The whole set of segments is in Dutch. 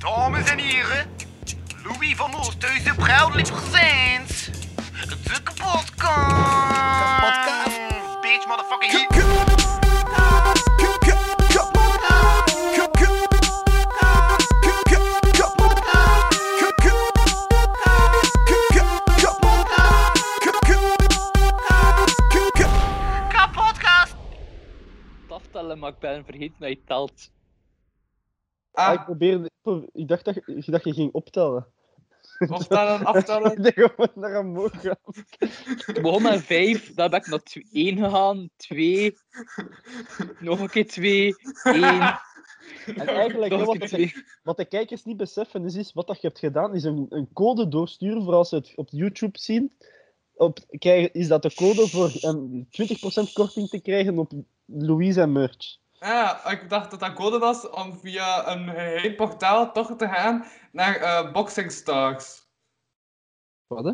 Dames en heren, Louis van Oosthuizen, proudly presents de kapotkast. Kapotkast. Bitch, motherfucking K- hit. k- k- k- kapotkast. K- k- k- k- kapotkast. K- k- k- k- kapotkast. K- k- k- k- Kapotkast. het aftellen, maar ik ben vergeten dat je telt. Ah, Ah, ik, probeerde, ik pro- ik dacht dat, je- dat je ging optellen. optellen, aftellen. Ik dacht gewoon naar omhoog gaan. Ik begon met vijf, dan ben ik naar 1 gegaan, 2, nog een keer 2, 1, En eigenlijk, hè, nog een wat, keer de, 2. wat de kijkers niet beseffen, is, is wat dat je hebt gedaan, is een, een code doorsturen voor als ze het op YouTube zien. Op, krijgen, is dat de code voor een 20% korting te krijgen op Louise en merch. Ja, ik dacht dat dat code was om via een geheim portaal toch te gaan naar eh, Boxing Stars. Wat, hè?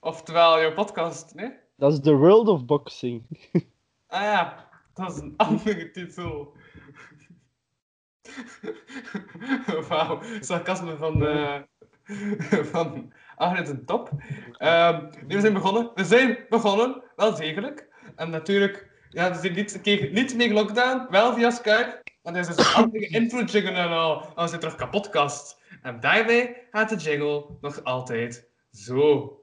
Oftewel, jouw podcast, nee? Dat is The World of Boxing. Ah ja, dat is een andere titel. Wauw, sarcasme van, eh van Arjen ten Top. Ehm, nee, we zijn begonnen. We zijn begonnen, wel degelijk. En natuurlijk, ja, we zijn niet, kregen niet meer lockdown, wel via Skype. Want er is dus een andere intro jingle en al. Dan zit terug kapotkast. En daarbij gaat de jingle nog altijd zo.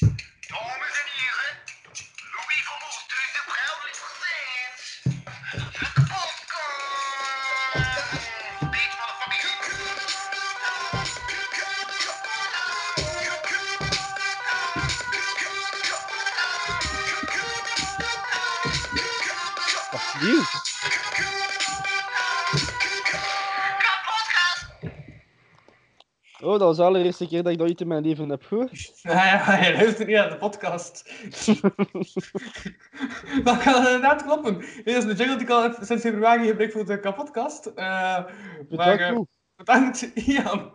Dames en heren, Louis van Oosthuizen, proudly presents de kapotkast. Bitch, motherfucking Dat is nieuw. Kapotkast. Oh, dat was de allereerste keer dat ik dat ooit in mijn leven heb gehoord. Nou ja, hij luistert niet naar de podcast. dat kan inderdaad kloppen. Dit is de jingle die ik al heb sinds februari gebruik voor de kapotkast. Eh Ik vind maar het eh, wel cool. bedankt, Ian.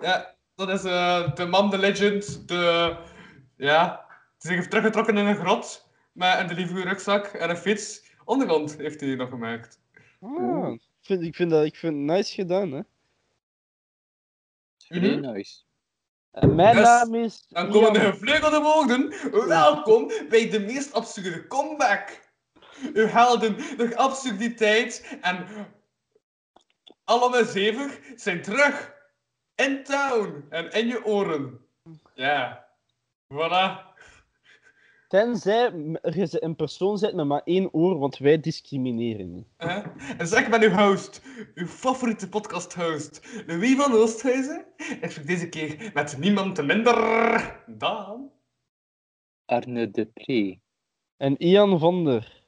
Ja, dat is eh, de man, de legend, de... Ja, die zich heeft teruggetrokken in een grot. Met een delivery rugzak en een fiets. Ondergrond heeft hij nog gemaakt. Ah, ik, vind, ik, vind dat, ik vind het nice gedaan, hè. Mhm. Vrij nice. En Eh, mijn Dus, naam is... Mhm. Dan komen de Ian. gevleugelde woorden. Welkom bij de meest absurde comeback. U helden, de absurditeit en alle zeven zijn terug. In town en in je oren. Ja, voilà. Tenzij m- er is een persoon zit met maar één oor, want wij discrimineren niet. Hè? En zeg, ik ben uw host, uw favoriete podcast-host, Louis van Oosthuizen. Ik spreek deze keer met niemand minder dan... Arne Depree. En Ian van der.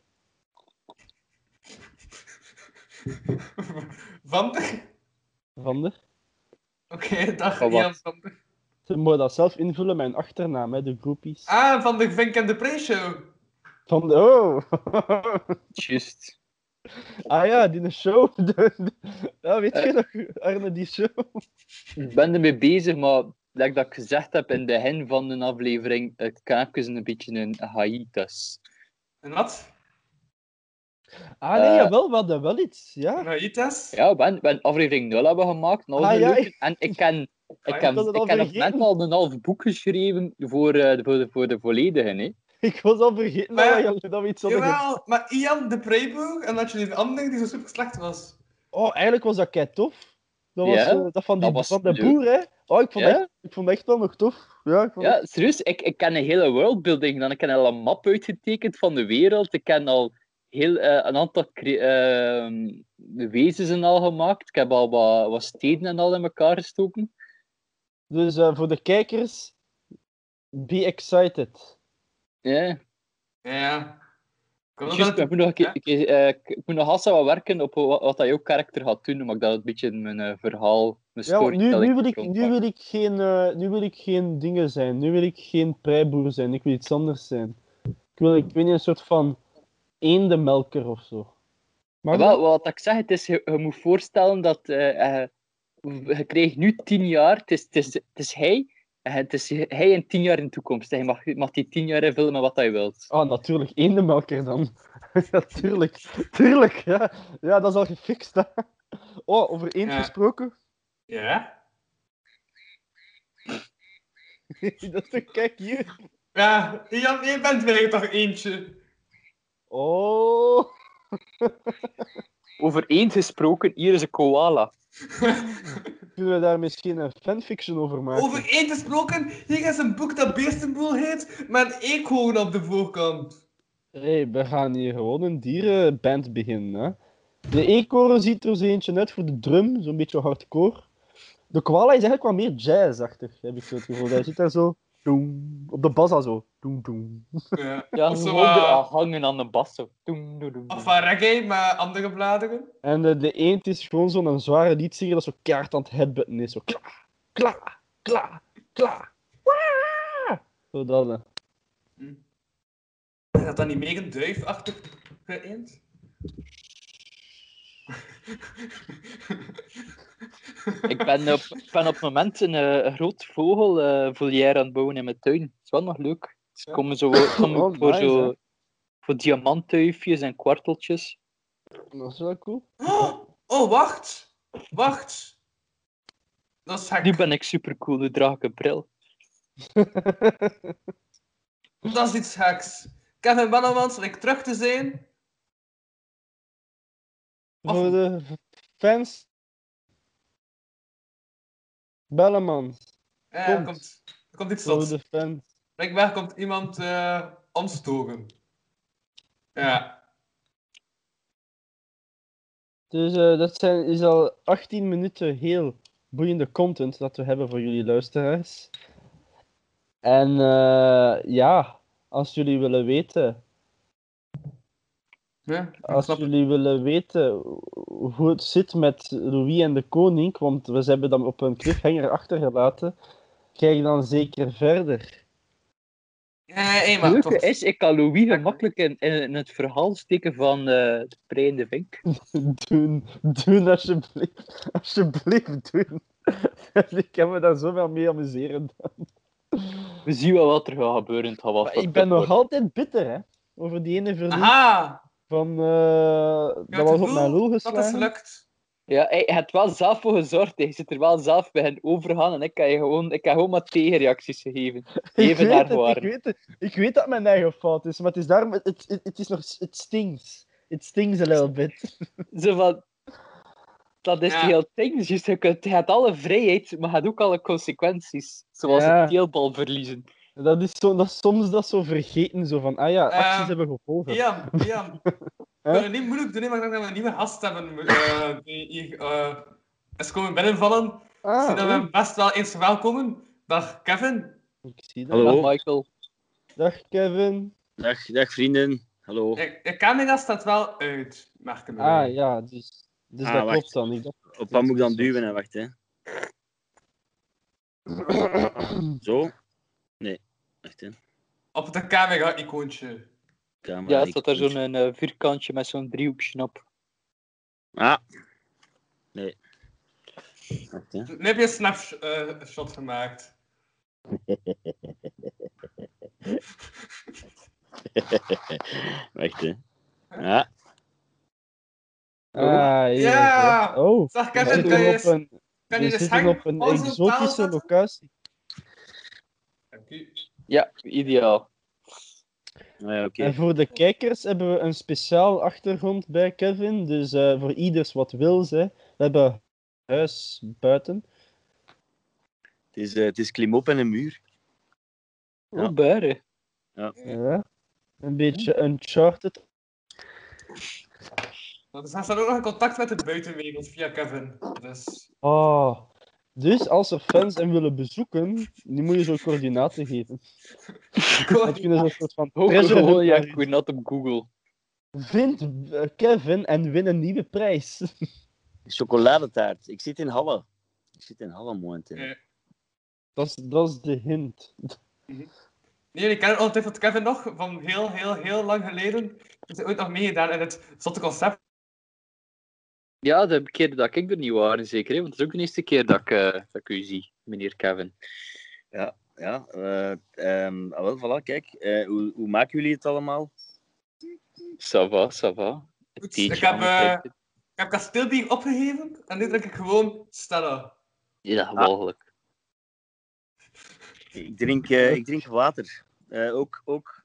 Van de... Van der? Oké, dag Van wat? Jan van de... Ze moeten dat zelf invullen, mijn achternaam, hè, de groepies. Ah, van de Vink en de Pre-show. Van de... Oh! Just. ah ja, die show. ja, weet je nog, Arne, die show? Ik ben ermee bezig, maar like dat ik gezegd heb in de hen van de aflevering, het knaapje is een beetje een hiatus. En wat? Ah nee, Eh. jawel, we hadden wel iets, ja. Nou, Raitas? Ja, we hebben, we hebben aflevering 0 hebben gemaakt. nou, Ah, ja, Ah, gelukkig. En ik ken, ik ik ken, had het al ik ken op het vergeten. moment al een half boek geschreven voor, eh, voor, de, voor de volledige. Hè. Ik was al vergeten Maar ja, dat, we, dat we iets hadden gedaan. Jawel, maar Ian de Preiboer en dat je die andere die zo super slecht was. Oh, eigenlijk was dat kei tof. Dat was Ja, eh, dat van, die, dat was van de leuk. boer, hè. Oh, ik vond, Ja. echt, ik vond echt wel nog tof. Ja, ik vond echt- Ja, serieus, ik, ik ken een hele worldbuilding. Dan. Ik ken al een map uitgetekend van de wereld. Ik ken al heel, eh, een aantal cre- ehm, wezens en al gemaakt. Ik heb al wat, wat steden en al in elkaar gestoken. Dus eh, voor de kijkers, be excited. Ja. Ja. Kom Juist, dat maar ik, moet nog, een keer- een keer, eh, ik, ik moet nog hassa wat werken op wat, wat dat jouw karakter gaat doen, maar ik dat het een beetje in mijn eh, verhaal, mijn Ja, want nu, storytelling nu, wil ik, rondpak. nu, wil ik geen, eh, nu wil ik geen dingen zijn. Nu wil ik geen preiboer zijn. Ik wil iets anders zijn. Ik wil, ik weet niet, een soort van eendemelker of zo. Maar Wel, wat ik zeg, het is, je, je moet voorstellen dat eh, eh, je krijgt nu tien jaar, het is, het is, het is hij En het is hij in tien jaar in de toekomst. En je mag, mag die tien jaar invullen met wat hij wilt. Ah, natuurlijk. Eendemelker dan. ja, tuurlijk. Tuurlijk, ja. Ja, dat is al gefixt, hè. Oh, over eend Ja. gesproken. Ja? dat is toch, kijk hier. Ja, Jan, je bent weer toch eentje. Oh. Over eend gesproken, hier is een koala. Kunnen we daar misschien een fanfiction over maken? Over eend gesproken, hier is een boek dat Beestenboel heet, met een eekhoorn op de voorkant. hey, we gaan hier gewoon een dierenband beginnen, hè. De eekhoorn ziet er zo eentje uit voor de drum, zo'n beetje hardcore. De koala is eigenlijk wel meer jazzachtig, heb ik zo het gevoel. Hij zit daar zo... doem, op de bas al zo. Doem, doem. Ja, Ja, Of zo, gewoon eh, eraan hangen aan de bas. Zo. Doem, doem, doem, doem. Of van reggae, maar andere bladeren. En eh, de, de eend is gewoon zo'n zware liedzanger dat zo kaart aan het headbutten is. Zo kla, kla, kla, kla. Waa! Zo dat, hè. Is dat dan niet meer een duifachtig eend? Ik ben op, ik ben op het moment een eh, groot vogelvolière aan het bouwen in mijn tuin. Dat is wel nog leuk. Ze Ja. komen zo, soms Oh, voor, nice, zo, hè. voor diamanttuifjes en kwarteltjes. Dat is wel cool. Oh, oh, wacht. Wacht. Dat is hek. Nu ben ik supercool, nu draag ik een bril. Dat is iets heks. Kevin Bannemans, ik terug te zijn. Of- Voor de fans... Bellemans. Eh, Komt. er, komt, er komt iets Voor zots. de fans. Blijkbaar komt iemand eh omstoken. Ja. Dus eh, dat zijn, is al 18 minuten heel boeiende content dat we hebben voor jullie luisteraars. En eh, ja, als jullie willen weten ja ik Als snap het. jullie willen weten hoe het zit met Louis en de koning, want we hebben hem op een cliffhanger achtergelaten, kijk dan zeker verder. Eh, hey, Het maar leuke tot- is, ik kan Louis gemakkelijk in, in, in het verhaal steken van eh de Vrijende Vink. Doen, doen alsjeblieft, alsjeblieft doen. ik kan me daar zoveel mee amuseren. We zien wel wat er gaat gebeuren in het geval. Maar ik ben nog altijd bitter, hè, over die ene verlies Aha! van... eh, Ik dat had het was op mijn gevoel lul Dat is geslagen. gelukt. Ja, hij hij heeft wel zelf voor gezorgd. Hij zit er wel zelf bij hen overgaan en ik kan, je gewoon, ik kan gewoon maar tegenreacties geven. Ik Even weet, naar het, waar. ik, weet het, ik weet dat het mijn eigen fout is, maar het is daarom... Het, het, het is nog... Het stings. Het stings a little bit. Zo van... Dat is Ja. de heel ding. juist. Je kunt, je hebt alle vrijheid, maar je hebt ook alle consequenties. Zoals Ja. het keelbal verliezen. Dat is, zo, dat is soms dat zo vergeten, zo van... Ah ja, acties Ehm, hebben gevolgen. Ian, Ian. Hè? We niet moeilijk doen, hè, maar ik denk dat we een nieuwe gast hebben eh, die hier eh, is komen binnenvallen. Ah, Ik zie dat we oei, hem best wel eens verwelkomen. Dag Kevin. ik zie dat. Hallo. Dag, Michael. Dag, Kevin. Dag, dag vrienden. Hallo. Je, je camera staat wel uit, merken we. Ah ja, dus... Dus Ah, dat wacht. klopt dan. Ik dacht, Op wat moet ik dan duwen en wacht, hè? Zo? Nee. Wacht, hè. Op de camera-icoontje. Camera. Ja, er ik- staat daar zo'n eh, vierkantje met zo'n driehoekje op. Ah. Nee. Wacht, hè. Nu heb je een snapshot gemaakt. Wacht, hè. Ah. Ah, Eh. ja. Ja! oké. Oh, Zeg we Kevin, kan zitten je, op een, kan we je de zitten hang op een exotische locatie. Ja, ideaal. Ah, ja, oké. En voor de kijkers hebben we een speciaal achtergrond bij Kevin. Dus eh, voor ieders wat wil, hè. We hebben huis buiten. Het, is, eh, het is klim op en een muur. Ja. Ja. buiten. Ja. Een beetje uncharted. Want Ze staan ook nog in contact met de buitenwereld via Kevin. Dus Oh. Dus als er fans hem willen bezoeken, die moet je zo coördinaten geven. Dat kunnen ze een soort van Ook treasure hunt gewoon, ja, maken. ik word net op Google. Vind eh, Kevin en win een nieuwe prijs. Chocoladetaart. Ik zit in Halle. Ik zit in Halle momenteel. Ja. Dat is, dat is de hint. Nee, jullie kennen ongetwijfeld Kevin nog van heel, heel, heel lang geleden. Is hij ooit nog meegedaan in het zotte concept? Ja, de keer dat ik er niet was, zeker. hè, Want het is ook de eerste keer dat ik, eh, dat ik u zie, meneer Kevin. Ja, eh, ehm, ah, wel, voilà, kijk. eh, hoe, hoe maken jullie het allemaal? Ça va, ça va. Een Goed, theetje ik heb, eh, aan het- Ik heb kasteelbier opgegeven en nu drink ik gewoon Stella. Ja, mogelijk. Ik drink, eh, ik drink water. Eh, ook, ook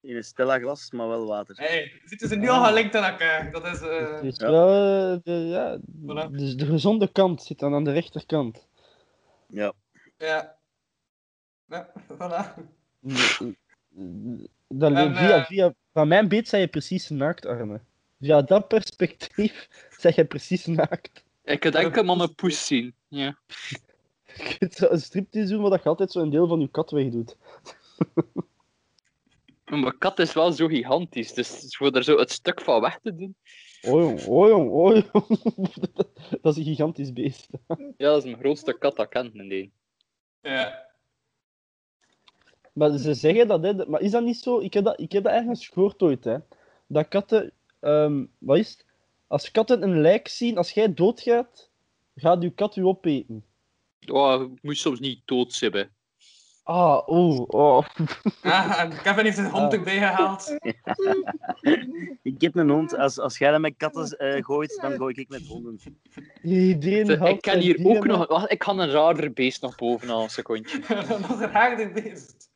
in een Stella glas, maar wel water. Hey, zitten ze nu Ah. al gelinkt aan elkaar? Dat is... eh, Dus Ja. wel, eh, de, ja, Voilà. dus de gezonde kant zit dan aan de rechterkant. Ja. ja. Ja, voilà. Dat En, via, eh, via, van mijn beet zijn je precies naakt, Arne. Via dat perspectief zeg je precies naakt. Ik had enkel maar mijn poes zien. Ja. Je kunt zo een striptease doen, maar dat je altijd zo'n deel van je kat wegdoet. Maar Mijn kat is wel zo gigantisch, dus voor er zo het stuk van weg te doen. Oh jong, oh jong, oh jong. Dat is een gigantisch beest. Ja, dat is mijn grootste kat dat ik ken, nee. Ja. Maar ze zeggen dat, hè, dat- maar is dat niet zo? Ik heb dat, ik heb dat ergens gehoord ooit, hè. Dat katten, ehm, wat is het? Als katten een lijk zien, als jij doodgaat, gaat uw kat u opeten. Oh, ik moet soms niet dood zijn. hè. Ah, oeh, oh. Ah, en Kevin heeft zijn hond erbij gehaald. Ik heb een hond. Als, als jij dat met katten eh, gooit, dan gooi ik met honden. Iedereen Zeg, Ik haalt ken zijn hier ook dieren nog... Wacht, ik ga een raarder beest nog bovenaan, een secondje. Nog een raarder beest.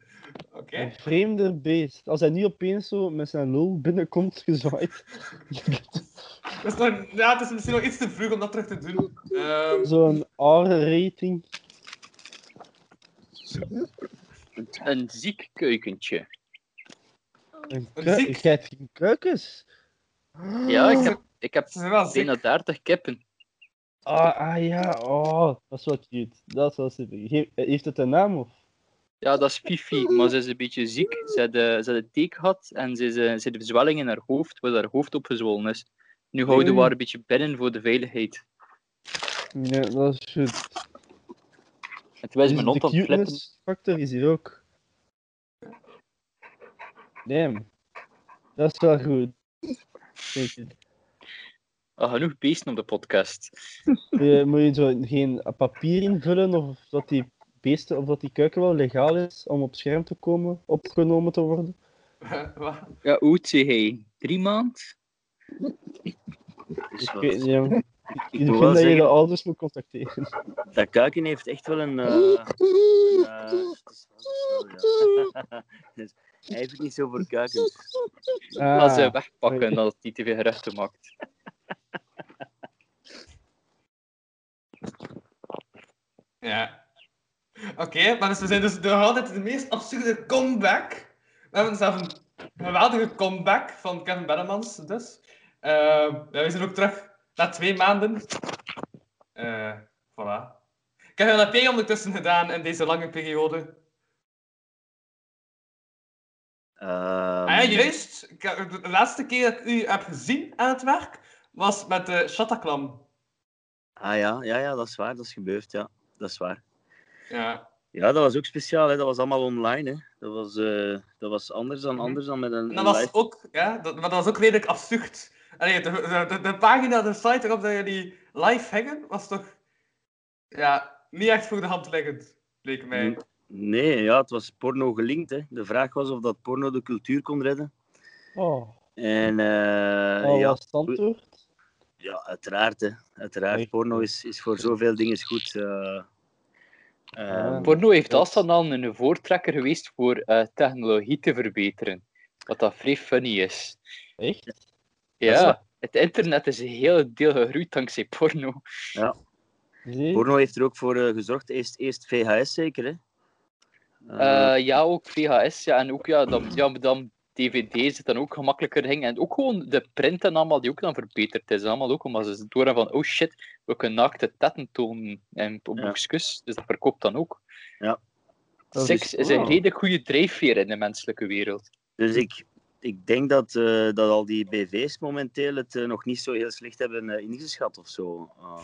Oké. uit. Een vreemder beest. Als hij niet opeens zo met zijn lul binnenkomt gezwaaid. Dat is nog, ja, het is misschien nog iets te vroeg om dat terug te doen. Ehm, Zo'n R-rating. Een ziek keukentje. Een Een kui- ziek. Jij hebt geen kuikens? Ja, ik heb, ik heb ze zijn wel Ah. ziek. bijna 30 kippen. Ah, ah ja, oh, dat is wel cute. Dat is wel super. He- Heeft het een naam of? Ja, dat is Fifi, maar ze is een beetje ziek. Ze had, eh, ze had een teek gehad en ze, is, eh, ze had een zwelling in haar hoofd, waar haar hoofd opgezwollen is. Nu houden we haar een beetje binnen voor de veiligheid. Ja, dat is goed. En terwijl ze Dus mijn hond de aan het flippen... cuteness factor is hier ook. Damn. Dat is wel goed. Denk ik. Ah, genoeg beesten op de podcast. Moet je- Eh, Moet je zo geen papier invullen of dat die beesten of dat die kuiken wel legaal is om op scherm te komen, opgenomen te worden? eh, wa- Ja, hoe oud is hij? Drie maand? Dus Ik wat- weet niet. ja. Ik ik vind dat wil wel je zeggen, de ouders moet contacteren. dat kuiken heeft echt wel een... eh, een, eh, het is wel zo, ja. Dus Hij heeft het niet zo voor kuiken. Laat ze Ah, wegpakken, dat het niet te veel geruchten maakt. Ja. Oké, maar dus we zijn dus nog altijd de meest absurde comeback. We hebben zelf een geweldige comeback van Kevin Bellemans, dus. Eh, ja, we zijn ook terug na twee maanden. Eh voilà. Kevin, wat heb jij ondertussen gedaan in deze lange periode? Ehm, Ah ja, juist. Ik heb- De laatste keer dat ik u heb gezien aan het werk, was met de Chataklam. ah ja, ja, ja, dat is waar. Dat is gebeurd, ja. Dat is waar. Ja. Ja, dat was ook speciaal. Hè. Dat was allemaal online. Hè. Dat, was, eh, dat was anders dan anders dan met een, En dat een was live. ook, ja, dat, maar dat was ook redelijk absurd. Allee, de, de, de, de pagina, de site waarop dat jullie live hangen, was toch ja, niet echt voor de hand liggend, leek Mm. mij. Nee, ja, het was porno gelinkt. Hè. De vraag was of dat porno de cultuur kon redden. oh, En eh, oh, ja, was het antwoord? ja, uiteraard. Hè. Uiteraard, Nee. Ah, porno is, is voor zoveel dingen goed. eh. Ehm, Porno heeft dat- Aslan al een voortrekker geweest voor eh, technologie te verbeteren. Wat dat vrij funny is. Echt? is Ja, het internet is een heel deel gegroeid dankzij porno. Zie? porno heeft er ook voor eh, gezorgd. Eerst, eerst VHS zeker. Hè. Eh, Eh, ja, ook VHS. Ja, en ook ja, dan, ja, dan DVD zit dan ook gemakkelijker ging. En ook gewoon de print en allemaal die ook dan verbeterd is. Allemaal ook omdat ze door van, oh shit, we kunnen naakte tetten tonen en op Ja. boekjes. Dus dat verkoopt dan ook. Ja. Dat Seks is- is, een oh. redelijk goede drijfveer in de menselijke wereld. Dus ik, ik denk dat, eh, dat al die BV's momenteel het eh, nog niet zo heel slecht hebben eh, ingeschat of zo. Ehm,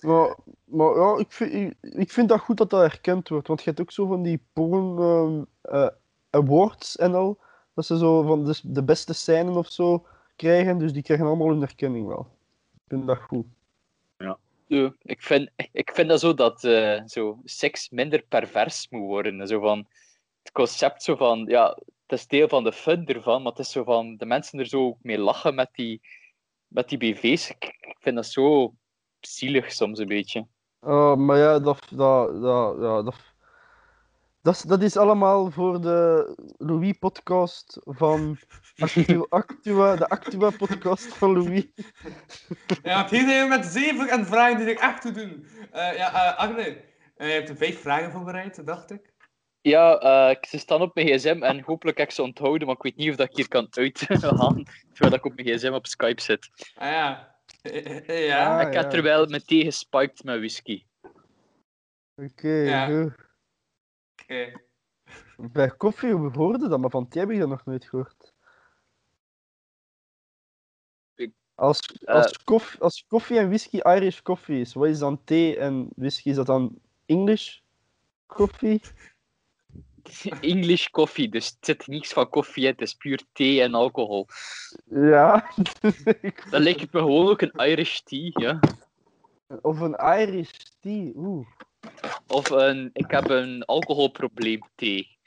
Maar, maar ja, ik vind, ik, ik vind dat goed dat dat herkend wordt. Want je hebt ook zo van die porn ehm, eh, awards en al. Dat ze zo van de, de beste scènes of zo krijgen. Dus die krijgen allemaal hun erkenning wel. Ik vind dat goed. Ja, ik, vind, ik vind dat zo dat eh, zo, seks minder pervers moet worden. Zo van, het concept zo van, ja, het is deel van de fun ervan, maar het is zo van, de mensen er zo ook mee lachen met die, met die bv's. Ik, ik vind dat zo zielig soms een beetje. Oh, maar ja, dat, dat, dat, ja, dat, dat, is, dat is allemaal voor de Louis-podcast van Actu- Actua, de Actua-podcast van Louis. Ja, want hier zijn we met zeven en vragen die ik echt toe doen. Eh, ja, eh, Agne, eh, je hebt er vijf vragen voorbereid, dacht ik. Ja, eh, ik- ze staan op mijn gsm en hopelijk heb ik ze onthouden, maar ik weet niet of dat ik hier kan uithalen, terwijl ik op mijn gsm op Skype zit. Ah ja. Eh, eh, eh, ja. Ah, ik heb ja. terwijl me tegespiked met whisky. Oké, Ja. goed. Oké. Bij koffie hoorde dat, maar van Thij heb ik dat nog nooit gehoord. Ik- Als, als, koffie, als koffie en whisky Irish coffee is, wat is dan thee en whisky? Is dat dan English koffie? English koffie, dus het zit niks van koffie in, het is puur thee en alcohol. Ja. Dan lijkt het me gewoon ook een Irish tea, ja. of een Irish tea. Oeh. Of een, ik heb een alcoholprobleem thee.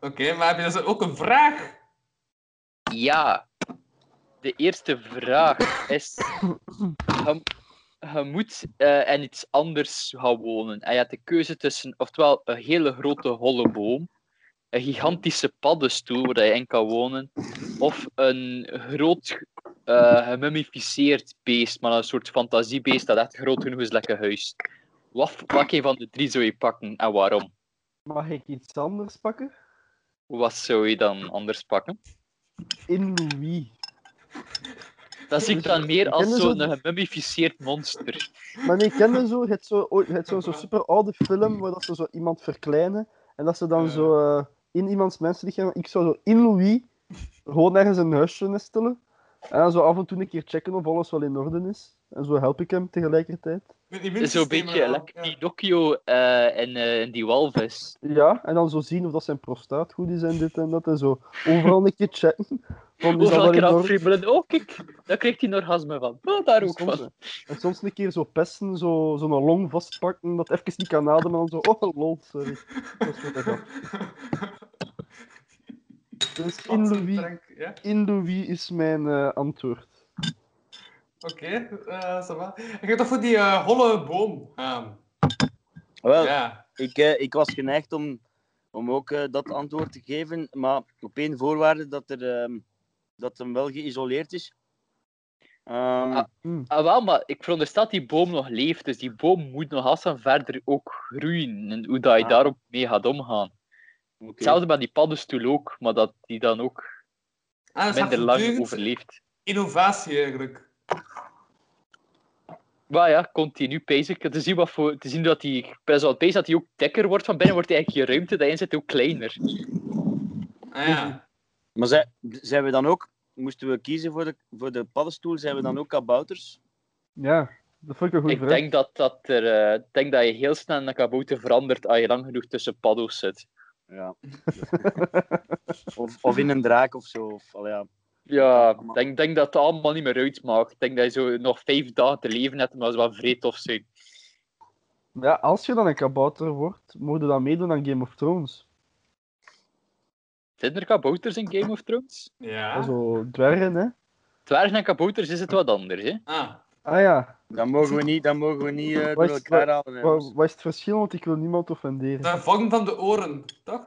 Oké, maar heb je dus ook een vraag? Ja, de eerste vraag is... Je, je moet eh in iets anders gaan wonen. En je hebt de keuze tussen, oftewel een hele grote holle boom, een gigantische paddenstoel waar je in kan wonen, of een groot eh gemummificeerd beest, maar een soort fantasiebeest dat echt groot genoeg is, lekker huis. Wat pak je van de drie zou je pakken en waarom? Mag ik iets anders pakken? Wat zou je dan anders pakken? In Louis. Dat zie ik dan meer als Kennen ze zo'n dat? gemummificeerd monster. Maar nee, kende zo, het zo, ooit- het zo, zo'n super oude film waar dat ze zo iemand verkleinen en dat ze dan Ja. zo eh, in iemands mensenlichaam, ik zou zo in Louis gewoon ergens een huisje nestelen en dan zo af en toe een keer checken of alles wel in orde is. En zo help ik hem tegelijkertijd. Met die Zo'n muntsystemen beetje al, lekker ja. Pinocchio eh en eh, die walvis. Ja, en dan zo zien of dat zijn prostaat goed is en dit en dat en zo. Overal een keer checken. Van, is dat Hoeveel wel keer in aan het orde? friemelen? Oh, kijk, daar krijgt hij een orgasme van. Oh, daar En ook soms, van. Dus en soms een keer zo pesten, zo- zo'n long vastpakken, dat even niet kan ademen en dan zo, oh lol, sorry. Dat is wat ik had. Dus in Wat een Louis. drank, Ja, In Louis is mijn eh, antwoord. oké. eh, ça va. Ik ga toch voor die eh, holle boom gaan. Wel, Ja. ik, eh, ik was geneigd om, om ook eh, dat antwoord te geven, maar op één voorwaarde dat, er, ehm, dat hem wel geïsoleerd is. Ehm, Ah. Ah, wel, maar ik veronderstel dat die boom nog leeft, dus die boom moet nog als en verder ook groeien. En hoe dat je Ah. daarop mee gaat omgaan. oké. Hetzelfde met die paddenstoel ook, maar dat die dan ook Ah, dat gaat minder lang voortdurend overleeft. Innovatie eigenlijk. Maar ja, continu bezig. Te zien, wat voor, te zien dat die, best wel bezig dat die ook dikker wordt van binnen, wordt eigenlijk je ruimte daarin zit ook kleiner. Ah ja. Maar zij- zijn we dan ook, moesten we kiezen voor de, voor de paddenstoel, zijn we dan ook kabouters? Ja, dat vond ik een goede Ik vraag. denk dat, dat er, eh, ik denk dat je heel snel een kabouter verandert als je lang genoeg tussen paddo's zit. Ja. of, of in een draak of zo. Of, allee, ja. Ja, Maar- ik denk, denk dat het allemaal niet meer uitmaakt. Ik denk dat je zo nog vijf dagen te leven hebt, maar dat is wel vreed of zo. Ja, als je dan een kabouter wordt, moet je dan meedoen aan Game of Thrones. Zijn er kabouters in Game of Thrones? Ja. Zo dwergen, hè. Dwergen en kabouters is het wat anders, hè? Ah. Ah ja, Dan mogen we niet, dan mogen we niet eh, Wat door is- elkaar halen. wa- hè, dus- jongens. wat is het verschil? Want ik wil niemand offenderen. De vorm van de oren, toch?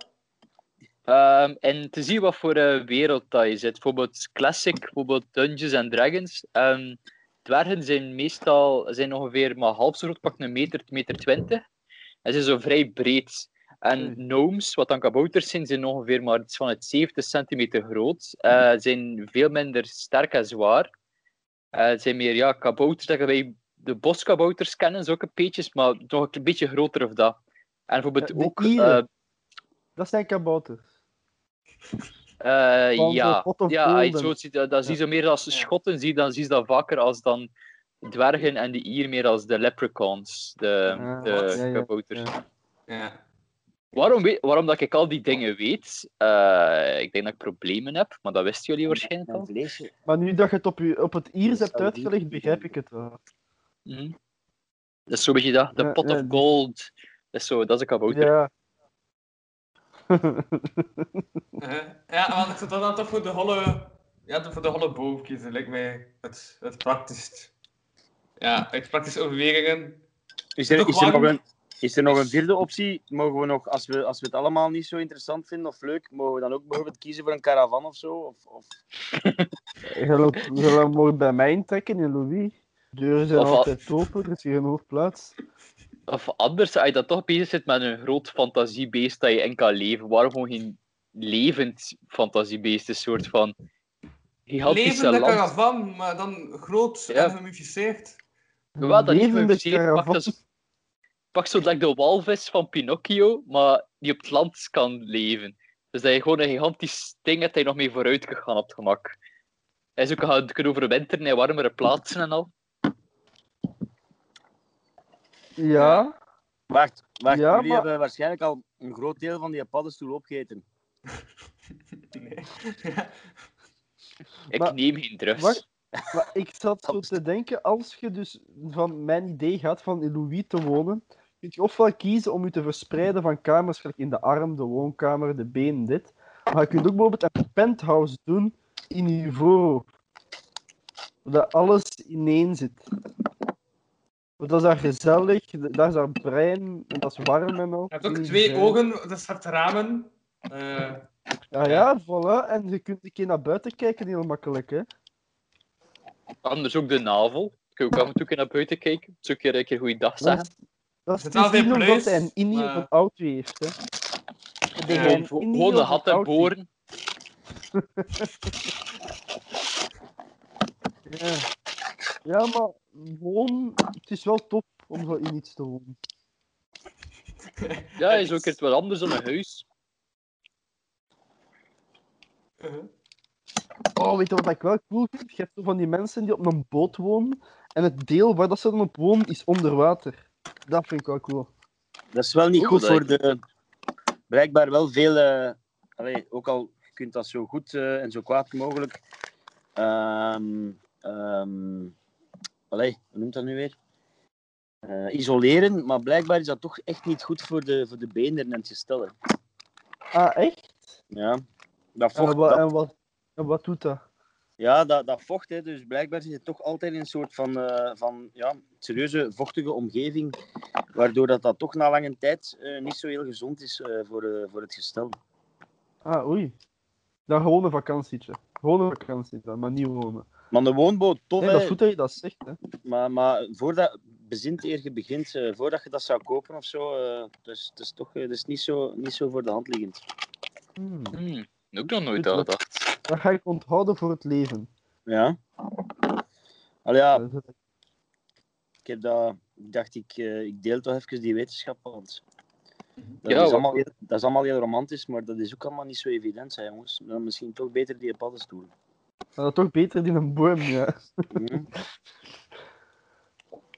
Ehm, en te zien wat voor eh, wereld dat je zit. Bijvoorbeeld Classic, bijvoorbeeld Dungeons and Dragons. Ehm, dwergen zijn meestal zijn ongeveer maar half zo groot, pak een meter, meter twintig. En ze zijn zo vrij breed. En Oei. gnomes, wat dan kabouters zijn, zijn ongeveer maar iets van het 70 centimeter groot. Hmm. Eh, zijn veel minder sterk en zwaar. Eh, het zijn meer ja, kabouters, dat wij de boskabouters kennen, zulke peetjes, maar nog een beetje groter of dat. En Ja, bijvoorbeeld de ook... Ieren. eh, Dat zijn kabouters. eh, Van zo'n ja, pot of ja als je golden. zo ziet, dat, dat zie je zo meer als de Ja. Schotten, zie, dan zie je dat vaker als dan dwergen en de Ier meer als de leprechauns, de, Ah, de wat? Ja, ja, kabouters. ja. Ja. Waarom, weet, waarom dat ik al die dingen weet? Eh, ik denk dat ik problemen heb, maar dat wisten jullie waarschijnlijk Een al. vleesje. Maar nu dat je het op, je, op het Iers hebt zou die- uitgelegd, begrijp ik het wel. Mhm. Dat is zo'n beetje dat, de Ja, pot ja, of die- gold. Dat is, zo, dat is een kabouter. Ja. Eh, ja, maar ik zou dat dan toch voor de holle, ja, voor de holle boven kiezen, lijkt mij het, het praktischst. Ja, uit praktische overwegingen. Is er, Toch is, er nog warm? een, is er nog een vierde optie? Mogen we nog, als we, als we het allemaal niet zo interessant vinden of leuk, mogen we dan ook bijvoorbeeld kiezen voor een caravan of zo? Of, of... Je loopt- je loopt morgen bij mij intrekken in Louis. Deuren zijn Of al- altijd open, er is hier genoeg plaats. Of anders, als je dan toch bezig zit met een groot fantasiebeest dat je in kan leven, waarom gewoon geen levend fantasiebeest? Een soort van gigantische Levende land. caravan, maar dan groot Ja. en gemummificeerd. Wel, dat niet Levende meer zeer. Pak, caravan. dus- pak zo dat de walvis van Pinocchio, maar die op het land kan leven. Dus dat je gewoon een gigantisch ding hebt dat je nog mee vooruit kan gaan op het gemak. Hij is ook gaan kunnen overwinteren in warmere plaatsen en al. Ja, Wacht, wacht Ja, jullie maar- hebben waarschijnlijk al een groot deel van die paddenstoel opgegeten. Nee. Ik Maar- neem geen drugs. wacht. maar ik zat zo te denken, als je dus van mijn idee gaat van in Louis te wonen, kun je ofwel kiezen om je te verspreiden van kamers, gelijk in de arm, de woonkamer, de been, dit. Maar je kunt ook bijvoorbeeld een penthouse doen in Ivoro. Dat alles ineen zit. Want dat is daar gezellig, daar is daar brein, en dat is warm en al. Dus, eh, Je hebt ook twee ogen, dat staat ramen. Eh, Ja, ja, voilà. En je kunt een keer naar buiten kijken, heel makkelijk, hè. Anders ook de navel. Kun je ook af en toe een keer naar buiten kijken. Zo'n keer een keer goeiedag zeggen. Dat is Het is wel niet geen omdat plus, hij een Indië maar- van auto heeft, hè. Ja. Hij Gewoon, een gewoon Indië de van hat en auto boren. heeft. Ja. ja, maar gewoon... Het is wel top om zo in iets te wonen. Ja, is ook iets wat anders dan een huis. eh. Oh, weet je wat ik wel cool vind? Je hebt zo van die mensen die op een boot wonen. En het deel waar dat ze dan op wonen, is onder water. Dat vind ik wel cool. Dat is wel niet Oeh, goed dat voor de... Blijkbaar wel veel... eh, allee, ook al je kunt dat zo goed eh, en zo kwaad mogelijk... ehm, ehm, allee, hoe noemt dat nu weer? Eh, isoleren, maar blijkbaar is dat toch echt niet goed voor de, voor de benen en het gestel. hè. Ah, echt? Ja, dat En, vocht, wa- dat- en, wat, en wat doet dat? ja, dat, dat vocht. Hè. Dus blijkbaar zit je toch altijd in een soort van, eh, van ja, serieuze vochtige omgeving, waardoor dat, dat toch na lange tijd eh, niet zo heel gezond is eh, voor, eh, voor het gestel. Ah, oei. Dan gewoon een vakantietje. Gewoon een vakantie dan, maar niet wonen. Maar de woonboot, tof Nee, dat hè. is goed dat je dat zegt, hè. Maar, maar voordat, bezint eer je begint, eh, voordat je dat zou kopen of zo, eh, dus het is toch eh, dat is niet, zo, niet zo voor de hand liggend. Hmm. Hmm, ook nog nooit Goed, aan dat- gedacht. Dat ga ik onthouden voor het leven. Ja. Allee, ja, Dat is- ik heb dat, ik dacht ik, eh, ik deel toch even die wetenschap, want dat, Ja, is wat- allemaal heel, dat is allemaal heel romantisch, maar dat is ook allemaal niet zo evident, hè, jongens. Dan misschien toch beter die paddenstoel. Maar dat is toch beter dan een boom, ja. Hm?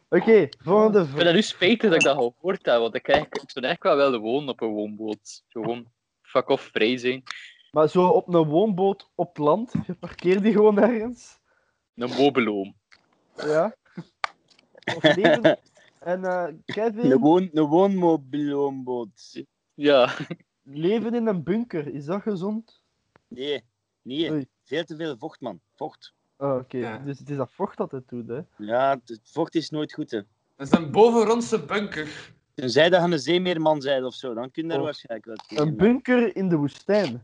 Oké, volgende Ik vind vraag. het nu spijtig dat ik dat gehoord heb, want ik, eigenlijk, ik zou echt wel willen wonen op een woonboot. Gewoon fuck off vrij zijn. Maar zo op een woonboot op het land, je parkeert die gewoon ergens. Een mobiloom. Ja. Of leven. En eh Een, Kevin, woon, een woonmobiloomboot. Ja, leven in een bunker, is dat gezond? Nee, nee. Oei. Veel te veel vocht, man. Vocht. Ah, Oké, Ja. dus het is dat vocht dat het doet, hè. Ja, het- het vocht is nooit goed, hè. Dat is een bovenrondse bunker. Tenzij dat je een zeemeerman bent of zo, dan kun je daar Oh. waarschijnlijk wel tegen. Een bunker in de woestijn.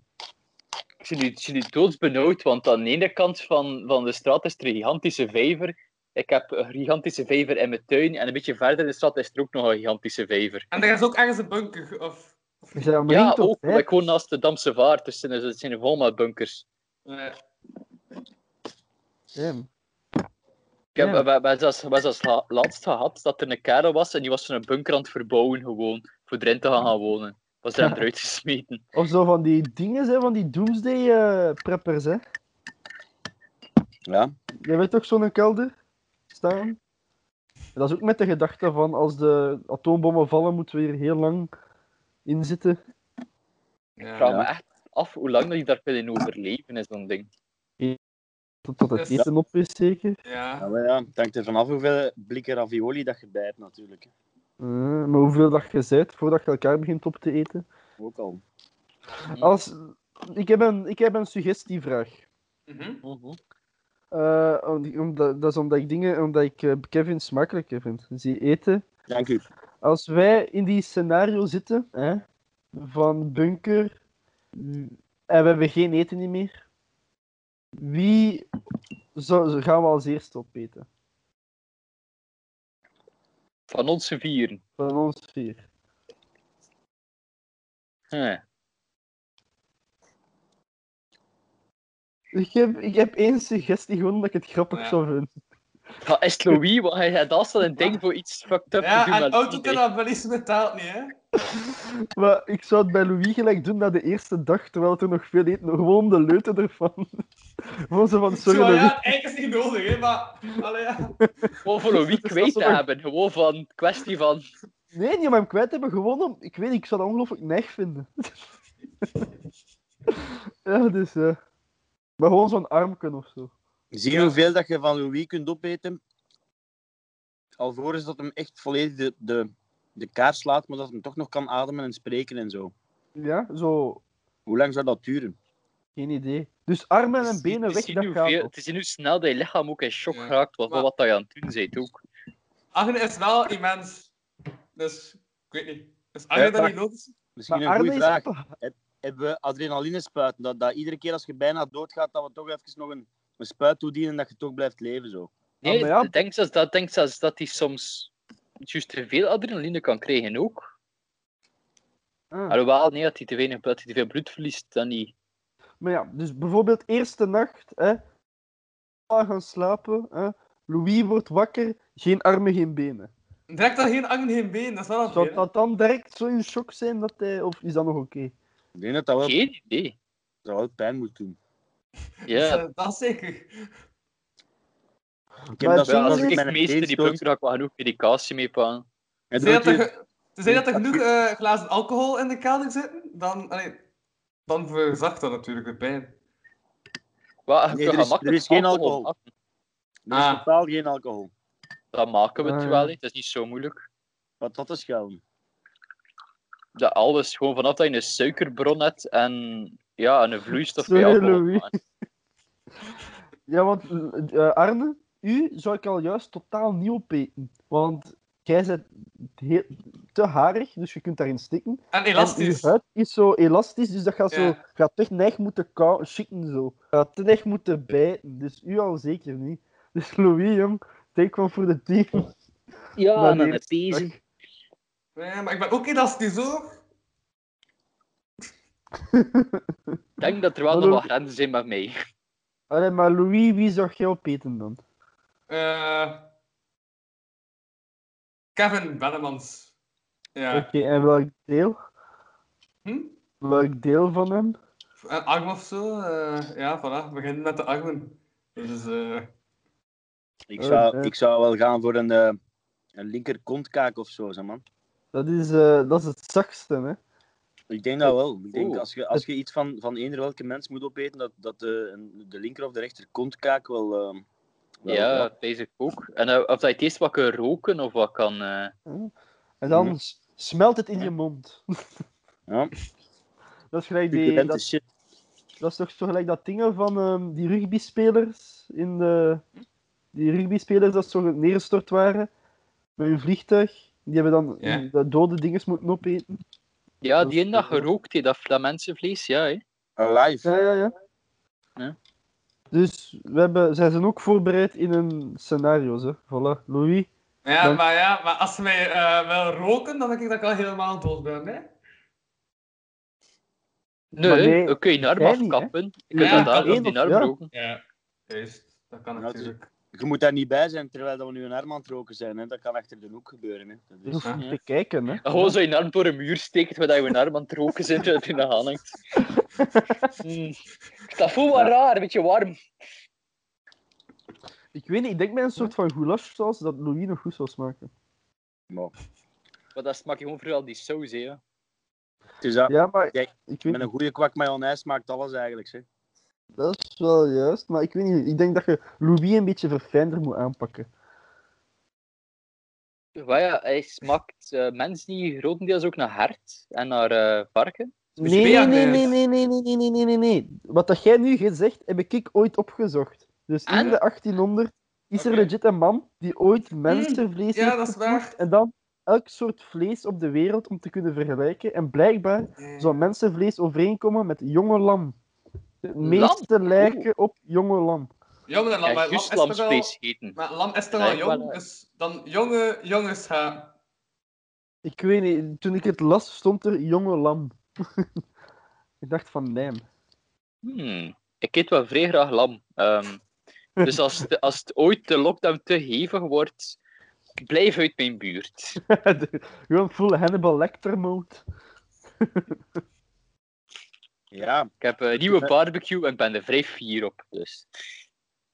ik zie nu, ik zie nu doodsbenauwd, want aan de ene kant van, van de straat is er een gigantische vijver. Ik heb een gigantische vijver in mijn tuin en een beetje verder in de straat is er ook nog een gigantische vijver. En er is ook ergens een bunker. Of, Je bent omringd Ja, door ook, vijf- ik woon naast de Damse Vaart, dus het zijn, het zijn vol met bunkers. eh, Damn. Ik heb Ja. we- we- we hebben zelfs, we hebben zelfs la- laatst gehad dat er een kerel was en die was zo'n bunker aan het verbouwen gewoon, voor erin te gaan, gaan wonen. Was er hem eruit gesmeten. Of zo van die dingen, hè, van die doomsday-preppers, hè. Ja. Jij weet toch zo'n kelder staan? En Dat is ook met de gedachte van als de atoombommen vallen, moeten we hier heel lang in zitten. Ik Ja. vraag me echt af hoe lang dat je daar in overleven is, zo'n ding. Tot, tot het Dus- eten op is, zeker. Ja. Ja, maar ja, het hangt er vanaf hoeveel blikken ravioli dat je bij hebt, natuurlijk. Eh, maar hoeveel dat je zet voordat je elkaar begint op te eten? Ook al. Als, ik, heb een, ik heb een suggestievraag. Mhm. Eh, om- omdat, dat is omdat ik dingen, omdat ik eh, Kevin smakelijker vind. Zie eten. Dank u. Als wij in die scenario zitten, hè, van bunker, en we hebben geen eten niet meer, wie zou, zou- gaan we als eerste opeten? Van onze vieren. Van ons vier. Huh. Ik heb, ik heb één suggestie, gewoon omdat ik het grappig Ja. zou vinden. Ja, is het Louis? Wat hij dat is wel een ding voor iets fucked up te doen. Ja, en met iedereen. autotannibalisme taalt niet, hè? Maar ik zou het bij Louis gelijk doen na de eerste dag, terwijl het er nog veel eten, gewoon om de leuten ervan. Gewoon zo van, sorry Zo, Louis. ja, eigenlijk is het niet nodig, hè, maar... Allee, ja. Gewoon voor Louis kwijt te hebben. Gewoon van kwestie van. Nee, niet om hem kwijt te hebben, gewoon om... Ik weet niet, ik zou dat ongelooflijk neig vinden. ja, dus... eh maar gewoon zo'n armken of zo. Zie Ja. hoeveel dat je van Louis kunt opeten. Alvorens dat hem echt volledig de, de, de kaart slaat, maar dat hem toch nog kan ademen en spreken en zo. Ja, zo... Hoe lang zou dat duren? Geen idee. Dus armen en benen Het weg, is dat nu gaat veel- wel. Het is nu snel dat je lichaam ook in shock Ja. raakt wat, Maar- wat dat je aan het doen bent ook. Agne is wel immens. Dus, ik weet niet. Is Agne Ja, dat maar- niet nodig? Misschien Maar een armen goede vraag. is... pa- Hebben we adrenaline spuiten? Dat, dat iedere keer als je bijna doodgaat, dat we toch even nog een, een spuit toedienen en dat je toch blijft leven zo. Nee, maar ja. ik denk zelfs, dat, ik denk zelfs dat hij soms juist te veel adrenaline kan krijgen ook. Ah. Alhoewel, nee, dat hij te, weinig, dat hij te veel bloed verliest, dan niet. Maar ja, dus bijvoorbeeld eerste nacht, hè. allemaal Gaan slapen, hè. Louis wordt wakker, geen armen, geen benen. Direct al geen arm, geen been, dat is wel Zou een dat dan direct zo in shock zijn dat hij... Of is dat nog oké? Ik denk dat dat wel, Geen idee. dat wel pijn moet doen. Ja, Dus, eh, Dat zeker. Ik Maar heb het dat ja zo ding als als is- ik ik met een meester teen die stoot. punten had ik wel genoeg medicatie mee pakken. Het Zijn dat wordt er, hier- ge- tenzij dat er genoeg eh, glazen alcohol in de kelder zitten, dan, allee, dan verzacht dat natuurlijk de pijn. Wel, je Nee, kunt er is- gemakkelijk er is geen alcohol. maken. Er is Ah. dus totaal geen alcohol. Dan maken we het Ah, ja. wel, hè. het is niet zo moeilijk. Wat dat is schelm. Dat alles, gewoon vanaf dat je een suikerbron hebt en ja, en een vloeistof Sorry, kan je alcohol Louis. maken. Ja, want eh, eh, Arne, u zou ik al juist totaal niet opeten. Want jij bent heel- te harig, dus je kunt daarin stikken. En En elastisch. uw huid is zo elastisch, dus dat gaat, zo, Ja. gaat echt neig moeten kou- schikken zo. Gaat te neig moeten bijten, dus u al zeker niet. Dus Louis, jong, take one voor de team. Ja, Maar en dan die- het pezen. Nee, maar ik ben ook elastisch hoor. Ik denk dat er wel Hallo. nog wat grenzen zijn met mij. Allee, maar Louis, wie zou jij opeten dan? Eh, Kevin Bellemans. Oké, Ja. en welk deel? Hm? Welk deel van hem? Een arm of zo. eh, ja, voilà. We beginnen met de armen. Dus, eh, Ik Eh, zou, eh. ik zou wel gaan voor een, eh een linker kontkaak of zo, zeg man. Dat is, eh, dat is het zachtste, hè? Ik denk dat wel. Ik denk Oeh. dat als je, als je iets van, van eender welke mens moet opeten, dat, dat de, een- de linker of de rechter kontkaak wel. eh, wel- ja, wel- dat weet ik ook. En eh, of dat je het eerst wat kan roken of wat kan... eh, En dan Mhm. s- smelt het in je mond. Ja. Dat is gelijk die, Succulente dat, shit. dat is toch zo gelijk dat dingen van ehm, die rugbyspelers in de die rugbyspelers dat zo neergestort waren met hun vliegtuig. Die hebben dan Ja. die- dat dode dinges moeten opeten. Ja, Dat is die ene dat cool. gerookt, hè, dat flamensenvlees, ja. Hè. Alive. Ja, ja, ja. Ja. Dus we hebben, zij zijn ook voorbereid in een scenario, hè. Voilà, Louis. ja, Dan- maar ja, maar als ze mij eh, wel roken, dan denk ik dat ik al helemaal dood ben. Hè? Nee, Maar nee, dan kun je naar jij maar niet, hè? kappen. Je kunt Ja, dan daar kappen op die of- arm ja. roken. Ja. Juist, dat kan Ja, natuurlijk. Je moet daar niet bij zijn terwijl dat we nu een arm aan het roken zijn. Hè. Dat kan achter de hoek gebeuren. Hè. Dat Je is... hoeft Ja. niet te kijken, hè. En Gewoon zo je arm door een muur steken terwijl je een arm aan het roken zit en het in de hand hangt. Hmm. Dat voelt wel raar, een beetje warm. Ik weet niet, ik denk met een soort van goulashsaus dat Louis nog goed zou smaken. Maar, Maar dat smaakt gewoon vooral die saus, hè. ja. Dus dat, Ja, maar Ja, ik weet met een goede kwak mayonaise maakt alles eigenlijk. Zeg. Dat is wel juist, maar ik weet niet. Ik denk dat je Louis een beetje verfijnder moet aanpakken. Maar ja, hij smaakt eh mens die grotendeels ook naar hert en naar eh, varken. Dus je Nee, nee, bent nee, aan nee, het- nee, nee, nee, nee, nee, nee, nee. Wat dat jij nu gezegd, heb ik ooit opgezocht. Dus in En? de 1800 is er Ah, Oké. Hmm, legit een man die ooit mensenvlees ja, heeft dat is geproefd waar. En dan elk soort vlees op de wereld om te kunnen vergelijken. En blijkbaar zou mensenvlees overeenkomen met jonge lam. De meeste lijken op jonge lam. Ja, maar dan Ja, lam, lam is juist toch wel... lamsvlees eten. Maar lam is toch Nee, wel jong, maar, eh, dus dan jonge jongens gaan... Ik weet niet, toen ik het las stond er jonge lam. ik dacht van nee. Hmm, Ik eet wel vrij graag lam. Ehm, dus als, de- als het ooit de lockdown te hevig wordt, blijf uit mijn buurt. De- Gewoon full Hannibal Lecter mode. Ja, Ik heb een nieuwe barbecue en ben er vrij fier op. Dus.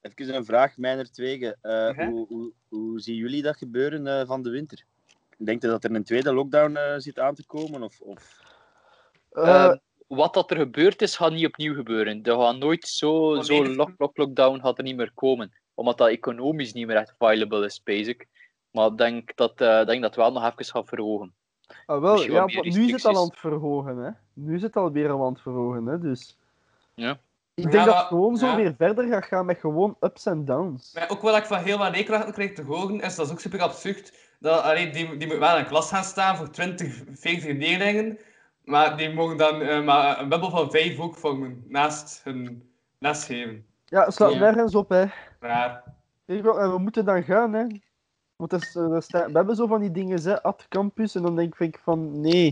even een vraag, mijner Twegen. Eh, Mhm. hoe, hoe, hoe zien jullie dat gebeuren eh, van de winter? Denkt u dat er een tweede lockdown eh, zit aan te komen? Of, of... Eh, Ehm, wat dat er gebeurd is, gaat niet opnieuw gebeuren. Er gaat nooit zo, nee, zo dat- lock, lock, lockdown gaat er niet meer komen. Omdat dat economisch niet meer echt viable is, basic. Maar ik denk dat eh denk dat wel nog even gaat verhogen. ah, wel, misschien ja, wat want meer nu zit al restricties. aan het verhogen, hè. Nu zit al weer al aan het verhogen, hè, dus... Ja. Ik Ja, denk dat het maar- gewoon zo ja. weer verder gaat gaan met gewoon ups en downs. Maar ook wat ik van heel wat leerkrachten kreeg te horen, is dat is ook super absurd. Dat, allee, die, die moet wel in een klas gaan staan voor 20, 40 leerlingen, maar die mogen dan eh, maar een bubbel van vijf ook vormen naast hun lesgeven. Ja, het slaat Ja. nergens op, hè. Raar. Weet je wel, en we moeten dan gaan, hè. Want er, is- er sta- we hebben zo van die dingen, hè, at campus, en dan denk ik van, nee.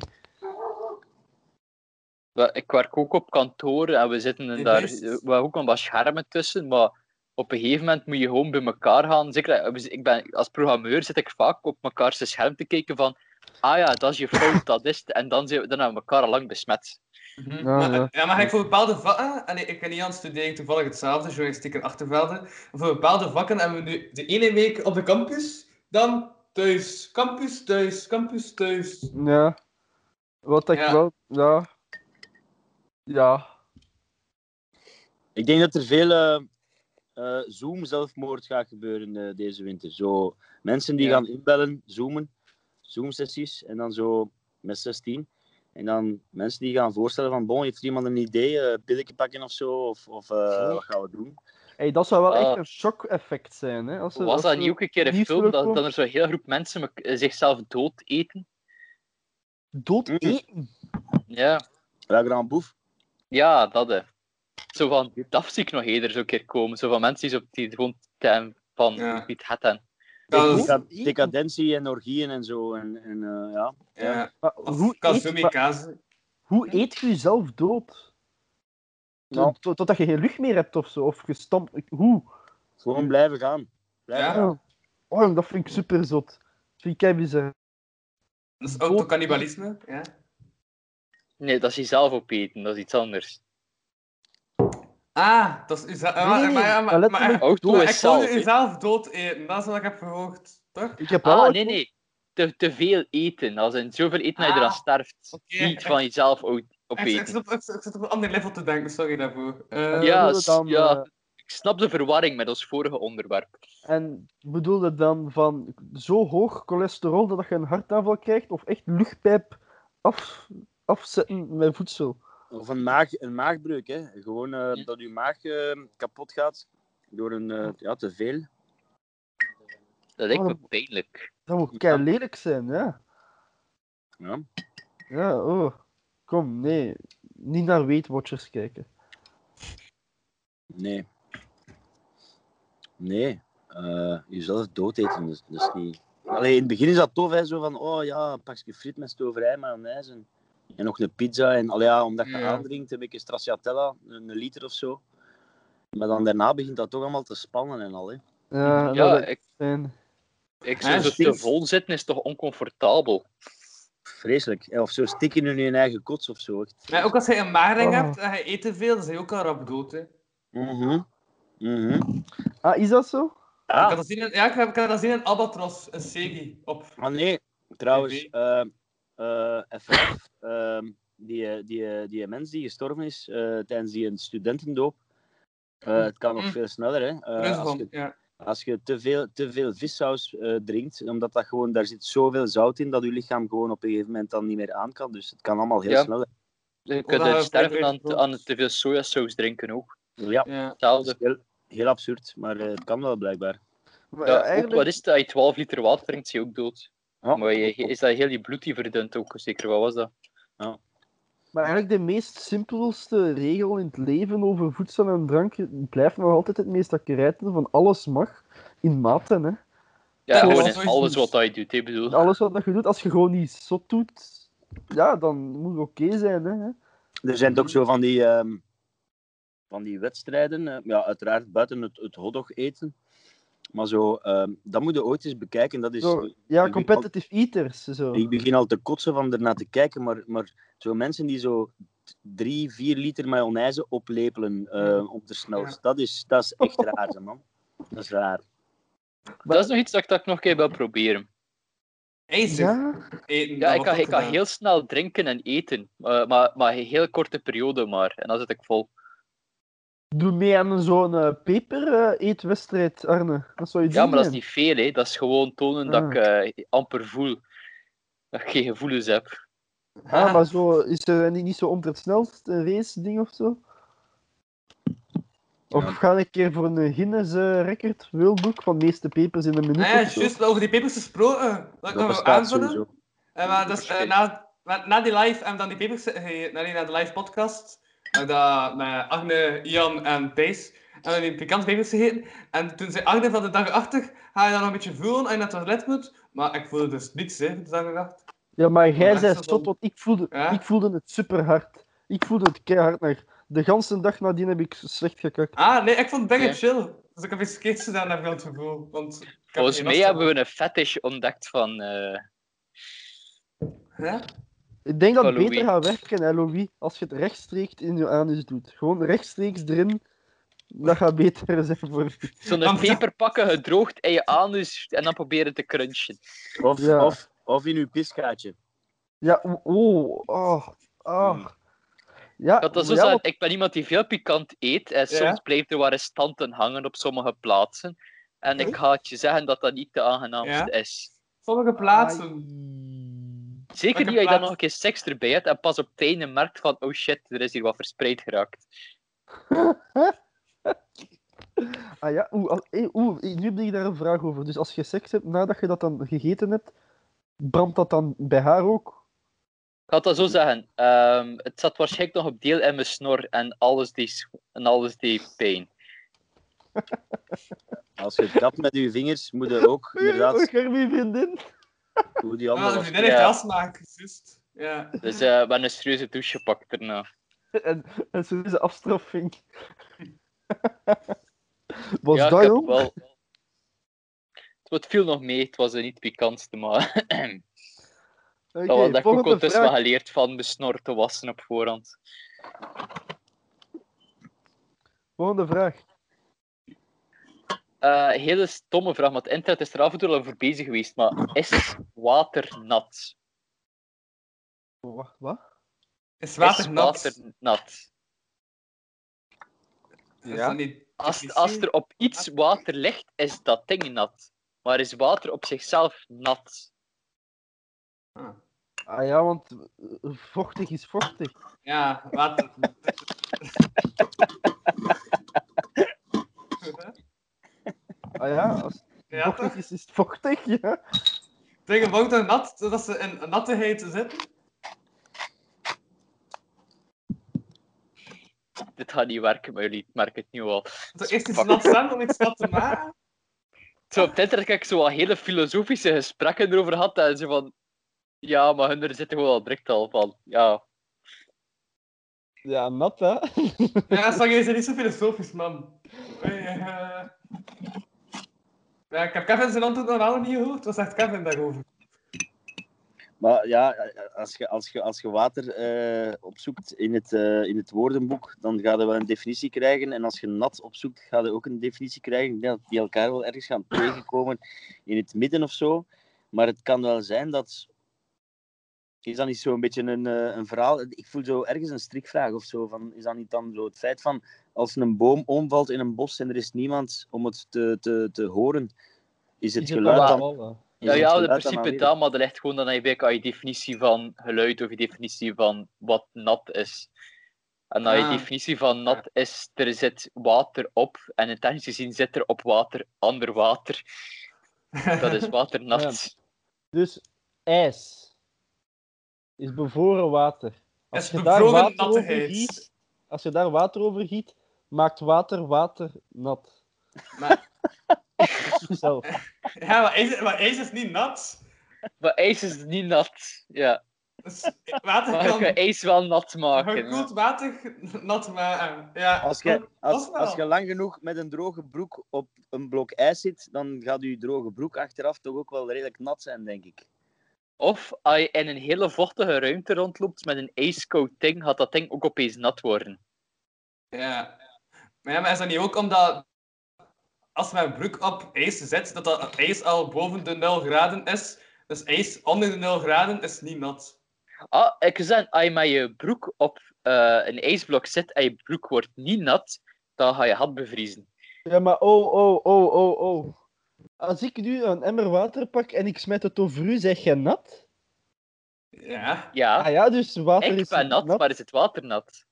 Wel, Ik werk ook op kantoor en we zitten in Ja, daar. juist. We hebben ook een wat schermen tussen, maar op een gegeven moment moet je gewoon bij elkaar gaan. Zeker, eh, ik ben, als programmeur zit ik vaak op mekaar zijn scherm te kijken van. Ah ja, dat is je fout, dat is het. En dan zijn we dan hebben we elkaar al lang besmet. Mhm. Ja, maar, ja. ja. maar ik voor bepaalde vakken, en ik, ik ken niet aan het studeren toevallig hetzelfde, journalistiek en achtervelden. Voor bepaalde vakken hebben we nu de ene week op de campus, dan thuis, campus, thuis, campus, thuis. Ja. Wat ik Ja. wel... Ja. Ja. Ik denk dat er veel eh, eh, Zoom-zelfmoord gaat gebeuren eh, deze winter. Zo, mensen die Ja. gaan inbellen, Zoomen, Zoom-sessies, en dan zo met 16. En dan mensen die gaan voorstellen van, bon, heeft iemand een idee? eh pilletje pakken of zo? Of, of eh, Zo. wat gaan we doen? Hey, dat zou wel echt Ah. een shock-effect zijn, hè. Als ze- Was als dat ze- niet ook een keer een nieuws film dat, terugkomt. dat er zo'n hele groep mensen mek- eh, zichzelf dood eten? Dood Mm. eten? Ja, La Grand Boef. ja dat hè. Zo van, dat zie ik nog eerder zo'n keer komen. Zo van mensen die, zo, die gewoon ten, van Ja. wie het het hen. Dat is- Hoe? Deca- decadentie en orgieën en zo. En, en, eh, ja. ja. Maar Of hoe eet, Kazumi maar Kaze. hoe eet je jezelf dood? Tot- Nou. tot- Totdat je geen lucht meer hebt of zo, of gestampt. ik- Hoe? Gewoon blijven gaan. Blijven Ja. gaan. Oh, dat vind ik super zot. Dat vind ik kei bizar. Dat is autocannibalisme, ja. Nee, dat is jezelf opeten, dat is iets anders. Ah, dat is uzelf. Nee, nee, nee, maar, ja, maar maar, maar, letterlijk Ook dood. doe maar ik ik wilde zelf. hè. uzelf dood eten, dat is wat ik heb gehoord, toch? Oké, Ik heb wel Ah, ooit- nee, nee. Te, te veel eten. Als in zoveel eten dat je eraan Ah, sterft. oké. Niet van jezelf o- Ik, ik, opeten. zit op, ik, zit- ik zit op een ander level te denken, sorry daarvoor. Eh, eh, Ja, bedoelde s- dan, ja. eh, Ik snap de verwarring met ons vorige onderwerp. en bedoelde dan van zo hoog cholesterol dat je een hartaanval krijgt, of echt luchtpijp af, afzetten met voedsel? Of een, maag, een maagbreuk, hè. Gewoon eh, dat je maag eh, kapot gaat door een, eh, ja, te veel. Dat lijkt Oh, me pijnlijk. Dat moet kei lelijk zijn, ja. Ja. Ja, oh. Kom, nee. Niet naar Weight Watchers kijken. Nee. Nee. Eh, jezelf dood eten, dus, dus niet... Allee, in het begin is dat tof, hè. Zo van, oh ja, een pakje friet met stoverij, mayonaise en, en nog een pizza. En allee, ja, omdat je Ja. aandringt, een beetje stracciatella, een, een liter of zo. Maar dan daarna begint dat toch allemaal te spannen en al, hè. Ja, Ja, Eh, eh, dat ik- ik... zijn. Ik Ja, zou zo te stinkt. vol zitten, is toch oncomfortabel? Vreselijk. Hè, Of zo stikken in je eigen kots of zo. Echt. maar ook als je een maagring Oh. hebt en je eet te veel, dan zijn je ook al rap dood. Hè. Ah. Mhm. Mhm. Ah, is dat zo? Ik Ah. had dat zien in, ja, ik heb, ik had dat zien in Albatros, een Eh, serie op. Ah nee, trouwens, TV. eh eh FF, ehm, die, eh, die, eh, die mens die gestorven is eh, tijdens die een studentendoop. Eh, het kan nog Mm. veel sneller. Hè. Eh, Er is als, van, je, ja. als je te veel, te veel vissaus eh, drinkt, omdat dat gewoon, daar zit zoveel zout in dat je lichaam gewoon op een gegeven moment dan niet meer aan kan. Dus het kan allemaal heel Ja. snel. Je dat kunt eh, je sterven aan, voorbereid te- wordt. aan het te veel sojasaus drinken ook. Ja, ja. dat is Hetzelfde. heel, heel absurd, maar eh, het kan wel blijkbaar. Maar ja, Ja, ook, eigenlijk, wat is het? Als je 12 liter water drinkt, zie je ook dood. Ja. Maar je, is dat heel je bloed die verdunt ook? Zeker, wat was dat? maar eigenlijk de meest simpelste regel in het leven over voedsel en drank blijft nog altijd het meest accurate van alles mag in maten. Hè. Ja, Ja, gewoon dat in is alles sowieso. wat hij doet, ik bedoel. Alles wat dat je doet, als je gewoon niet zot doet, ja, dan moet het oké zijn. Hè. Er zijn ook zo van die, ehm, van die wedstrijden. eh, ja, uiteraard buiten het, het hotdog eten. Maar zo, ehm, dat moet je ooit eens bekijken. Dat is, Zo, ja, ik- competitive eaters. Zo. Ik begin al te kotsen van ernaar te kijken. Maar, maar zo mensen die zo t- drie, vier liter mayonaise oplepelen eh, op de snelst. Dat, is, dat is echt raar, hè, man. Dat is raar. Dat is nog iets dat ik, dat ik nog een keer wil proberen. Ijzer Ja, eten. Ja, dat ik wordt kan, ook ik kan gedaan. heel snel drinken en eten, eh, maar, maar een heel korte periode maar. En dan zit ik vol. doe mee aan zo'n eh, peper-eetwedstrijd, Arne. Dat zou je Ja, doen, maar dat is hè. niet veel, hè. Dat is gewoon tonen dat ik Ah. eh, amper voel. Dat ik geen gevoelens heb. Ah, maar zo is er niet, niet zo onder het snelste race-ding of zo? Of Ja. ga ik een keer voor een Guinness-record wereldboek van meeste pepers in een minuut Ah ja, of zo? juist over die pepers gesproken. Dat ik nog Dat wil bestaat aanvullen. sowieso. Eh, Oh, maar dus, eh, na, na, na die live en dan die papers, eh, na, die- na de live podcast, eh, dat, met Agne, Jan en Thijs, hebben we die pikant papers gegeten. En toen zei Agne van de dag achter, ga je dat nog een beetje voelen als je naar het toilet moet? Maar ik voelde dus niets, hè, de dag achter. Ja, maar jij Maar zei dat is zot, wel- want ik voelde, Ja. ik voelde het superhard. Ik voelde het keihard naar. De ganse dag nadien heb ik slecht gekakt. Ah, nee, ik vond het dingen Ja. chill. Dus ik heb iets verkeerd gedaan naar het gevoel. Want ik heb Volgens geen mij last hebben van. we een fetish ontdekt van... eh, Ja? Ik denk dat het Van beter gaat werken, hè, Louis, als je het rechtstreeks in je anus doet. Gewoon rechtstreeks erin. Dat gaat beter zijn voor je. Zo'n Want- peper pakken, gedroogd in je anus en dan proberen te crunchen. Of, Ja. of, of in uw piskaatje. Ja, o- oh, oh, Hmm. ah. Ik, Ja, had dat zo ja, dus zeggen, want- ik ben iemand die veel pikant eet en Ja. soms blijft er wel restanten hangen op sommige plaatsen. En ik ga het je zeggen dat dat niet de aangenaamste is. Sommige plaatsen. Zeker Welke niet als je dan plaats? nog een keer seks erbij hebt en pas op het einde merkt van oh shit, er is hier wat verspreid geraakt. Ah ja, oeh, al- eh, oeh, eh, nu heb ik daar een vraag over. Dus als je seks hebt nadat je dat dan gegeten hebt, brandt dat dan bij haar ook? Ik had dat zo zeggen. ehm, het zat waarschijnlijk nog op deel in mijn snor en alles die, s- en alles die pijn. Als je kapt met je vingers, moet je ook Oei, inderdaad Germie, vriendin. hoe die Ah, andere de was. vriendin heeft Ja. asmaak, juist. Ja. Dus eh, we hebben een serieuze douche gepakt daarna. En, en zo is de afstraffing. Was ja, dat, ik heb jong? wel. Het viel nog mee, het was eh, niet pikantste, maar Oké, dat was dat ik ook volgende ondertussen vraag. wel geleerd van mijn snor te wassen op voorhand. Volgende vraag. Eh, hele stomme vraag, maar het internet is er af en toe al over bezig geweest. Maar is water nat? Oh, Wacht, wat? Is water is nat? water nat. Is dat niet Als, als er op iets water ligt, is dat ding nat. Maar is water op zichzelf nat? Ah. Ah ja, want eh, vochtig is vochtig. Ja, water. Ah ja, als het ja, vochtig toch? is, is het vochtig, ja. Tegen water nat, zodat ze in nattigheid zitten. Dit gaat niet werken, maar jullie ik merk het nu al. Zo eerst iets Fuck. nat zijn om iets nat te maken. Zo, op het internet heb ik zo wat hele filosofische gesprekken erover gehad. En ze van... Ja, maar hun er zitten gewoon al direct al van. Ja, Ja, nat, hè. Ja, sorry, je bent niet zo filosofisch, man. Oei, eh. Ja, ik heb Kevin zijn antwoord nog wel niet gehoord. Wat zegt Kevin daarover? Maar ja, als je, als je, als je water eh, opzoekt in het, eh, in het woordenboek, dan ga je wel een definitie krijgen. En als je nat opzoekt, ga je ook een definitie krijgen. Ik denk dat die elkaar wel ergens gaan tegenkomen in het midden of zo. Maar het kan wel zijn dat Is dat niet zo'n beetje een, eh, een verhaal? Ik voel zo ergens een strikvraag of zo. Van, is dat niet dan zo het feit van als een boom omvalt in een bos en er is niemand om het te, te, te horen? Is het Is geluid dan- dan. is Ja, het ja, geluid in dan principe aanwezig? dat, maar dat ligt gewoon dan eigenlijk aan je definitie van geluid of je definitie van wat nat is. En aan je Ah. definitie van nat is, er zit water op en in technisch gezien zit er op water ander water. Dat is waternat. Dus ijs is bevroren water. Als is je daar bevroren water over nattigheid. giet, als je daar water over giet, maakt water water nat. Maar, Zelf. ja, maar, ijs, maar ijs is niet nat. Maar ijs is niet nat. Ja. Dus water Maar je kan kan ijs wel nat maken. gekoeld water nat maken. Ja, Als dat- je, als, dat wel. als je lang genoeg met een droge broek op een blok ijs zit, dan gaat je droge broek achteraf toch ook wel redelijk nat zijn, denk ik. Of als je in een hele vochtige ruimte rondloopt met een ijskoud ding, gaat dat ding ook opeens nat worden. Ja. Maar, ja, maar is dat niet ook omdat als mijn broek op ijs zet, dat dat ijs al boven de 0 graden is? Dus ijs onder de 0 graden is niet nat. Ah, ik kan zeggen, als je met je broek op eh, een ijsblok zit en je broek wordt niet nat, dan ga je hand bevriezen. Ja, maar oh, oh, oh, oh, oh. Als ik nu een emmer water pak en ik smet het over u, zeg je nat? Ja. Ja, Ah ja, dus water ik is ben nat, maar is het water nat?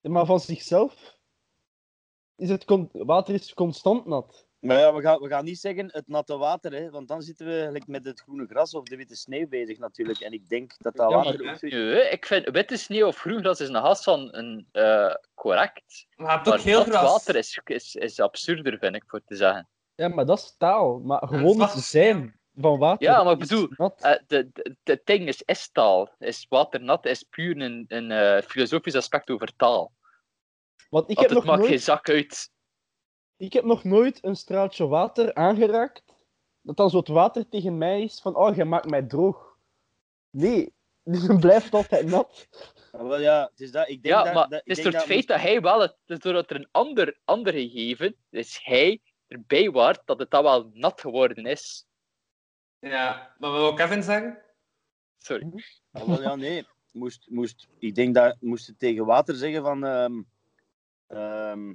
Maar van zichzelf is het con- water is constant nat. Maar ja, we gaan, we gaan niet zeggen het natte water, hè, want dan zitten we gelijk met het groene gras of de witte sneeuw bezig natuurlijk. En ik denk dat dat Ja, maar- water ook zoiets- Nee, ik vind witte sneeuw of groen gras is een haast van een eh, correct. Maar je hebt ook Maar heel nat gras. water is, is, is absurder, vind ik, voor te zeggen. Ja, maar dat is taal. Maar gewoon het wacht. zijn van water Ja, maar ik is bedoel, nat. Eh, de, de, de ding is, is taal. Is waternat is puur een, een eh, filosofisch aspect over taal. Want ik Want heb het nog maakt nooit... geen zak uit. Ik heb nog nooit een straaltje water aangeraakt. Dat dan zo het water tegen mij is van, oh, je maakt mij droog. Nee, dus het blijft altijd nat. Ah, wel, ja, het is dat. Ik denk Ja, dat, maar dat, ik het is denk door het dat feit dat hij wel, het, het is doordat er een ander, ander gegeven, dus hij erbij waart, dat het dan wel nat geworden is. Ja, dat wil ook Kevin zeggen. Sorry. Ah, wel, ja, nee. Moest, moest, ik denk dat moest het tegen water zeggen van... ehm, ehm,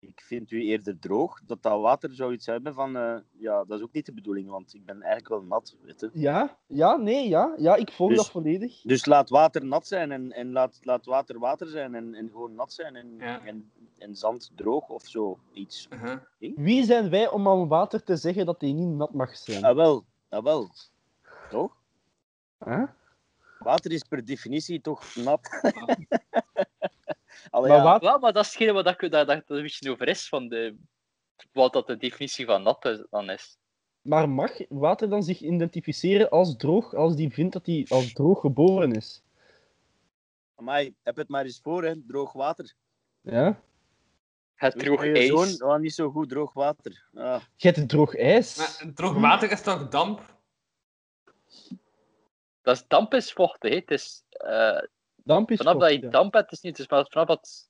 ik vind u eerder droog. Dat dat water zou iets hebben van... eh, ja, dat is ook niet de bedoeling, want ik ben eigenlijk wel nat. Weet je. Ja, ja, nee, ja. Ja, ik volg Dus- dat volledig. Dus laat water nat zijn en, en laat, laat water water zijn en, en gewoon nat zijn en, Ja. en, en zand droog of zo. Iets. Uh-huh. Wie zijn wij om aan water te zeggen dat hij niet nat mag zijn? Ah wel, ah wel. Toch? Hè? Oh, Water is per definitie toch nat. Allee, Maar ja. water... Wel, maar dat is hetgene wat ik, dat, dat er een beetje over is, van de, wat dat de definitie van nat is- dan is. Maar mag water dan zich identificeren als droog, als die vindt dat hij als droog geboren is? Amai, heb het maar eens voor, hè. droog water. Ja? Het Weet droog je, Dus je ijs. Zoon, oh, niet zo goed droog water. Ah, Je hebt droog ijs. Maar droog Hm. water is toch damp? Dat is damp is vochtig. hè. Het is, eh, Damp is vanaf vocht, dat je ja. damp hebt, is niet. Dus maar vanaf dat.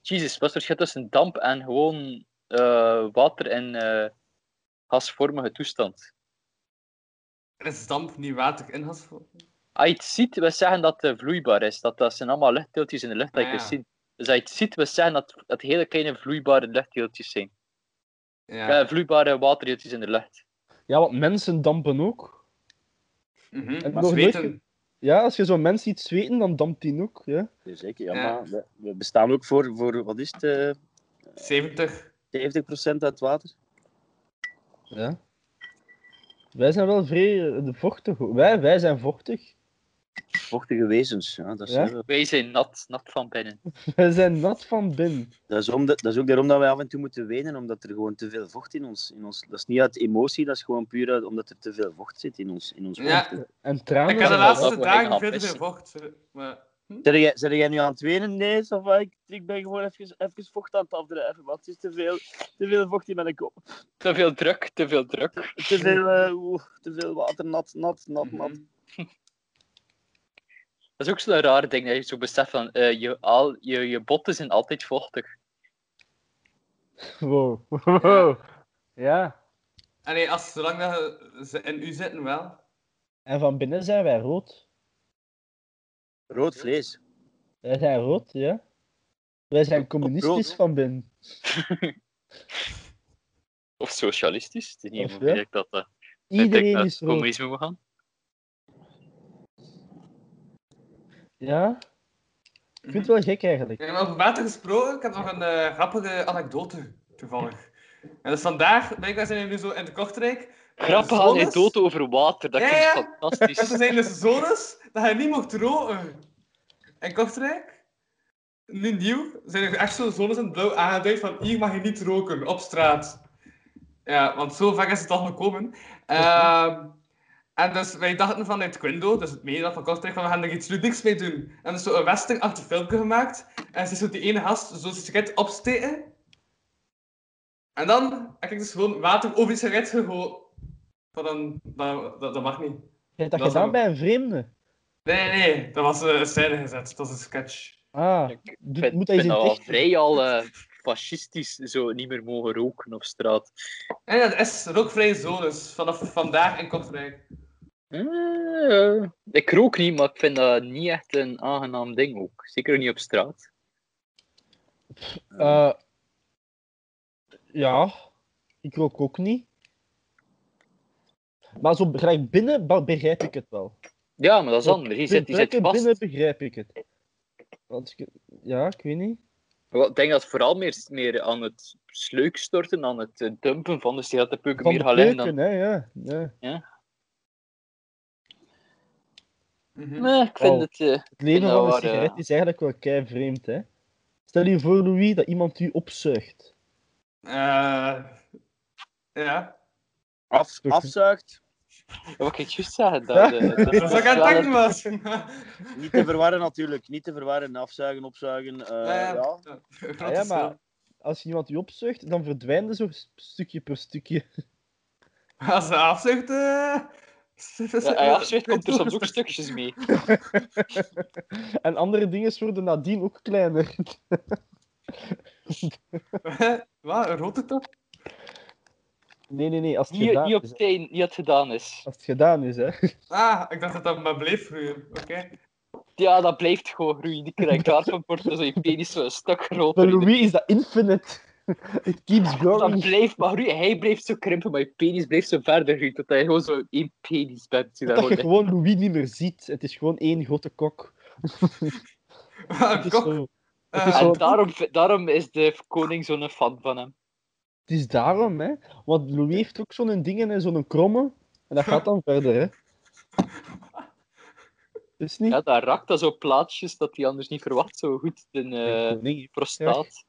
Jezus, wat is het verschil tussen damp en gewoon eh, water in eh, gasvormige toestand? Er is damp niet water in gasvorm. Als je het Ah, ziet, we zeggen dat het vloeibaar is. Dat, dat zijn allemaal luchtdeeltjes in de lucht dat je Ah, ja. kunt zien. Dus als je het ziet, we zeggen dat dat hele kleine vloeibare luchtdeeltjes zijn. Ja. Eh, vloeibare waterdeeltjes in de lucht. Ja, want mensen dampen ook. Mhm. En Maar nog nooit zweten. ge- Ja, als je zo'n mens ziet zweten, dan dampt die ook. Ja. ja, zeker, ja, Ja. maar we, we bestaan ook voor, voor wat is het, eh, 70. 70% uit water? Ja. Wij zijn wel vrij eh, de vochtig. hoor. Wij, wij zijn vochtig. Vochtige wezens, ja, dat, eh, zijn Ja? we. Wij zijn nat, nat van binnen. Wij zijn nat van binnen. Dat, is om de- dat is ook daarom dat wij af en toe moeten wenen, omdat er gewoon te veel vocht in ons... In ons dat is niet uit emotie, dat is gewoon puur uit, omdat er te veel vocht zit in ons, in ons Ja. water. En Ik tranen. heb de dat laatste wel wat ik dagen aan veel te mis. veel vocht. Maar... Zijn jij, zijn jij nu aan het wenen? Nee, ça va, ik, ik ben gewoon even, even vocht aan het afdrijven, want het is te veel, te veel vocht in mijn kop. Te veel druk, te veel druk. Te veel, eh, oeh, te veel water, nat, nat, nat, nat. Dat is ook zo'n raar ding dat je zo beseft van eh, je, al, je, je botten zijn altijd vochtig. Wow. Wow. Ja. Allee, als, zolang dat ze in u zitten wel. En van binnen zijn wij rood. Rood vlees. Wij zijn rood, ja. Wij zijn rood, communistisch hoor. van binnen. Of socialistisch. Het is niet Of of, ja. ik dat, eh, ik denk Iedereen dat is het rood. communisme moet gaan. Ja. Ik vind het wel gek eigenlijk. Ja, maar over water gesproken, ik heb nog een eh, grappige anekdote toevallig. En dus vandaag, blijkbaar zijn we nu zo in de Kortrijk. eh, Grappige zones. anekdote over water, dat Ja, klinkt ja. En fantastisch. toen zijn dus zones dat je niet mocht roken. In Kortrijk, nu nieuw, zijn er echt zo'n zones in het blauw aangeduid van hier mag je niet roken, op straat. Ja, want zo ver is het al gekomen. Ehm, en dus wij dachten vanuit Quindo, dus het mede van Kortrijk, van we gaan er iets ludieks mee doen. En dus zo een westernachtig filmpje gemaakt. En ze is zo die ene gast zo'n sigaret opsteken. En dan heb ik dus gewoon water over die sigaret gegooid. Van een, dat, dat, dat mag niet. Je hebt dat, Dat is gedaan ook- bij een vreemde. Nee, nee, nee, dat was eh, een scène gezet. Dat was een sketch. Ah, Ik doet- vind, moet hij vind zijn dat wel dicht... vrij al eh, fascistisch, zo niet meer mogen roken op straat. En dat is rookvrije zones dus vanaf vandaag in Kortrijk. Eh, ik rook niet, maar ik vind dat niet echt een aangenaam ding ook. Zeker niet op straat. Eh, ja, ik rook ook niet. Maar zo graag binnen ba- begrijp ik het wel. Ja, maar dat is Zo anders. Je zit, je zit plekken vast. binnen begrijp ik het. Want ik- ja, ik weet niet. Wel, Ik denk dat het vooral meer, meer aan het sleuk storten, aan het eh, dumpen van de sigarettenpeuken Van meer de gaat liggen dan... keuken, hè, ja. ja. Mhm. Nee, ik vind Oh. het... eh, Het leven dat van een waar, sigaret ja. is eigenlijk wel kei vreemd, hè. Stel je voor, Louis, dat iemand u opzuigt. Eh, ja. Af, Toch- afzuigt. wat ik juist zeggen? Dat, eh, dat, Dat zou ik aan het wel denken een- was. Niet te verwarren natuurlijk. Niet te verwarren. Afzuigen, opzuigen. eh, Ja, ja. ja. Grote Ah, ja, maar scène. als iemand u opzuigt, dan verdwijnen ze zo stukje per stukje. Als ze afzucht... eh, Ja, hij afzweet, komt dus er soms ook stukjes mee. En andere dingen worden nadien ook kleiner. Wat, een rode top? Nee, nee, nee, als het, Niet, gedaan, niet op is, hè. tijd, niet dat het gedaan is. als het gedaan is, hè. Ah, ik dacht dat dat maar bleef groeien. Oké. Ja, dat blijft gewoon groeien. Die krijgt kaart van Porto, zo je penis zo een stuk Voor groter. Louis is dat infinite. It keeps Dus Dat growing. blijft maar groeien. Hij blijft zo krimpen, maar je penis blijft zo verder groeien. Tot hij gewoon zo één penis bent. Die daar Dat je gewoon... gewoon Louis niet meer ziet. Het is gewoon één grote kok. Een Het is, kok. zo- eh, het is En zo- daarom, daarom is de koning zo'n fan van hem. het is daarom, hè. Want Louis heeft ook zo'n ding en zo'n kromme. En dat gaat dan verder, hè. Is niet? Ja, daar raakt dat zo plaatsjes dat hij anders niet verwacht. Zo goed, de eh, Nee, prostaat.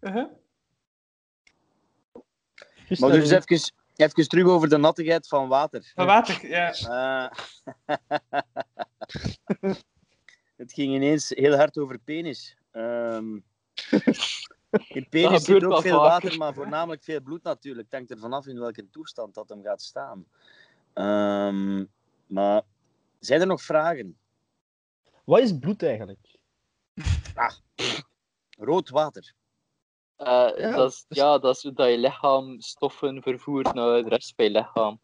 eh, juist Maar dat dus even, even terug over de nattigheid van water. Van water, ja. Eh, het ging ineens heel hard over penis. Ehm, in gebeurt penis zit ook wel veel vaker. water, maar voornamelijk veel bloed natuurlijk. Het hangt er vanaf in welke toestand dat hem gaat staan. Ehm, maar zijn er nog vragen? Wat is bloed eigenlijk? Rood water. Eh, Ja, dat is, dus- ja, dat is hoe dat je lichaam stoffen vervoert naar de rest van je lichaam.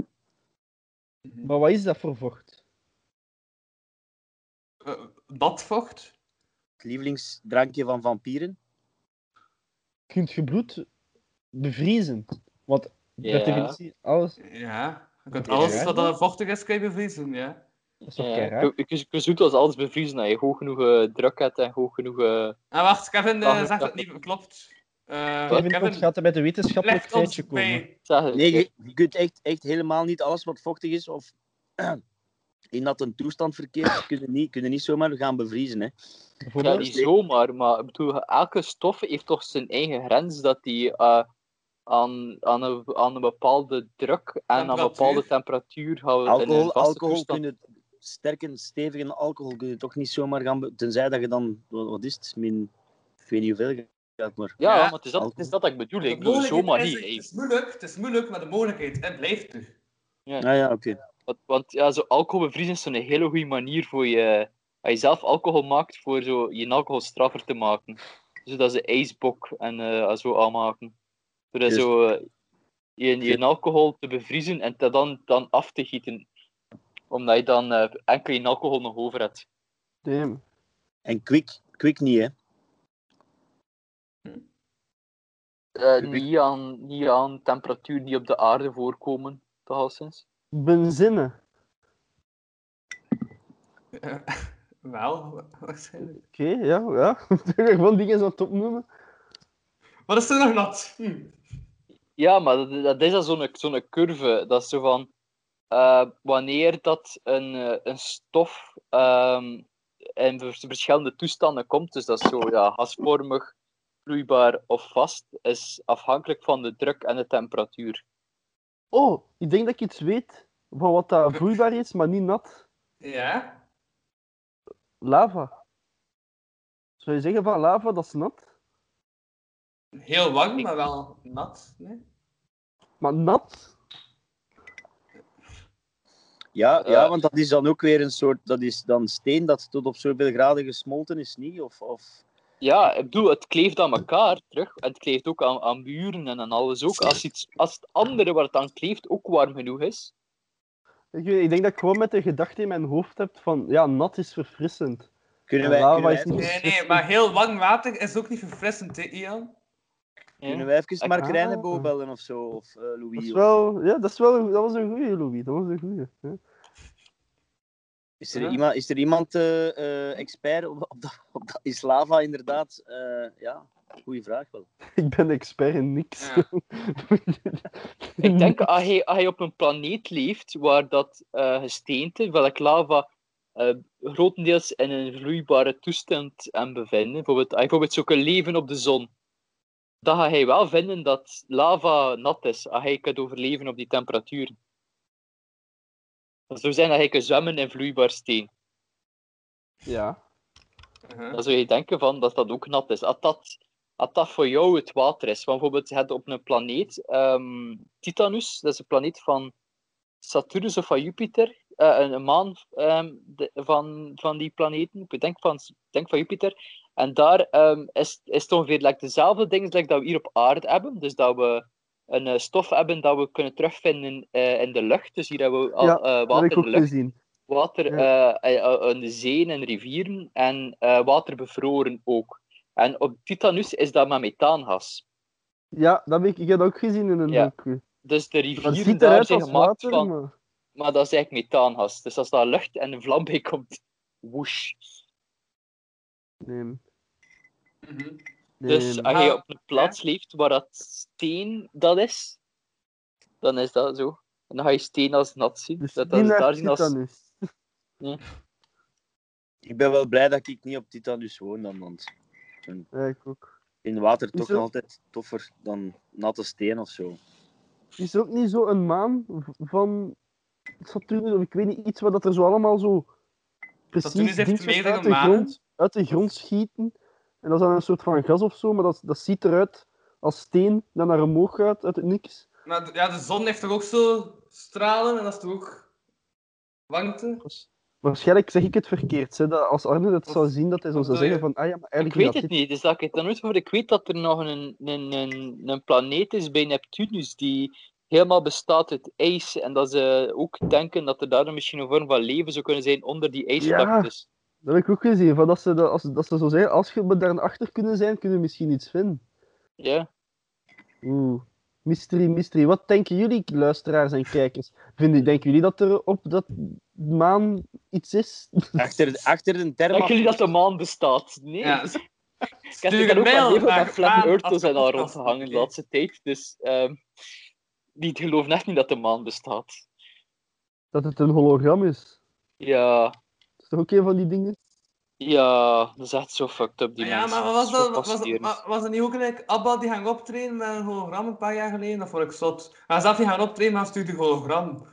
Hmm. Maar wat is dat voor vocht? Eh, badvocht. Het lievelingsdrankje van vampieren. Kunt je bloed bevriezen? Want per Ja. definitie, alles... Ja. Je kunt Ja, alles ja. wat dan vochtig is, kun je bevriezen, ja. Dat is toch kei Ja, raar? ik, ik, ik zo goed als alles bevriezen, dat je hoog genoeg eh, druk hebt en hoog genoeg... eh, Ah, wacht, Kevin eh, Dag, zegt dat dag. het niet klopt. Eh, Kevin Kevin, Cox gaat er met een wetenschappelijk leg ons feitje bij. komen. zeg het. Nee, je, je kunt echt, echt helemaal niet alles wat vochtig is of in dat een toestand verkeert, kun je niet, kun je niet zomaar gaan bevriezen. Hè. Ja, Bijvoorbeeld, niet zomaar, maar ik bedoel, elke stof heeft toch zijn eigen grens dat die eh, aan, aan, een, aan een bepaalde druk en aan een bepaalde Temperatuur. temperatuur gaan we in een Alcohol, vaste alcohol kun toestand. je, sterke, stevige alcohol kun je toch niet zomaar gaan... be- Tenzij dat je dan, wat wat is het, min... Ik weet niet hoeveel gaat, maar... Ja, Ja, maar het is, dat, het is dat ik bedoel. Ik bedoel, De zomaar mogelijkheid niet. is er. hè. Het is moeilijk, het is moeilijk, maar de mogelijkheid en blijft er. Ah ja, oké. Want, want ja, zo alcohol bevriezen is zo'n hele goede manier voor je... Als je zelf alcohol maakt, voor zo je alcohol straffer te maken. Zodat ze ijsbok en eh, zo aanmaken. Zodat Juist. zo eh, je, je alcohol te bevriezen en dat dan, dan af te gieten. Omdat je dan eh enkel je alcohol nog over hebt. damn. En Quick, Quick niet, hè. Eh, niet, aan, niet aan temperatuur die op de aarde voorkomen, toch al sinds. Benzine. Wel, waarschijnlijk. Oké, ja, ja. Toen ik gewoon dingen aan het opnoemen. Wat is er nog nat? Hm. Ja, maar dat, dat is dan zo'n zo'n curve. Dat is zo van eh, wanneer dat een, eh, een stof ehm, in vers- verschillende toestanden komt. Dus dat is zo ja, gasvormig, vloeibaar of vast, is afhankelijk van de druk en de temperatuur. Oh, ik denk dat ik iets weet van wat dat vloeibaar is, maar niet nat. Ja? Lava. Zou je zeggen van lava, dat is nat? Heel warm, maar wel nat. Nee? Maar nat? Ja, Eh. ja, want dat is dan ook weer een soort... Dat is dan steen dat tot op zoveel graden gesmolten is, niet? Of... of... Ja, ik bedoel, het kleeft aan elkaar terug. En het kleeft ook aan, aan muren en aan alles ook. Als, iets, als het andere waar het aan kleeft ook warm genoeg is. Ik, weet- ik denk dat ik gewoon met de gedachte in mijn hoofd heb van, ja, nat is verfrissend. Kunnen En wij, lava kunnen wij, is niet- nee, nee, maar heel warm water is ook niet verfrissend, hè, Ian? hè. kunnen wij even Ik- Mark Ah. Reinebo bellen of zo? Of eh, Dat, Louis? is of- wel, ja, dat, is wel, een- dat was een goeie, Louis. Dat was een goeie. Ja. Is er Ja. iemand, is er iemand eh, eh, expert op, op, dat, op dat? Is lava inderdaad? eh, ja, goede vraag wel. Ik ben expert in niks. Ja. Ik denk, als hij, als hij op een planeet leeft waar dat eh, gesteente, welk lava, eh, grotendeels in een vloeibare toestand aan bevinden, bijvoorbeeld, als je bijvoorbeeld zou kunnen leven op de zon, dan gaat hij wel vinden dat lava nat is, als hij kan overleven op die temperatuur. Dat zou zijn dat hij kan zwemmen in vloeibaar steen. ja. Uh-huh. Dan zou je denken van dat dat ook nat is. Als dat, als dat voor jou het water is. Want bijvoorbeeld, je hebt op een planeet, ehm, Titanus, dat is een planeet van Saturnus of van Jupiter, eh, een, een maan ehm, de- van, van die planeten, ik denk van, ik denk van Jupiter. En daar ehm, is, is het ongeveer like, dezelfde dingen like, dat we hier op aarde hebben. Dus dat we een eh, stof hebben dat we kunnen terugvinden eh, in de lucht. Dus hier hebben we al, Ja, eh, Dat heb water ik in ook de lucht gezien. water eh, eh, aan de zeeën en rivieren en eh, water bevroren ook. En op Titanus is dat met methaangas. Ja, dat heb ik, ik heb dat ook gezien in een Ja. docu. Dus de Dat rivieren ziet daar eruit zijn als gemaakt water, van, maar... maar dat is eigenlijk methaangas. Dus als daar lucht en een vlam bij komt, woesh. Nee, nee. Dus als je Ah, op een plaats leeft waar dat steen dat is, dan is dat zo. En dan ga je steen als nat zien. dus dat dat die is naar daar zien als... Titanus. Ik ben wel blij dat ik niet op Titanus woon dan, want Ja, ik ook. in water toch Hoezo? nog altijd toffer dan natte steen of zo. Is er ook niet zo een maan v- van Saturnus, of ik weet niet, iets waar dat er zo allemaal zo precies Saturnus heeft dingetjes meerdere uit de, manen. grond, uit de grond schieten. En dat is dan een soort van gas of zo, maar dat, dat ziet eruit als steen dat naar omhoog gaat uit het niks. Maar d- ja, de zon heeft toch ook zo stralen en dat is toch ook warmte? Waarschijnlijk zeg ik het verkeerd. Hè? Dat als Arne dat zou zien, dat hij zo Wat zou bedoel zeggen van ah ja, maar Ik eigenlijk weet is dat het niet, dus dat ik het dan nooit voor. Ik weet dat er nog een, een, een, een planeet is bij Neptunus die helemaal bestaat uit ijs. En dat ze ook denken dat er daar misschien een vorm van leven zou kunnen zijn onder die ijsvlaktes. dit. Dat heb ik ook gezien. Van dat, ze dat, als, dat ze zo zeggen, als we daar achter kunnen zijn, kunnen we misschien iets vinden. Ja. Oeh, mystery, mystery. Wat denken jullie, luisteraars en kijkers? Vinden, denken jullie dat er op dat maan iets is? Achter, achter de Denken jullie thermafilm. dat de maan bestaat? Nee. Ja. ik heb het een ook wel mail heel veel naar dat Flat maan- Earthers en daar afgepodcast. rondgehangen de Oké. laatste tijd. Dus ehm niet geloof echt niet dat de maan bestaat. Dat het een hologram is. Ja, Dat is toch ook een van die dingen? ja, dat is echt zo fucked up, die Ah ja, mensen. maar wat was Zo dat? Was, fascinerend. was, was dat niet ook gelijk Abba die ging optreden met een hologram een paar jaar geleden? Dat vond ik zot. Hij zelf niet gaan optreden, maar hij stuurde een hologram.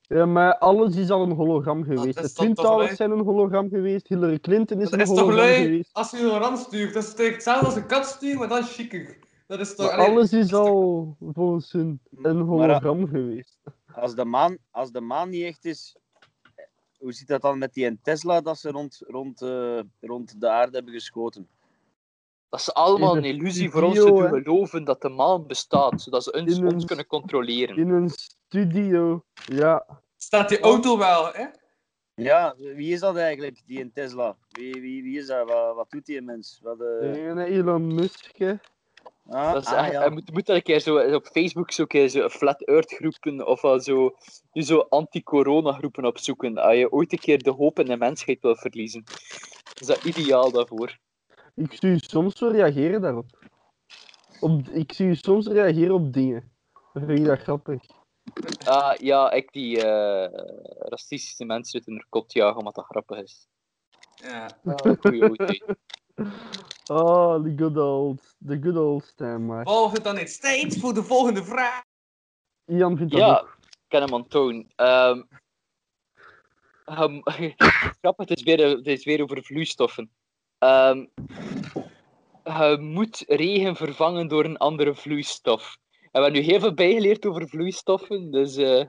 Ja, maar alles is al een hologram geweest. is De dat toch Twin Towers leuk? zijn een hologram geweest. Hillary Clinton is Dat een is toch hologram leuk geweest. als je een hologram stuurt? Dat is toch hetzelfde als een kat stuurt, maar dat is chiquer. Dat is toch... eh, Maar allee, alles dat is al volgens hun een Maar a- hologram geweest. als, de maan, als de maan niet echt is, eh, hoe zit dat dan met die en Tesla dat ze rond, rond, eh, rond de aarde hebben geschoten? Dat is allemaal In een een illusie voor studio, ons te doen hè? geloven dat de maan bestaat, zodat ze ons, In een ons kunnen controleren. In een studio. Ja, Oh. Staat die auto wel, hè? Ja, wie is dat eigenlijk, die in Tesla? Wie, wie, wie is dat? Wat, wat doet die mens? Wat, eh, De ene Elon Musk, hè. ah, Dat is ah, echt- ja. je moet, moet daar een keer zo, op Facebook zo, een keer zo flat earth groepen of wel zo, nu zo anti-corona groepen opzoeken. Als je ooit een keer de hoop in de mensheid wil verliezen, is dat ideaal daarvoor. Ik zie u soms wel reageren daarop. Op, ik zie u soms reageren op dingen. Dat vind ik dat grappig. Ah ja, ik die eh, racistische mensen uit hun kop jagen omdat dat grappig is. Ja. Ah, goeie oudheid. Oh, the good old, the good old time, maar. Wolf het dan niet steeds voor de volgende vraag? Ian vindt dat Ja, ook. ik ken hem aan toon. Ehm, ehm, grappig, het is weer, het is weer over vloeistoffen. Ehm, je moet regen vervangen door een andere vloeistof. En we hebben nu heel veel bijgeleerd over vloeistoffen, dus eh,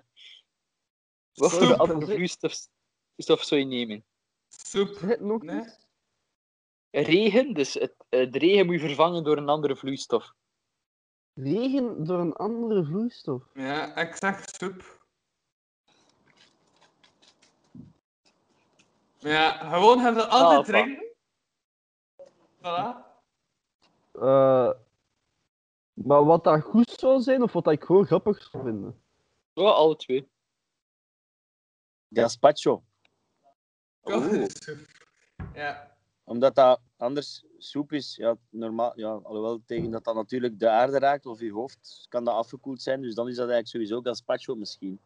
wat voor Soep. andere vloeistof stof zou je nemen? Soep. Zeg het nog Nee? eens? Regen, dus het, eh, de regen moet je vervangen door een andere vloeistof. Regen door een andere vloeistof. Ja, ik zeg soep. Ja, gewoon hebben we altijd Ah, drinken. Voilà. Eh, maar wat dat goed zou zijn, of wat dat ik gewoon grappig zou vinden. Ja, alle twee. Gazpacho. Oeh. Soep. Ja. Omdat dat anders soep is. Ja, normaal, ja, alhoewel tegen dat dat natuurlijk de aarde raakt of je hoofd, kan dat afgekoeld zijn. Dus dan is dat eigenlijk sowieso gazpacho misschien.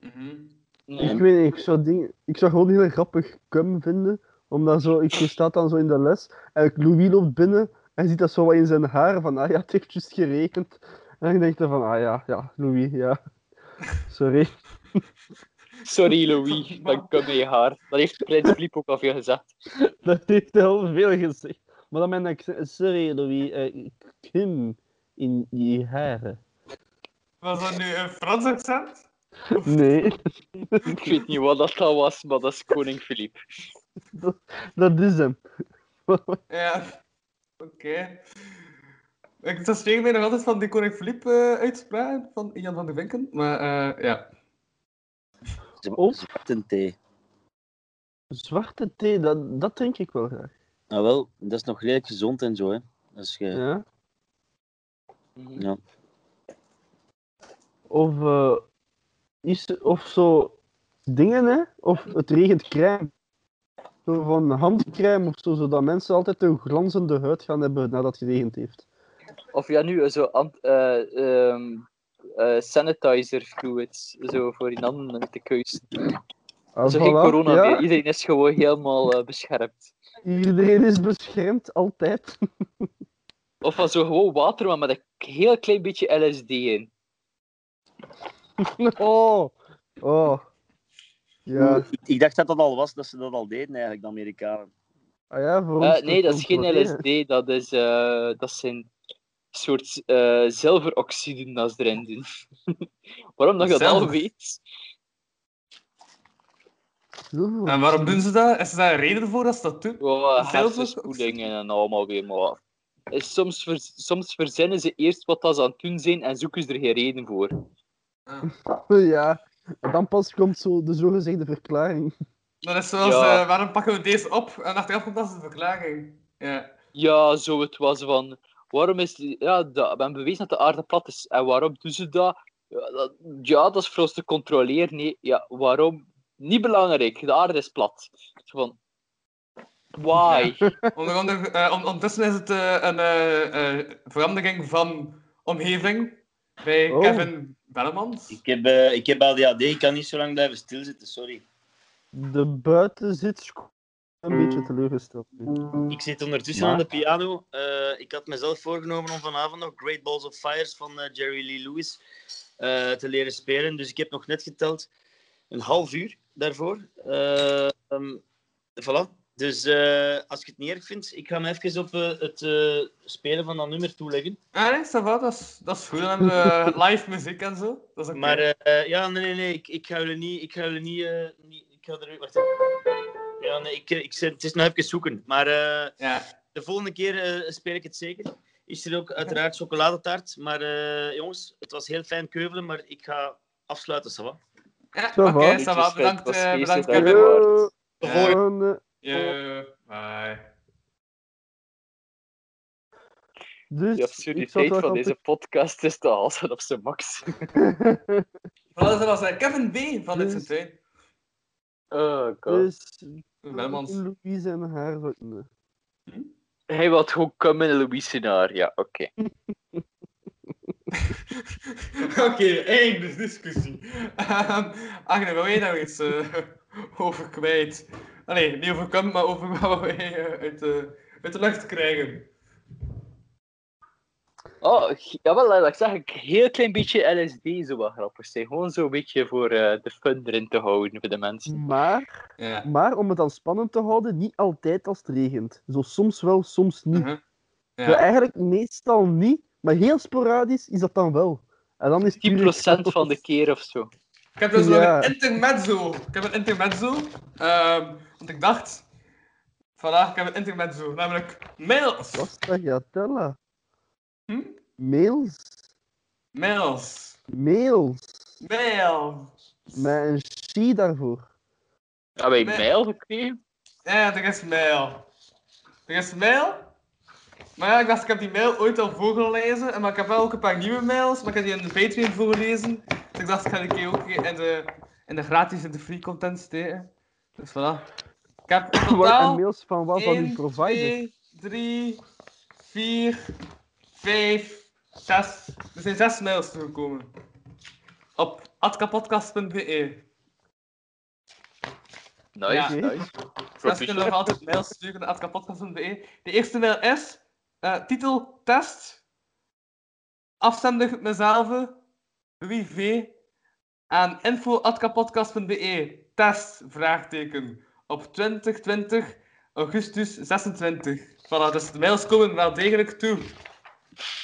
Mhm. Nee. Ik weet niet, ik zou, dingen, ik zou gewoon heel grappig cum vinden. Omdat zo, ik sta dan zo in de les en Louis loopt binnen en ziet dat zo wat in zijn haar. Van, ah ja, het heeft juist geregend. En ik denk dan van, ah ja, ja, Louis, ja. Sorry. Sorry Louis, dat kan mee haar. Dat heeft Prins Bliep ook al veel gezegd. Dat heeft heel veel gezegd. Maar dan ben ik, sorry Louis, eh, cum in je haren. Was dat nu een Frans accent? Nee, Ik weet niet wat dat al was, maar dat is koning Filip. dat is hem. Ja. Oké. Ik versteeg mij nog altijd van die koning Filip eh uitspraak van Jan van de Winken. Maar eh, ja. Of- Zwarte thee. Zwarte thee, dat, dat drink ik wel graag. Nou wel, dat is nog redelijk gezond en zo. Hè. Dus je Ja? Mhm. ja. Of, eh, is, of zo dingen, hè? Of het regent crème. Zo van handcrème of zo, zodat mensen altijd een glanzende huid gaan hebben nadat het geregend heeft. Of ja, nu eh, zo ant- eh, ehm, eh, sanitizer fluids, zo voor die handen te kuisen. Ah, zo geen voilà, corona ja, meer, iedereen is gewoon helemaal eh, beschermd. Iedereen is beschermd, altijd. Of van zo gewoon water, maar met een k- heel klein beetje LSD in. Oh, oh. Ja, Oeh, Ik dacht dat dat al was, dat ze dat al deden eigenlijk, de Amerikanen. ah ja voor Eh, ons nee, dat is geen controleren. LSD, dat, is, eh, dat zijn soort eh zilveroxiden dat ze erin doen. Waarom dat je dat al Zilver. weet? Zo. En waarom doen ze dat? Is er daar een reden voor dat ze dat doen? Wow, Zelf ook? hersenspoelingen en allemaal weer, maar... eh, Soms, ver- soms verzinnen ze eerst wat dat ze aan het doen zijn en zoeken ze er geen reden voor. Ah. Ja, en dan pas komt zo de zogezegde verklaring. Dat is zoals, Ja. eh, waarom pakken we deze op? En achteraf komt dat is een verklaring. Ja. Ja, zo het was van... Waarom is... die- Ja, dat, men bewezen dat de aarde plat is. En waarom doen ze dat? Ja, dat, ja, dat is voor ons te controleren. Nee, ja, waarom? Niet belangrijk. De aarde is plat. Zo van... Why? Onder andere, eh, on- ondertussen is het eh, een eh, eh, verandering van omgeving bij Oh. Kevin Bellemans. Ik heb, eh, ik heb ADHD, ik kan niet zo lang blijven stilzitten, sorry. De buitenzit een beetje Hmm. teleurgesteld. nu. Ik zit ondertussen Maar- aan de piano. Eh, ik had mezelf voorgenomen om vanavond nog Great Balls of Fires van eh, Jerry Lee Lewis eh, te leren spelen. Dus ik heb nog net geteld een half uur daarvoor. Eh ehm, voilà. Dus eh, als je het niet erg vindt, ik ga me even op eh, het eh, spelen van dat nummer toeleggen. Ah, nee, ça va, dat is, dat is goed. Dan hebben we live muziek en zo. Dat is oké. Maar eh, eh, ja, nee, nee, nee. Ik, ik ga jullie niet... Ik ga jullie niet, eh, niet ik ga er... Wacht even. Ja, nee, ik, eh, ik, zet- het is nog even zoeken. Maar... eh, Ja. De volgende keer eh, speel ik het zeker. Is er ook uiteraard chocoladetaart. Maar eh, jongens, het was heel fijn keuvelen, maar ik ga afsluiten, Sava. Ja, Ça Oké, va. okay, ça va. Bedankt, eh, bedankt Kevin. Eh, Hoi. eh, Ja, bye. Dus, De ik zat absurditeit wel van aan deze te- podcast is te halen op zijn max. Voilà, dat was eh, Kevin B. van dit Dus- zijn twee. Oh god. Dus, Welmans. Louise en haar vrienden. Hij wil gewoon komen in Louis scenario. Ja, oké. Oké, einde discussie. Ehm Agne, wil jij daar iets eh, over kwijt? Allee, niet over kan, maar over wat wij eh, uit, de, uit de lucht krijgen. Oh, g- jawel, eh, dat zag ik heel klein beetje LSD zo wat grappig zijn. Gewoon zo'n beetje voor eh, de fun erin te houden voor de mensen. Maar, Ja. maar om het dan spannend te houden, niet altijd als het regent. Zo soms wel, soms niet. Mhm. Zo ja. eigenlijk meestal niet, maar heel sporadisch is dat dan wel. En dan is het 10% puur- van de keer of zo. Ik heb dus nog Ja. een intermezzo. Ik heb een intermezzo. ehm, want ik dacht... Vandaag, ik heb een intermezzo. Namelijk mails. Pasta gatella. Hm? Mails. Mails. Mails. Mails. Met een she daarvoor. Hebben Ah, wij Nee. mail gekregen? Ja, er is mail. Er is mail. Maar ja, ik dacht, ik heb die mail ooit al voorgelezen. en Maar ik heb wel ook een paar nieuwe mails. Maar ik heb die in de Patreon voorgelezen. Dus ik dacht, ik ga die keer ook in de, in de gratis en de free content steken. Dus voilà. Ik heb in En totaal... mails van wat? Van uw 1, provider. 2, 3, 4, 5, 6. Er zijn 6 mails toegekomen. Op atkapodcast.be. Nice, Ja. nice. Mensen kunnen nog altijd mails sturen naar atkapodcast.be. De eerste mail is eh, titel test. Afzender mezelf. Louis V. Aan info.atkapodcast.be. E. Test, vraagteken. Op 2020 augustus 26. Voilà, dus de mails komen wel degelijk toe.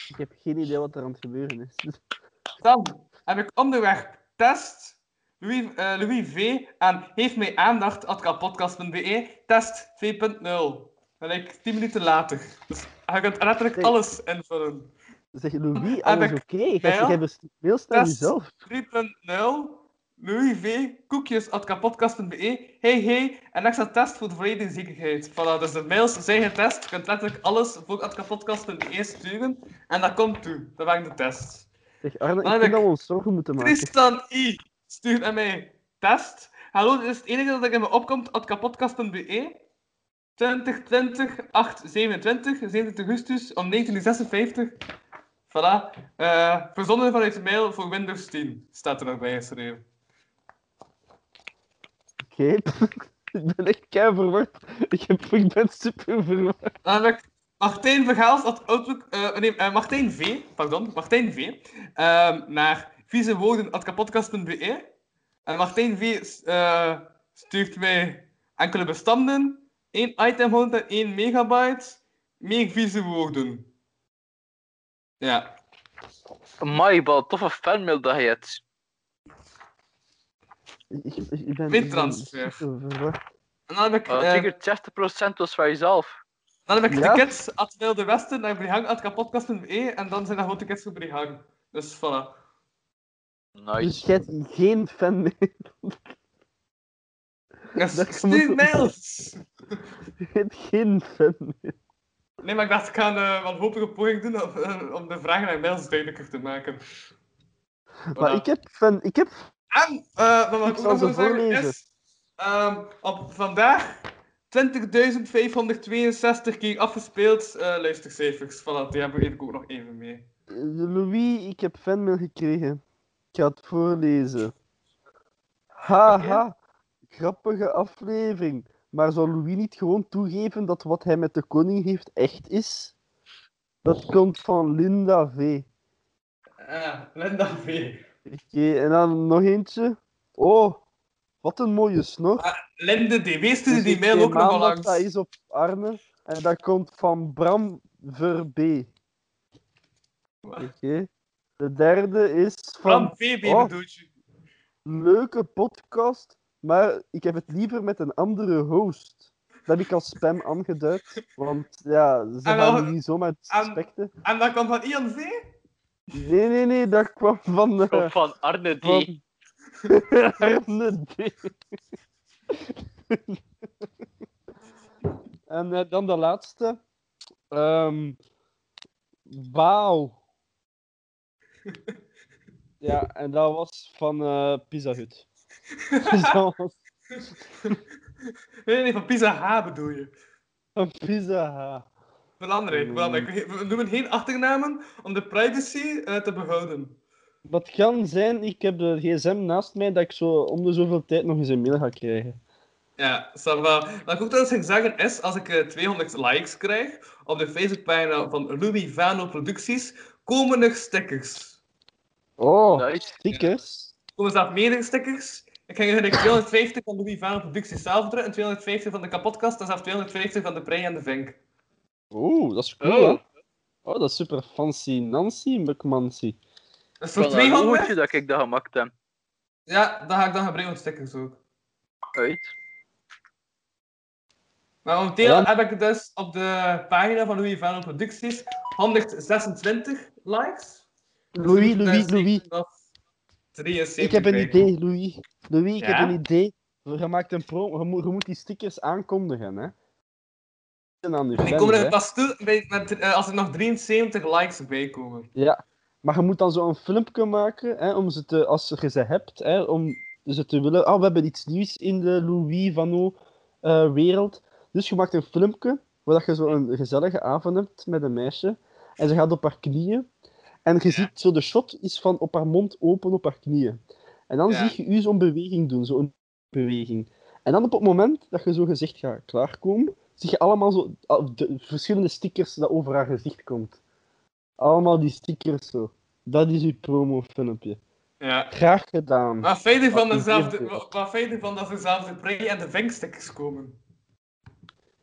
Ik heb geen idee wat er aan het gebeuren is. Dus Dan heb ik onderwerp test. Louis, eh, Louis V. aan Heeft mij aandacht, atkapodcast.be, E, test 2.0. Gelijk 10 minuten later. Dus je kunt letterlijk Nee. alles invullen. Zeg, Louis, Heb alles ik oké? Jij zegt, mail? Jij best- mails naar Test. jezelf. 3.0, Louis V. Koekjes, atkapodcast.be, E. hey hey, en extra test voor de volledige zekerheid. Voilà, dus de mails zijn getest. Je kunt letterlijk alles voor atkapodcast.be E sturen. En dat komt toe. Dat waren de tests. Zeg, Arne, ik Dan heb vind ik- dat we ons zorgen moeten maken. Tristan I. Stuur naar mij. Test. Hallo, dit is het enige dat ik in me opkomt. Atkapodcast.be 2020 827 27 augustus om 1956. Voilà. Eh verzonden vanuit de mail voor Windows 10. Staat er nog bij geschreven. Oké. ik ben echt kei verward. Ik, heb, ik ben super verward. Dan heb ik Eh, Martijn Vergaals at Outlook, eh, nee, eh, Martijn V, pardon, Martijn V, ehm, naar vieze woorden E. En Martijn V s- eh, stuurt mij enkele bestanden, één item 101 megabyte, meer vieze woorden. Ja. Amai, wat een toffe fanmail dat je hebt. Ik, ik, ik ben, Wit ik ben transfer. super verward. En dan heb ik, Uh, eh, zeker 60% was van jezelf. dan heb ik Ja. de kids at Wilde Westen naar Brihang at kapodcast.be E en dan zijn er gewoon de kids voor Brihang. Dus voilà. Dus Nice. jij hebt geen fan meer. Dus Dat stuur moet- mails! Je hebt geen fan meer. Nee, maar ik dacht, ik ga een eh, wanhopige poging doen om, eh, om de vragen naar mails duidelijker te maken. Maar Voilà. ik heb fan... Ik heb... En, eh maar wat ik Ik ook zal nog wil ze zeggen voorlezen. is... ehm, op vandaag 20.562 keer afgespeeld eh, luistercijfers. Voilà, die hebben we even ook nog even mee. eh, Louis, ik heb fanmail gekregen. Ik ga het voorlezen. Haha. Grappige aflevering. Maar zou Louis niet gewoon toegeven dat wat hij met de koning heeft echt is? Dat komt van Linda V. Ah, Linda V. Oké, en dan nog eentje. Oh, wat een mooie snor. Linde DW stuurde Dus Ah, die ik mail neem ook nog aan wel dat langs. Dat is op Arne. En dat komt van Bram Verbe. Oké. De derde is van Bram VB Oh. bedoel je. leuke podcast, maar ik heb het liever met een andere host. Dat heb ik als spam aangeduid, want ja, ze En wel- gaan die niet zomaar en- suspecten. En dat kwam van Ian V? Nee, nee, nee, dat kwam van... eh, Komt van Arne D. van, Arme dier. en eh, dan de laatste. Ehm wauw. Ja, en dat was van eh Pizza Hut. Dus dat was Nee, nee, van Pizza H bedoel je. van Pizza Hut. Belangrijk, belangrijk. We noemen geen achternamen om de privacy eh, te behouden. Wat kan zijn, ik heb de gsm naast mij dat ik zo om de zoveel tijd nog eens een mail ga krijgen. Ja, Sarva. Wat ik ook trouwens ga zeggen is, als ik eh, 200 likes krijg op de Facebookpagina van Louis Vano Producties, komen er stickers. Oh, Nice. stickers. Er komen zelf meerdere stickers. Ik ging eigenlijk 250 van Louis Vano Producties zelf drukken en 250 van de kapotkast en zelf 250 van de Prei en de Vink. Oeh, dat is cool, Oh. hè? Oh, dat is super fancy. Nancy McMancy. Dus voor Van een 200, logootje dat ik dat gemaakt heb. ja, dat ga ik dan gebruiken voor stickers ook. Uit. Maar momenteel Ja. heb ik dus op de pagina van Louis Vano Producties 126 likes. Dus Louis, Louis, Louis. Dat is 73 Ik heb een likes. idee, Louis. Louis, ik Ja? heb een idee. Je maakt een pro. Je moet, je moet die stickers aankondigen, hè? En aan je En die fans, komen er hè. pas toe bij- met, eh, als er nog 73 likes bij komen. Ja. Maar je moet dan zo'n filmpje maken, hè, om ze te, als je ze hebt, hè, om ze te willen... Ah, we hebben iets nieuws in de Louis Vano eh, wereld. Dus je maakt een filmpje, waar dat je zo'n gezellige avond hebt met een meisje. En ze gaat op haar knieën. En je ziet, zo de shot is van op haar mond open op haar knieën. En dan Ja. zie je u zo'n beweging doen, zo'n beweging. En dan op het moment dat je zo gezicht gaat klaarkomen, zie je allemaal zo al- de verschillende stickers dat over haar gezicht komt. Allemaal die stickers zo. Dat is uw promofilmpje. Ja. Graag gedaan. Maar feit Wat ervan, dat is zelf- dit? wat- wat feit ervan dat er zelfs de prey en de vinkstickers komen.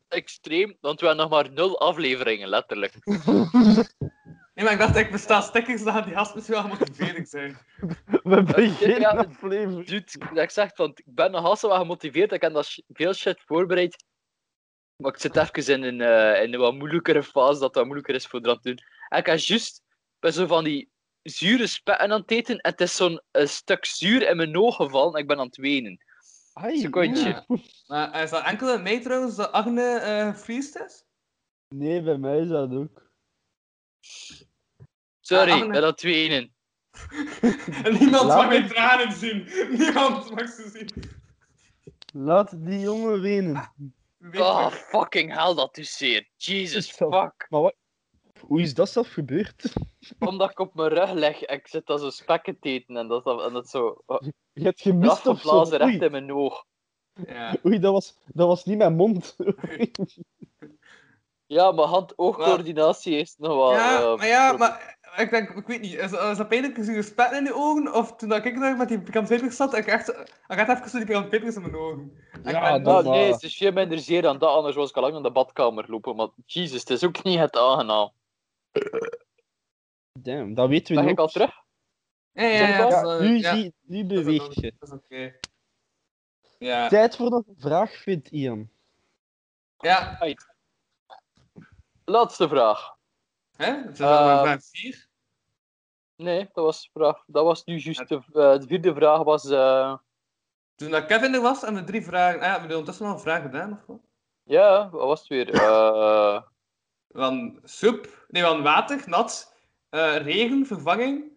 Extreem, want we hebben nog maar nul afleveringen, letterlijk. Nee, maar ik dacht, ik besta stickers, dan gaan die gast misschien wel motivering zijn. We hebben geen ja, het- aflevering. Dude, dat ik zeg, want ik ben nogal zo wat gemotiveerd. Ik heb dat sh- veel shit voorbereid. Maar ik zit even in een, eh, in een wat moeilijkere fase, dat wat moeilijker is voor dat te doen. En ik heb juist, ik ben zo van die zure spetten aan het eten. En het is zo'n eh, stuk zuur in mijn oog gevallen en ik ben aan het wenen. Ai, Secondje. oeh. Maar eh, is dat enkel in mij trouwens dat Agne eh vriest is? Nee, bij mij is dat ook. Sorry, Ah, Arne. ik ben aan het wenen. En niemand Laat mag me- mijn tranen zien. Niemand mag ze zien. Laat die jongen wenen. Weet je. Oh, fucking hell, dat doet zeer. Jesus Zo. fuck. Maar wat... Hoe is dat zelf gebeurd? Omdat ik op mijn rug leg en ik zit dan zo spekken te eten. En dat, is dan- en dat zo... oh, Je hebt gemist of zo. afgeblazen recht Oei, in mijn oog. Ja. oei dat, was, dat was niet mijn mond. Oei. Ja, maar hand-oogcoördinatie is nog wel... Ah, Ja, eh, maar ja, maar ik denk, ik weet niet, is, is dat pijnlijk gezien een spet in de ogen? Of toen dat ik daar met die pikant peper zat, ik echt, ik had even zo die pikant pepers in mijn ogen. En ik Ja, ben- Nou, dat- maar- nee, het is veel minder zeer dan dat, anders was ik al lang in de badkamer lopen. Maar jezus, het is ook niet het aangenaam. Damn, dat weten we Ben niet. ik al terug? Ja, ja, ja, zondag? dat Ja, is, eh, nu, ja, zie, nu dat is beweeg ook- je. Dat is oké. Ja. Tijd voor nog een vraag, vindt Ian. Ja, Laatste vraag. hè? Dus Het is allemaal Ehm, vraag vier. Nee, dat was, vraag, dat was nu juist. De, eh, de vierde vraag was. eh, Toen dat Kevin er was en we drie vragen, ah, ja, hebben we ondertussen al een vraag gedaan of wat? ja, wat was het weer? Eh, Van soep, nee, van water, nat, eh, regen, vervanging.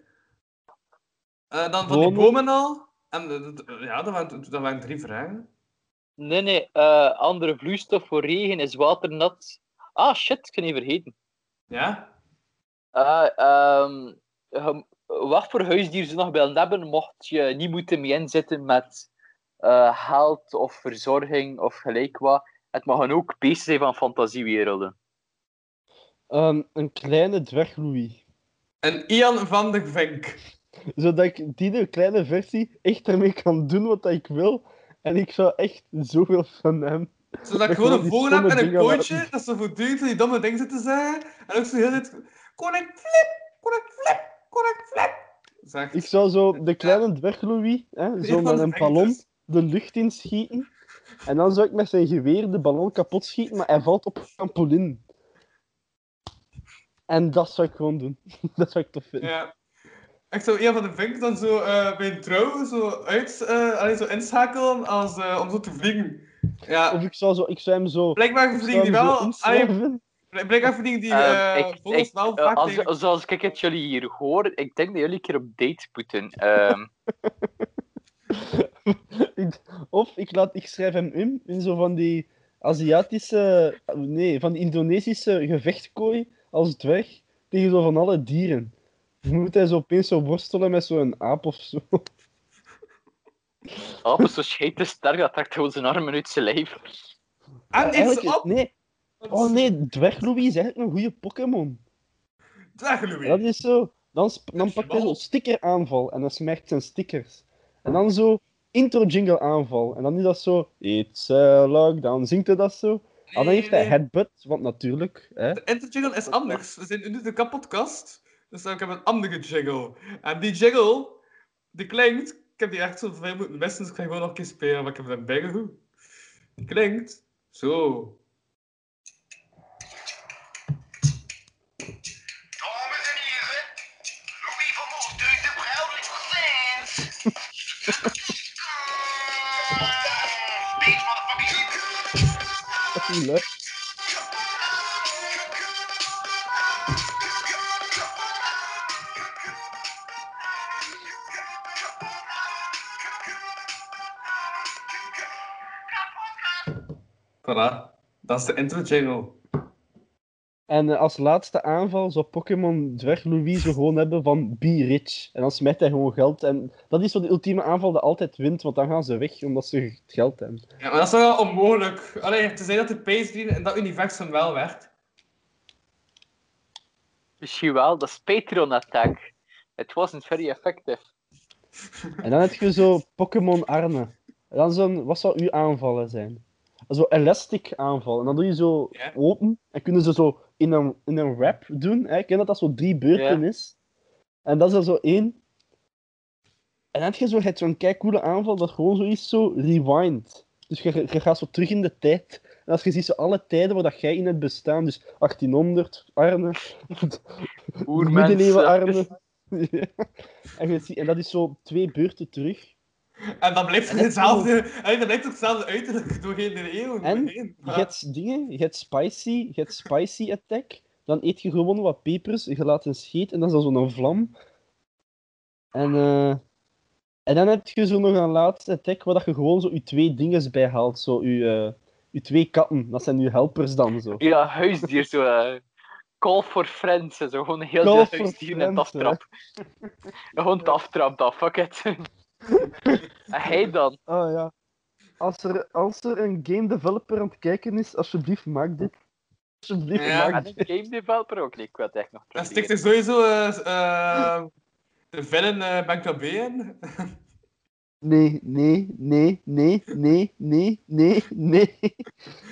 Eh, dan van die Bomen. bomen al. En eh, dat- ja, dat waren, dat waren drie vragen. nee, nee, eh, andere vloeistof voor regen is waternat. Ah shit, ik ben even vergeten. Ja? Ah, ehm, je- wat voor huisdier ze nog willen hebben, mocht je niet moeten mee inzitten met eh geld of verzorging of gelijk wat. Het mag ook beesten zijn van fantasiewerelden. Ehm, een kleine dwerg Louis. En Ian van de Vink. Zodat ik die de kleine versie echt ermee kan doen wat dat ik wil. En ik zou echt zoveel van hem. Zodat ik Ik gewoon wil een die vogel heb stomme en een dingen kooitje, dat ze voortdurend die domme dingen zitten zeggen. En ook zo heel dit. Koning flip, koning flip, koning flip. Zegt. Ik zou zo de kleine dwerg Louis, hè, zo Ian van met de een Vink ballon, dus. de lucht inschieten. En dan zou ik met zijn geweer de ballon kapot schieten, maar hij valt op een trampoline. En dat zou ik gewoon doen. Dat zou ik tof vinden. Ja. Echt zo een van de vink dan zo eh, bij een trouw zo uit, eh, alleen zo inschakelen als, eh, om zo te vliegen. Of Ja, ik zou, zo, ik zou hem zo... blijkbaar ik zou vliegen die hem zo wel. allee, inswerven. bl- blijkbaar vliegen die Ehm, eh ik- vogels ik- wel eh, vaak als, tegen. Zoals ik het jullie hier hoor, ik denk dat jullie een keer op dates moeten. Ehm, Ik- Of ik, laat, ik schrijf hem in, in zo van die Aziatische, nee, van die Indonesische gevechtkooi als dwerg tegen zo van alle dieren. Dan moet hij zo opeens zo worstelen met zo'n aap of zo. apen Oh, zo scheet te sterk, dat trekt gewoon zijn armen uit zijn lijf. En ik Eigenlijk ze op! Nee. Oh nee, dwerg Louis is eigenlijk een goede Pokémon. Dag Louis! Dat is zo. Dan, sp- dan pakt hij Wel. zo'n stickeraanval en dan smijt zijn stickers. En dan zo intro jingle aanval. En dan is dat zo. It's a lockdown. Zingt hij dat zo? Ah, dan heeft hij Nee, headbutt, want natuurlijk. Hè? De interjingle is anders. We zijn nu de kapotkast, dus dan heb ik een andere jingle. En die jingle, die klinkt... Ik heb die echt zo veel moeten missen, dus ik ga gewoon nog een keer spelen, maar ik heb hem bijgehoed. Die klinkt zo. Dames en heren, Louis van Moes drukt de vrouwelijk gezins. Bitch, motherfucker. Dat is niet leuk. Voilà, dat is de interjingle. En eh, als laatste aanval zou Pokémon Dwerg Louis zo gewoon hebben van Be Rich. En dan smijt hij gewoon geld. En dat is zo de ultieme aanval die altijd wint, want dan gaan ze weg omdat ze het geld hebben. Ja, maar dat is toch wel onmogelijk. Alleen te zijn dat de PS3 in dat universum wel werkt. Misschien wel, dat is Patreon attack. It wasn't very effective. En dan heb je zo Pokémon Arne. En dan zo'n, wat zou uw aanvallen zijn? Zo elastic aanval. En dan doe je zo Ja. open. En kunnen ze zo in een, in een wrap doen. Hè? Ik ken dat dat zo drie beurten Ja. is. En dat is er zo één. En dan heb je zo- je hebt zo'n coole aanval dat gewoon zo is zo rewind. Dus je, je gaat zo terug in de tijd. En als je ziet zo alle tijden waar dat jij in het bestaan. Dus 1800, Arne. Middeleeuwen, Arne. Ja. en, je ziet, en dat is zo twee beurten terug. En dan blijft het En dat is hetzelfde. En dan blijft het hetzelfde uiterlijk doorheen de eeuwen. En heen. Je hebt dingen, je hebt spicy, je hebt spicy attack. Dan eet je gewoon wat pepers, je laat een scheet en dan is dat zo'n vlam. En, eh, en dan heb je zo nog een laatste attack waar dat je gewoon zo je twee dinges bij haalt. Zo je, eh, je twee katten, dat zijn je helpers dan zo. Ja, huisdier, zo. eh, call for friends, en zo. Gewoon een heel Call deel for huisdieren en het friends, hè. aftrap. Gewoon het aftrap, dat, fuck it. en hij dan? Oh ja. Als er, als er een game developer aan het kijken is, alsjeblieft maak dit. Alsjeblieft Ja. maak En dit. een game developer ook, nee, ik wil het echt nog Dan proberen. stikt er sowieso eh, eh, de villain uh, Bankabé in. Nee, nee, nee, nee, nee, nee, nee, nee,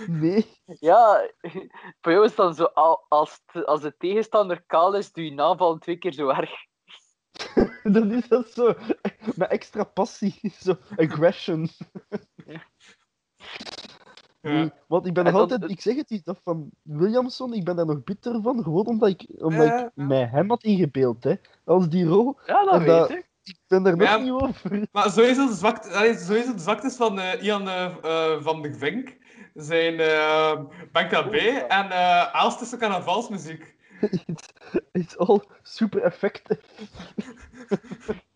nee. Ja, voor jou is het dan zo, al- als, t- als de tegenstander kaal is, doe je naval twee keer zo erg. Dan is dat zo. Met extra passie. Zo, aggression. Hmm. Ja. Want ik ben En nog dan- altijd... Ik zeg het, dat van Williamson, ik ben daar nog bitter van. Gewoon omdat ik, omdat Ja, ik ja. mij hem had ingebeeld, hè. Als die rol. Ja, dat En dat- weet ik. Ik ben daar nog Ja. niet over. Maar sowieso de, zwakte, allee, sowieso de zwaktes van eh, Ian eh, eh, van de Vink zijn eh Bankabé en eh Aalstische carnavalsmuziek. It's, it's all super effective.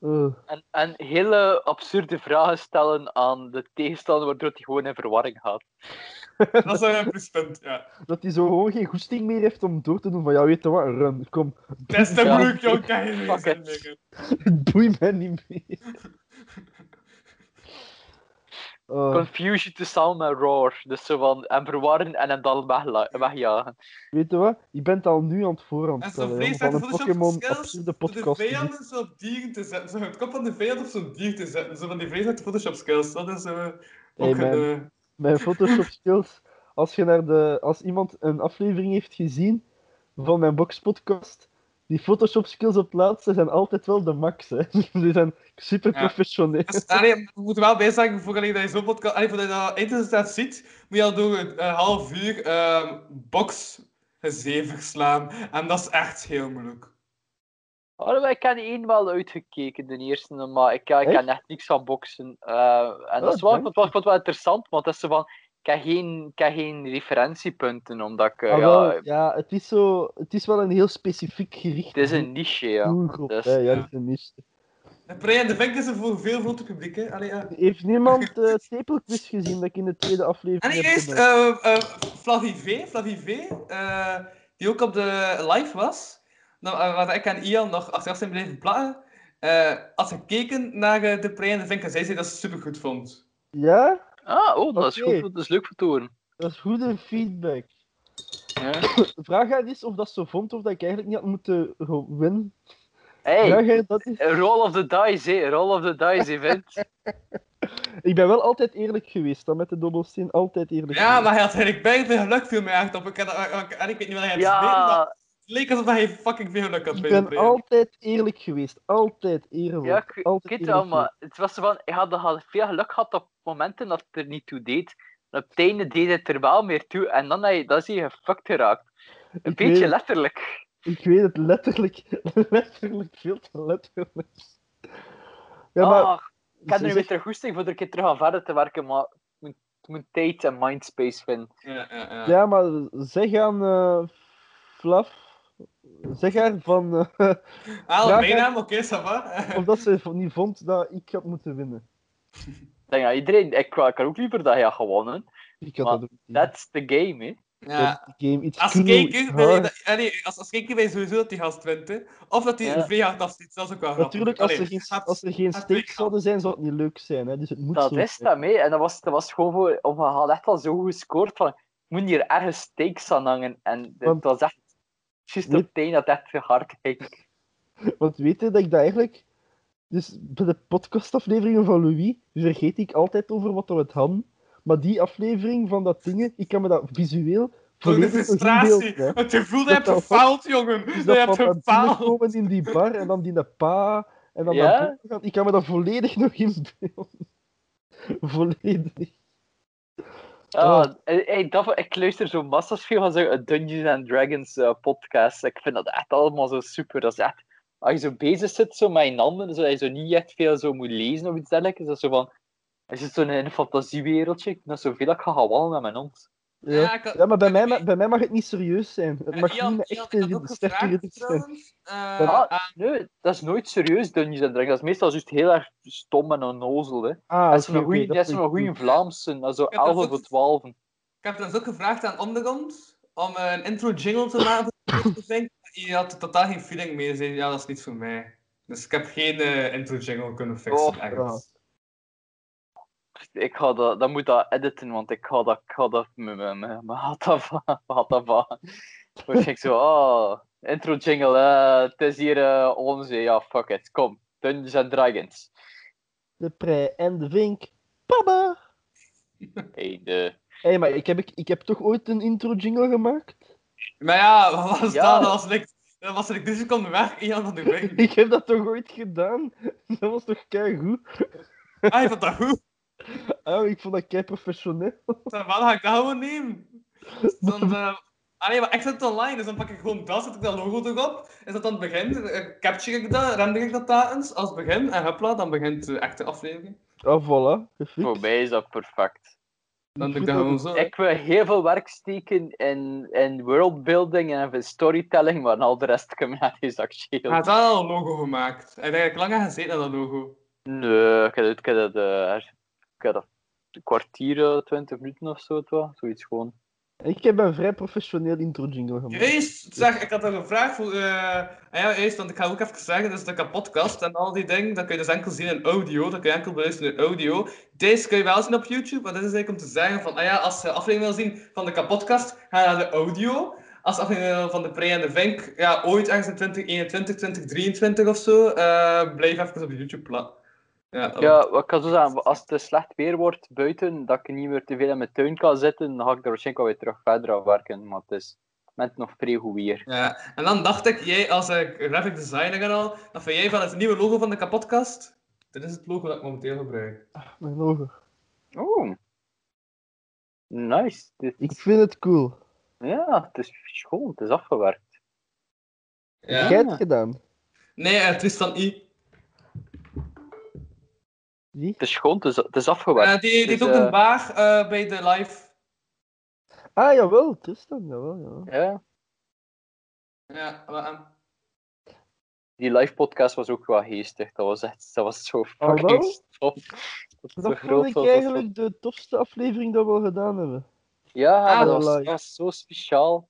Eh, En, en hele absurde vragen stellen aan de tegenstander, waardoor hij gewoon in verwarring gaat. Dat is eh, een pluspunt, ja. dat hij zo gewoon geen goesting meer heeft om door te doen van ja, weet je wat, run, kom, Des te Ja. broek, jong, kan je niet Fuck zijn, it. nigger. het boeit mij niet meer. Eh. Confusion te samen met roar. Dus zo van, en verwarren en hem dan wegla- wegjagen. Weet je wat? Je bent al nu aan het voorhand En zo'n stellen. jongen, vlees zijn Van de eh, een Pokémon Photoshop skills absurde door de podcast. vijand op zo'n dier te zetten. Zo het kop van de vijand op zo'n dier te zetten. Zo van die vlees uit de Photoshop skills. Dat is eh ook man. een... eh, Mijn Photoshop skills. Als, je naar de, als iemand een aflevering heeft gezien van mijn boxpodcast, die Photoshop skills op het laatste zijn altijd wel de max. Hè. Die zijn super professioneel. Dus, allee, je moet er wel bij zeggen, voordat je dat je zo'n podcast, allee, voordat je dat eindresultaat ziet, moet je al door een eh, half uur ehm box zeven slaan. En dat is echt heel moeilijk. Oh, ik heb eenmaal uitgekeken, de eerste, maar ik, ik Echt? ken echt niks van boksen. Eh, en Oh, dat is wel, ik dank vond het wel, ik vond het wel interessant, want dat is zo van, ik heb geen, ik heb geen referentiepunten, omdat ik, eh, Ah, ja, wel, ja, het is zo... Het is wel een heel specifiek gericht het is een niche, ja. doelgroep. Dus- hè, ja, dat is een niche. De Prey en de Vink is er voor veel grote publiek, hè. Allee, ja. Heeft niemand eh Stapelquiz gezien dat ik in de tweede En aflevering hier heb is gedaan? eh eh, Flavie V, Flavie V, eh, die ook op de live was, nou, eh, waar ik en Ian nog achteraf zijn blijven plakken, eh, had gekeken naar eh, de Prey en de Vink en zij zei dat ze het supergoed vond. Ja? Ah, oh, dat is Oké. goed, dat is leuk voor te horen. Dat is goede feedback. Ja. De vraag aan is of dat ze vond of dat ik eigenlijk niet had moeten ro- winnen. Hey, Ja, Gerrit, dat is... roll of the dice, hé, roll of the dice, event. Ik ben wel altijd eerlijk geweest, dan met de dobbelsteen. Altijd eerlijk Ja, geweest. maar hij had eigenlijk bijna veel geluk viel mij echt op. Ik, had- eh, ik- en ik weet niet wat hij had gespeeld, maar ja, het leek alsof hij fucking veel geluk had Ik bij de ben Prey. altijd eerlijk geweest. Altijd eerlijk. ja, ik ik altijd weet eerlijk wel, maar het was zo van, ik had, had veel geluk gehad op momenten dat het er niet toe deed. En op het einde deed het er wel meer toe, en dan, had je, dan is je gefucked geraakt. Een Ik beetje weet het. letterlijk. Ik weet het letterlijk, letterlijk, veel te letterlijk. Ja, maar Ah, ik heb ze er nu weer zegt- terug goesting voor er een keer terug aan verder te werken, maar ik moet, ik moet tijd en mindspace vinden. Ja, ja, ja. ja, maar zeg aan eh Flav, zeg haar van, eh, Ja, Ah, mijn kijk. naam, oké, ça va. of dat ze v- niet vond dat ik had moeten winnen. Ik denk, ja, iedereen, ik, wou- ik had ook liever dat je had gewonnen. Ik had Maar dat ook niet. That's the game, hè. Ja, Dat die game Ah, iets eh, Als cruel, kijker, ben je, hard. dat- allee, als, als kijker ben je sowieso dat die gast wint, hè. Of dat hij Ja. een vrij hard afziet, dat is ook wel grappig. Natuurlijk, als er Allee, geen, gaat- als er geen gaat stakes twee zouden zijn, zou het niet leuk zijn. Hè? Dus het moet Dat zo is zijn. dat mee. En dat was, dat was gewoon voor, of we hadden echt al zo goed gescoord van, ik moet hier ergens stakes aan hangen. En Want- het was echt, juist op Weet- het einde dat het echt hard ging. Want weet je dat ik dat eigenlijk... Dus bij de podcastafleveringen van Louis vergeet ik altijd over wat we het hadden. Maar die aflevering van dat dingen, ik kan me dat visueel Voor de volledig nog frustratie, inbeelden, hè. het gevoel Dat dat je hebt dat- gefaald, jongen. Dus Dat je dat hebt van dat gefaald. komen in die bar en dan die de pa en dan Ja? naar boven gaan. Ik kan me dat volledig nog inbeelden. volledig. Ah, Oh. eh, hey, dat, ik luister zo massas veel van zo'n Dungeons and Dragons eh, podcast. Ik vind dat echt allemaal zo super. Dat is echt, als je zo bezig zit zo met je handen, zo, dat je zo niet echt veel zo moet lezen of iets dergelijks, is dat zo van, je zit zo in een fantasiewereldje, ik dat zoveel dat ik ga gaan wallen met mijn hond. Ja. ik had- Ja, maar bij mij, ik- ma- bij mij mag het niet serieus zijn. Het eh, mag Ian- niet met Ian, echte ik had ook ridder- sterke gevraagd, ridders zijn. trouwens, eh, Ah. aan- Nee, dat is nooit serieus Dungeons and Dragons. Dat is meestal juist heel erg stom en onnozel. Hè. Ah, Dat is oké, een oké, goeie- dat dat is vind een ik goed. goede Vlaamse, dat is zo Ja, dat is 11 ook- of 12. ik heb trouwens ook gevraagd aan Ondergrond om een intro jingle te laten. Je had er totaal geen feeling mee. Je zei, ja, dat is niet voor mij. Dus ik heb geen eh, intro jingle kunnen fixen. Oh, echt. ja. Ik ga dat, dan moet dat editen, want ik ga dat, ik ga dat, me- me- me- me had dat van, me had dat van. Word ik zo, ah, intro jingle, eh, het is hier eh, onze, ja, fuck it, kom, Dungeons and Dragons. De prei en de vink. Papa! Hey, de... Hé, hey, maar ik heb, ik, ik heb toch ooit een intro jingle gemaakt? Maar ja, wat was Ja. dat? Dat was niks. Dat was dus ik drie seconden weg, Ian van de Wing. Ik heb dat toch ooit gedaan? Dat was toch kei goed? Ah, je vond dat goed? Oh, ik vond dat kei professioneel. Dan wel, ga ik dat gewoon nemen. Dan, eh, ah nee, maar ik zet het online, dus dan pak ik gewoon dat, zet ik dat logo erop. Is dat dan het begin? Eh, Capture ik dat, render ik dat daar eens als begin. En hopla, dan begint de echte aflevering. Ah, voilà. gefixt. Oh. Voor mij is dat perfect. Dan doe ik dat gewoon zo. hè. Ik wil heel veel werk steken in, in worldbuilding en in storytelling, maar al de rest kan mij niet Hij actueel. had al een logo gemaakt. Hij heeft eigenlijk lang aan gezeten aan dat logo. Nee, ik heb dat, ik heb dat, eh, ik heb dat een kwartier, eh, twintig minuten of zo, het was. zoiets gewoon. Ik heb een vrij professioneel intro jingle gemaakt. Juist, zeg, ik had er een vraag voor. eh, ah ja, juist, want ik ga ook even zeggen, dus de podcast en al die dingen, dat kun je dus enkel zien in audio, dat kun je enkel beluisteren in audio. Deze kun je wel zien op YouTube, maar dit is eigenlijk om te zeggen van, ah ja, als je aflevering wil zien van de podcast, ga naar de audio. Als je aflevering wil van de Pre en de Vink, ja, ooit ergens in 2021, 2023 of zo, eh, blijf even op YouTube plat. Ja, dat Ja, wat ik kan zo zeggen, als het slecht weer wordt buiten, dat ik niet meer te veel in mijn tuin kan zitten, dan ga ik er waarschijnlijk wel weer terug verder aan werken, maar het is met nog vrij goed weer. Ja, en dan dacht ik, jij als eh, graphic designer en al, dan vind jij van het nieuwe logo van de kapotkast? Dit is het logo dat ik momenteel gebruik. Mijn ogen. Oh. Nice. Dit- Ik vind het cool. Ja, het is schoon, het is afgewerkt. Ja. Jij hebt het gedaan. Nee, eh, Tristan I. Wie? Het is schoon, het is, het is Eh, afgewerkt. die die Dus, doet ook eh, een baar eh, bij de live. Ah, jawel, Tristan, jawel, jawel. Ja, Ja, ehm, wat aan? die live podcast was ook wel geestig. Dat was echt dat was zo Ah, wel? fucking stof. Dat, zo vond groot ik was, dat eigenlijk de tofste aflevering dat we al gedaan hebben. was- Ja, Ah, maar de dat, was, live. dat was zo speciaal.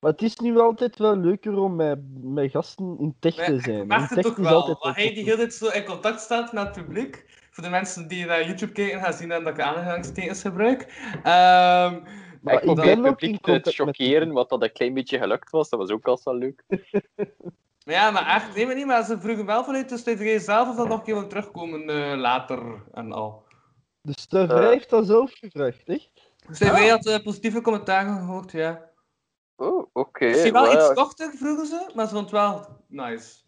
Maar het is nu altijd wel leuker om met, met gasten in tech Maar te zijn. Ik In merk het tech toch is wel, altijd dat hij die tof. hele tijd zo in contact staat met het publiek. Voor de mensen die naar YouTube kijken, gaan zien dat ik aanhangstekens gebruik. Ehm, Maar ik ik probeer het ben ook in publiek te contact met chockeren, wat dat een klein beetje gelukt was. Dat was ook al zo leuk. maar ja, maar echt, nee, maar niet, maar ze vroegen wel vanuit de stuiterij zelf of dat nog een keer wil terugkomen eh, later en al. Dus de vrij Eh. heeft dat zelf gevraagd, echt? Dus Ah. hij had eh, positieve commentaren gehoord, ja. Oh, oké. Is hij wel wel iets ja, korter, vroegen ze, maar ze vond het wel nice.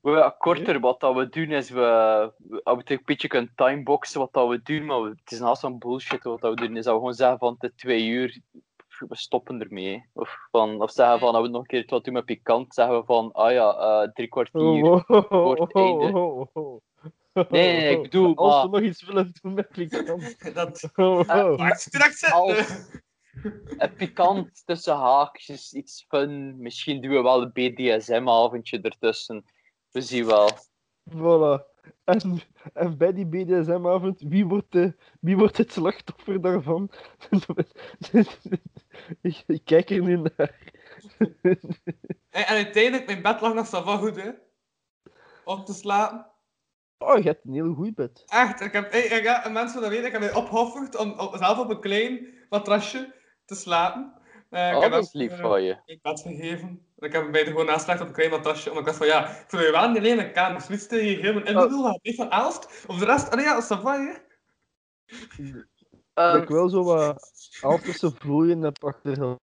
wel ja, korter, wat dat we doen is we, we, als we het een beetje kunnen timeboxen wat dat we doen, maar we- het is naast zo'n bullshit wat dat we doen, is dat we gewoon zeggen van de twee uur, we stoppen ermee. Of, van, of zeggen van, als we nog een keer wat doen met pikant, zeggen we van, ah ja, eh, drie kwartier. Oh, Oh, voor het einde. Nee, nee, ik bedoel, Oh, Als maar- we nog iets willen doen met Klikkamp. Dat Oh, Eh, oh. maakt straks zin. Als- een pikant tussen haakjes, iets fun. Misschien doen we wel een BDSM-avondje ertussen. We zien wel. Voilà. En, en bij die BDSM-avond, wie, wordt de- wie wordt het slachtoffer daarvan? ik, ik kijk er nu naar. En, en uiteindelijk, mijn bed lag nog zo wel goed, hè. Om te slapen. Oh, je hebt een heel goed bed. Echt, ik heb, ik, ik, ja, mensen dat weten, ik heb mij opgeofferd om, om zelf op een klein matrasje te slapen. Eh, ik Oh, heb dat is hem, lief eh, van je. Ik bed gegeven. En ik heb hem bij de gewoon nageslacht op een klein matrasje. Omdat ik dacht van ja, ik wil je wel niet alleen een kamer switchen, hier heel mijn Oh. inbedoel, gaat niet van Elst. Of de rest, allee ja, Savai, hè. Dat Ehm, ik wel zo wat al tussen vloeien heb achtergelaten.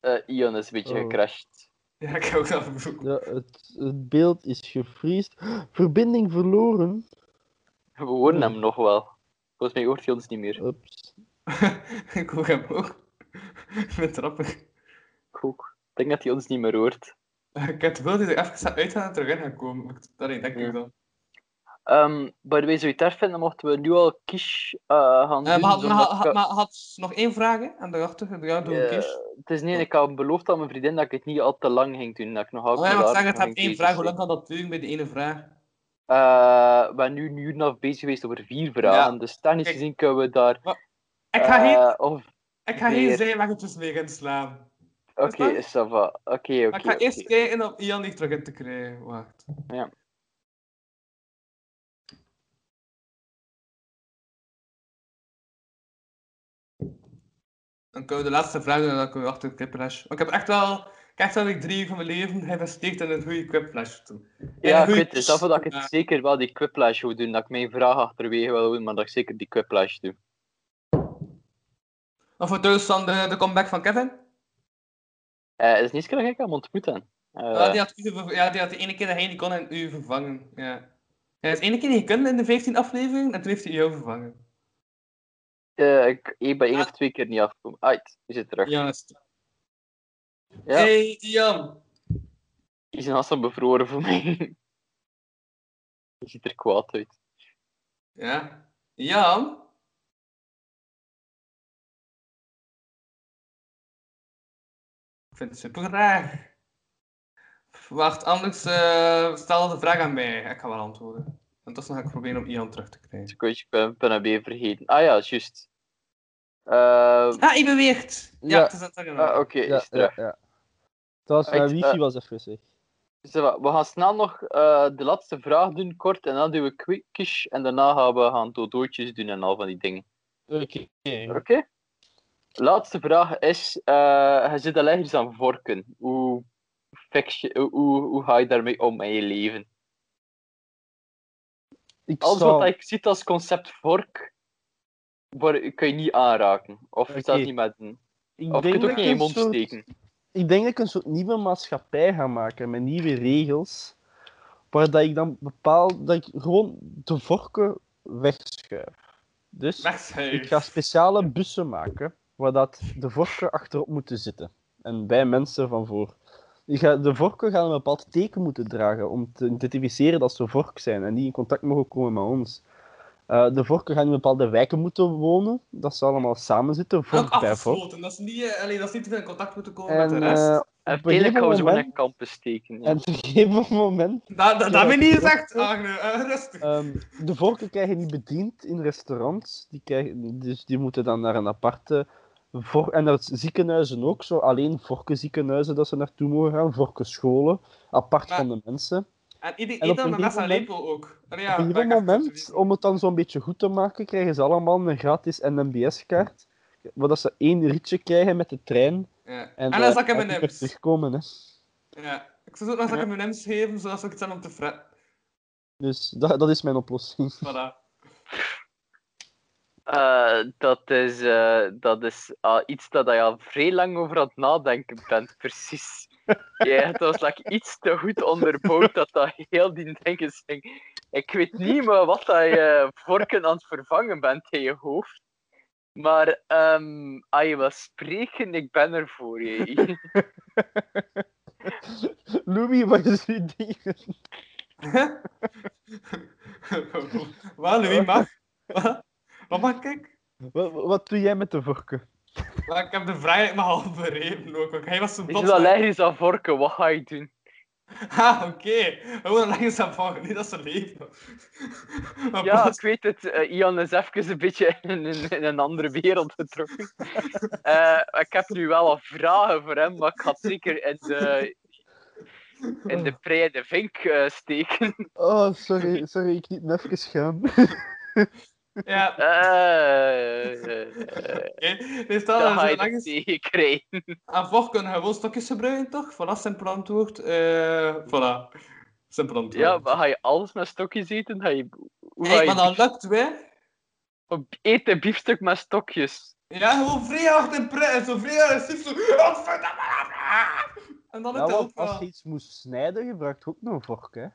eh, Ion is een beetje Oh. gecrashed. Ja, ik heb ook dat bedoeld. Ja, het, het beeld is gevriest. Verbinding verloren. We horen Hmm. hem nog wel. Volgens mij hoort hij ons niet meer. Ups. ik hoor hem ook. ik ben trappig. Ik ook. Ik denk dat hij ons niet meer hoort. Ik heb het beeld dat ik even zou uitgaan en terug in gaan komen. maar ik- Dat denk Ja. ik dan. Ehm by the way, zou je het erg vinden mochten we nu al kies eh, gaan Eh, doen? maar, had, maar, zodat had, ik- had- maar had nog één vraag hè, aan de achter, ja, doe ik Eh, eerst. Het is niet, ik had beloofd aan mijn vriendin dat ik het niet al te lang ging doen. Dat ik nog Oh ja, maar ik zeg, het hebt één vraag. Hoe lang kan dat duren bij de ene vraag? Eh, we zijn nu een uur en een half bezig geweest over vier vragen. Dus technisch Kijk. gezien kunnen we daar. Ik ga eh, geen, of- ik ga weer. geen zijwaggetjes mee gaan slaan. Oké, dat? is dat wel. Oké, maar ik oké. ga oké. eerst kijken om Ian niet terug in te krijgen. Wacht. Ja. Dan kunnen we de laatste vraag doen en dan kunnen we achter de clipflash. Want Ik heb echt wel, ik heb echt wel weer drie uur van mijn leven geïnvesteerd in een goede clipflash. Ja, ik weet het. Dat dat ik het zeker wel die quiplash wil doen. Dat ik mijn vraag achterwege wil doen, maar dat ik zeker die quiplash doe. Of voor thuis dan de, de comeback van Kevin? Eh is niet zo dat ik hem ontmoeten. Eh, Ja, Ah, die had, u verv- ja, die had de ene keer dat hij niet kon en u vervangen. Ja. Hij is de ene keer niet gekund in de 15 aflevering en toen heeft hij jou vervangen. eh, ik ik ben één of twee keer niet afgekomen. Uit, je zit terug. Juist. Ja. Hey, Ian. Die zijn haast al bevroren voor mij. Je ziet er kwaad uit. Ja. Jan? Ik vind het super raar. Wacht, anders eh, stel de vraag aan mij. Ik ga wel antwoorden. En tussen ga ik proberen om Ian terug te krijgen. Ik weet, ik ben, ben hem even vergeten. Ah ja, juist. Eh, Ah, hij beweegt! Ja, Ja. het is aan het zeggen. ah, Oké, Ja, is terug. ja, ja. Trouwens, Echt, mijn wifi eh, was even zeg. Zeg maar, We gaan snel nog eh, de laatste vraag doen, kort, en dan doen we quickish, en daarna gaan we gaan dodootjes doen en al van die dingen. Oké. Oké? Laatste vraag is, eh je zit al ergens aan vorken. Hoe, fix je, hoe, hoe, hoe ga je daarmee om in je leven? Ik Alles zou... wat ik ziet als concept vork, wor- kun je niet aanraken. Of Oké. zelfs niet met een... Ik Of je kunt het denk ook dat niet in je ik een mond soort- steken. Ik denk dat ik een soort nieuwe maatschappij ga maken met nieuwe regels. Waar dat ik dan bepaal dat ik gewoon de vorken wegschuif. Dus Wegzuig. ik ga speciale bussen maken waar dat de vorken achterop moeten zitten. En bij mensen van voor. Die ga- de vorken gaan een bepaald teken moeten dragen om te identificeren dat ze vork zijn en die in contact mogen komen met ons. Eh, de vorken gaan in bepaalde wijken moeten wonen, dat ze allemaal samen zitten, Ook vork bij vork. afgesloten. Dat is, niet, eh, allee, dat is niet te veel in contact moeten komen En met de rest. eh, En een Telek gegeven gaan we ze gewoon moment- in kampen steken. Ja. en op een gegeven moment Da- da- dat ja, heb je dat- niet gezegd, Agne. Eh, rustig. Ehm, de vorken krijgen niet bediend in restaurants. Die krijgen, dus die moeten dan naar een aparte. Vor en naar ziekenhuizen ook. Zo alleen vorkenziekenhuizen dat ze naartoe mogen gaan. Vorkenscholen. Apart Maar- van de mensen. En iedereen en op eet dan een met mes en gegeven lepel ook. Allee, ja, op dat ieder ik even moment, toelicht. om het dan zo'n beetje goed te maken, krijgen ze allemaal een gratis NMBS-kaart. Waar dat ze één ritje krijgen met de trein. Ja. En, En, dan eh, zak daar ik mijn niet meer nips. terugkomen. Hè. Ja. Ik zou ook nog zak in mijn nips geven, zodat ze ook iets hebben om te fretten. Dus dat, dat is mijn oplossing. Voilà. Eh, dat is, eh, dat is ah, iets dat je al vrij lang over aan het nadenken bent, precies. Jij hebt ons like, iets te goed onderbouwd dat dat heel die ding is. Ik- Ik weet niet meer wat dat je vorken aan het vervangen bent in je hoofd. Maar ehm als je wil spreken, ik ben er voor je. Louis, wat is uw ding? Wat, Louis mag? Wat? Wat mag ik? Wat, wat doe jij met de vorken? Maar ik heb de vrijheid maar half bereven ook. want Hij was zijn Is bot. wel ergens aan vorken, wat ga je doen? Ah, oké. Gewoon een lange savangen, niet dat ze leven. Maar Ja, plots- ik weet het. eh, Ian is even een beetje in, een- in een andere wereld getrokken. Eh, ik heb nu wel wat vragen voor hem, maar ik ga het zeker in de, in de prei en de vink eh, steken. Oh, sorry, sorry, ik niet even gaan. ja, oké. Eh, eh, Dus dan dan is ga het je het langs. tegenkrijgen. En voor kunnen we gewoon stokjes gebruiken, toch? Voilà, simpel antwoord. Eh voilà. Simpel antwoord. Ja, maar ga je alles met stokjes eten? Ga je, hoe ga Hey, je maar dat lukt weer. biefstuk- eet een biefstuk met stokjes. Ja, gewoon vrij hard en pret. En zo vrij agressief. Zo... Oh, verdomme. En dan Ja, lukt het ook want als je wel. iets moest snijden, gebruik je ook nog een vork, hè.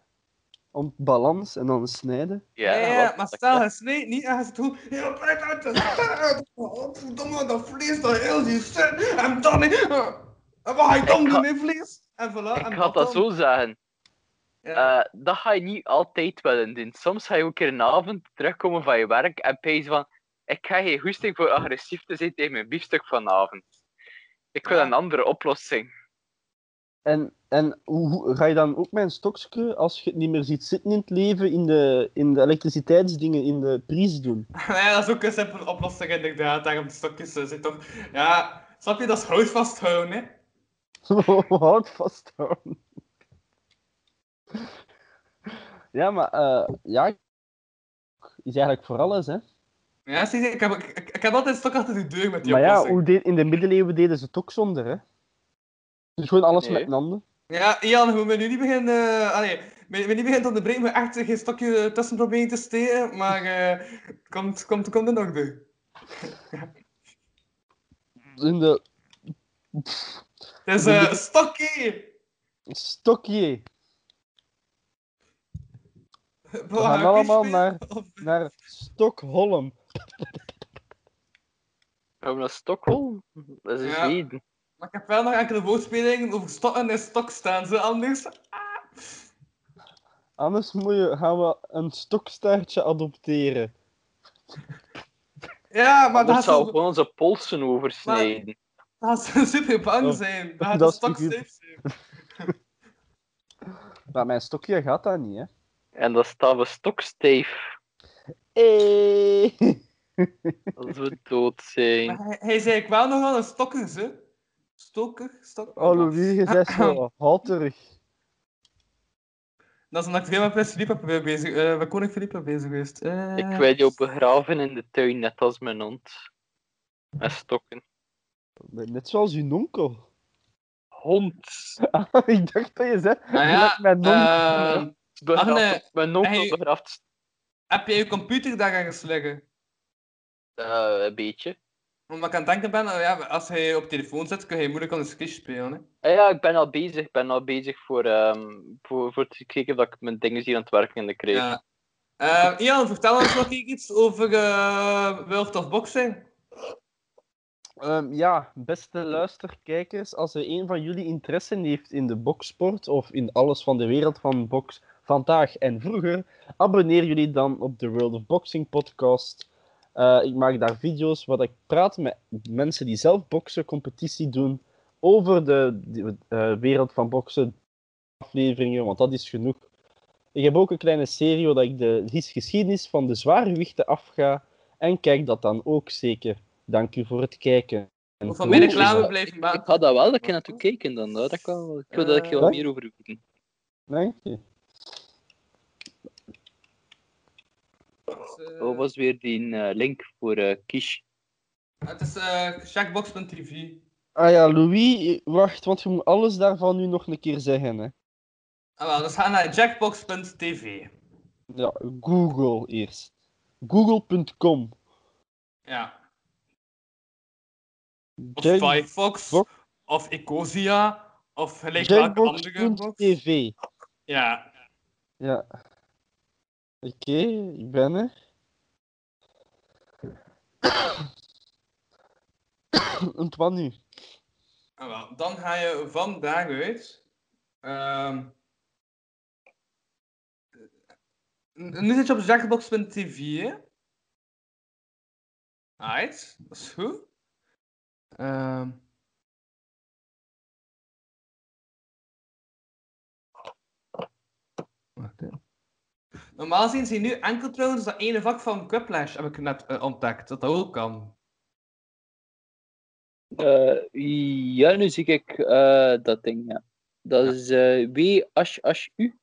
Om balans en dan snijden. Ja, ja, dat- maar dat- stel, hij snijdt niet en hij zit goed. Heel pret uit. de- Oh, verdomme, dat vlees, dat heel die zin. En dan... eh, En wat ga je dan Ik ga- doen, met vlees? En voilà. en Ik ga dat dan. zo zeggen. Ja. Eh, dat ga je niet altijd willen doen. Soms ga je ook een avond terugkomen van je werk en pees van ik ga geen goesting voor agressief te zijn tegen mijn biefstuk vanavond. Ik wil Ja. een andere oplossing. En, en hoe, hoe- ga je dan ook met een stokje, als je het niet meer ziet zitten in het leven, in de, in de elektriciteitsdingen, in de pries doen? Nee, dat is ook een simpele oplossing inderdaad. Daarom de stokjes eh, zit toch... Ja, snap je? Dat is hout vasthouden, hè. Houd vasthouden. Ja, maar eh, ja, is eigenlijk voor alles, hè. Ja, zie je, ik heb, ik, ik- ik heb altijd een stok achter de deur met die Maar ja, oplossing. hoe deed, in de middeleeuwen deden ze het ook zonder, hè. Dus gewoon alles Nee. met een ander. Ja, Ian, hoe we nu niet beginnen... eh, allee, we, we niet beginnen te onderbreken, we echt eh, geen stokje eh, tussen proberen te steken, maar eh, komt, komt, komt er nog door. In de Het is eh stokje! Stokje We gaan allemaal naar- Of, naar Stockholm. Gaan we naar Stockholm? Dat is in Ja. Zweden. maar ik heb wel nog enkele woordspelingen over stokken en stok staan, ze anders. Anders moet je, gaan we een stokstaartje adopteren. Ja, maar dat Anders gaat zouden zo- we gewoon onze polsen oversnijden. dat gaat ze super bang Oh, zijn. Dat gaat dat een is stok figuur. safe zijn. Maar mijn stokje gaat dat niet, hè. En dan staan we stokstijf Hey. als we dood zijn. Maar hij, hij zei ik wel nog wel een stokkers, hè? Stokker, stok. Oh, Louis, je bent zo houterig. Dat is omdat ik veel met Prins Philippe ben bezig, eh, met koning Philippe ben bezig geweest. Eh, Ik wil jou begraven in de tuin, net als mijn hond. Met stokken. Net zoals je onkel. Hond. Ik dacht dat je zei, Nou ja, gelijk mijn onkel. eh, Begraafd Agne, op- mijn onkel hij- begraaft heb jij je computer daar ergens liggen? eh, een beetje. Omdat ik aan het denken ben, oh ja, als hij op telefoon zit, kun je moeilijk aan de skis spelen. Hè? Ah Ja, ik ben al bezig. Ik ben al bezig voor, ehm, voor, voor te kijken of ik mijn dingen zie aan het werken in de krijg. Ja. Eh, Ian, vertel ons nog iets over eh World of Boxing. Ehm, ja, beste luisterkijkers, als er een van jullie interesse heeft in de boksport of in alles van de wereld van box vandaag en vroeger, abonneer jullie dan op de World of Boxing podcast. Eh, ik maak daar video's waar ik praat met mensen die zelf boksen, competitie doen, over de, de, eh, wereld van boksen, afleveringen, want dat is genoeg. Ik heb ook een kleine serie waar ik de his- geschiedenis van de zwaargewichten afga en kijk dat dan ook zeker. Dank u voor het kijken. En Hoeveel goed meer Oeh, is reclame dat. blijven Ik maken. ga dat wel, dat ik Oh. naartoe kijken dan. hè. Dat kan wel. Ik wil dat ik je wat Eh, meer over weet. Dank je. Dus, eh, Wat Oh, was weer die eh, link voor eh Kish? Het is eh checkbox.tv. Ah ja, Louis, wacht, want je moet alles daarvan nu nog een keer zeggen. Hè. Ah, wel, dus ga naar jackbox.tv. Ja, Google eerst. Google.com. Ja. Of Jack- Firefox, Box. of Ecosia, of gelijk welke andere box. Jackbox.tv. Ja. Ja. Oké, ik ben er. En wat nu? Ah, wel. Dan ga je van daaruit. ehm, nu zit je op jackbox.tv. hè? Alright, dat is goed. Ehm. Wacht hè. Normaal zien ze nu enkel trouwens dat ene vak van Quiplash heb ik net eh, ontdekt, dat dat ook kan. Eh, ja, nu zie ik eh, dat ding, ja. Dat is eh W-H-H-U.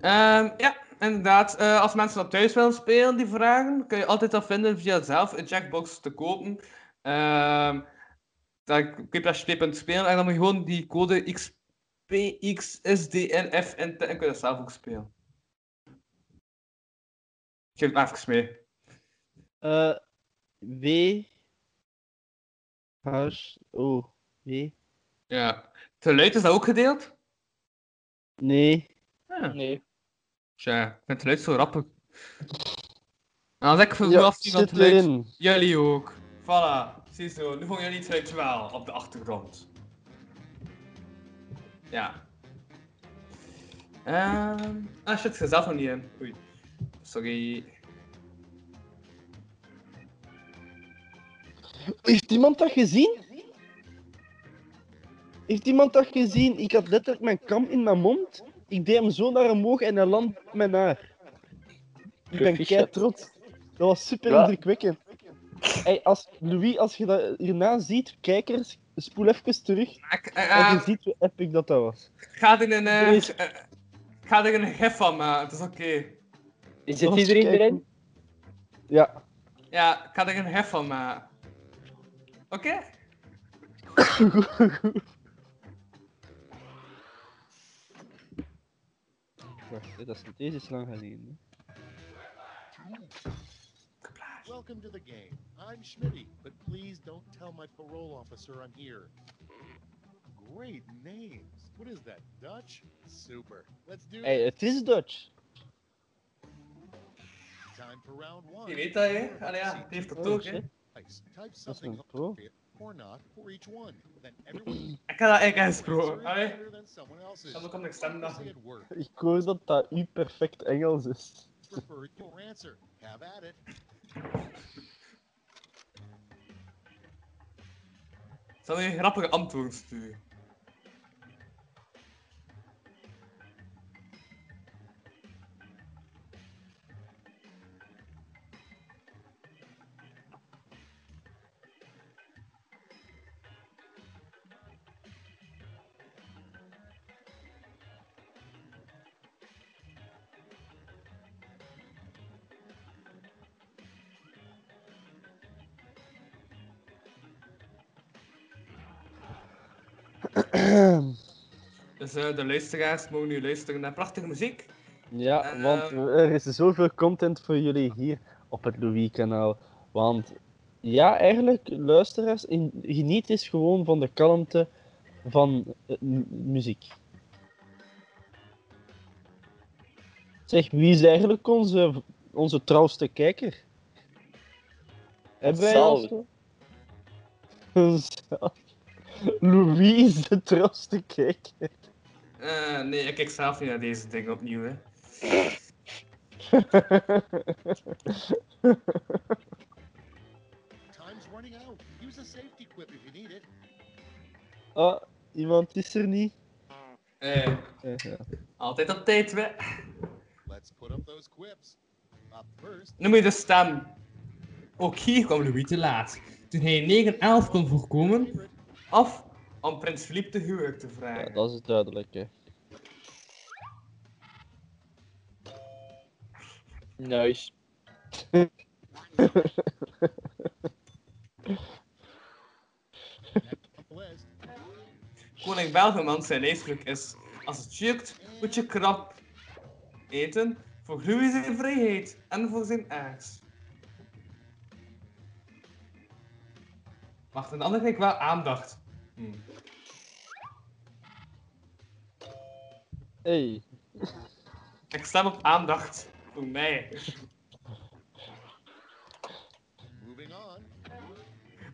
Ehm, ja, inderdaad. Eh, als mensen dat thuis willen spelen, die vragen, kun je altijd dat vinden via zelf een checkbox te kopen. Ehm daar kun je plus 2 punten spelen en dan moet je gewoon die code XPXSDNF en en kun je dat zelf ook spelen. Ik geef het maar even mee. Eh w. H. O. W. Ja. Het geluid is dat ook gedeeld? Nee. Ja. Nee. Tja, ik vind het geluid zo Nou, rappig. En als ik Ja, vanaf die van het zit geluid erin. Jullie ook. Voilà, ziezo. Nu gewoon jullie twee wel op de achtergrond. Ja. Ehm. ah shit, zelf nog niet in. Oei. Sorry. Heeft iemand dat gezien? Heeft iemand dat gezien? Ik had letterlijk mijn kam in mijn mond. Ik deed hem zo naar omhoog en hij landt op mijn haar. Ik ben Proficiat. kei trots. Dat was super Ja. indrukwekkend. Hey, als, Louis, als je dat hierna ziet, kijkers, spoel even terug. Ik, eh, Want je eh, ziet hoe epic dat dat was. ik ga er een. eh, Please. eh, ik ga er een gif van maken, het is oké. Zit was iedereen kei- erin? Ja, Ja, ik ga er een gif van maken. Oké? Wacht, hè, dat is, deze is lang geleden. Welcome to the game. I'm Schmitty, but please don't tell my parole officer I'm here. Great names. What is that, Dutch? Super. Let's do hè. Hey, het is Dutch. it. Time for round one. Je weet dat, hè? Allee, ja, die heeft dat Oh, ook, hè? shit. Dice. Type Dat is something een pro. appropriate or not for each one. Then everyone's Ik ga dat echt answer uitgesproken. is Allee, better than someone else's. dan kan ik stemmen Democracy lachen. at work. Ik hoor dat dat u perfect Engels is. Prefer your answer. Have at it. Zal je grappige antwoorden sturen? Dus eh, de luisteraars mogen nu luisteren naar prachtige muziek. Ja, Eh, want er is zoveel content voor jullie hier op het Louis-kanaal. Want ja, eigenlijk, luisteraars, in- geniet eens gewoon van de kalmte van eh, mu- muziek. Zeg, wie is eigenlijk onze, onze trouwste kijker? Hebben wij al Salve. zo- Salve. Louis is de trouwste kijker. Eh, nee, ik kijk zelf niet naar deze dingen opnieuw. Hè. Time's running out. Use a safety quip if you need it. Ah, iemand is er niet. Eh, Eh, ja. altijd op tijd, hè. Let's put up those quips. Up first, Noem je de stem. Ook hier kwam Louis te laat. Toen hij 9-11 kon voorkomen, favorite. af om prins Philippe te huwelijk te vragen. Ja, dat is duidelijk, hè. Nice. on the list. Koning Belgemans zijn ijsgeluk is. Als het jukt, moet je krap eten voor Louis zijn vrijheid en voor zijn aard. Wacht, een ander kreeg wel aandacht. Hm. Hey. Ik stem op aandacht. Voor mij. Moving on.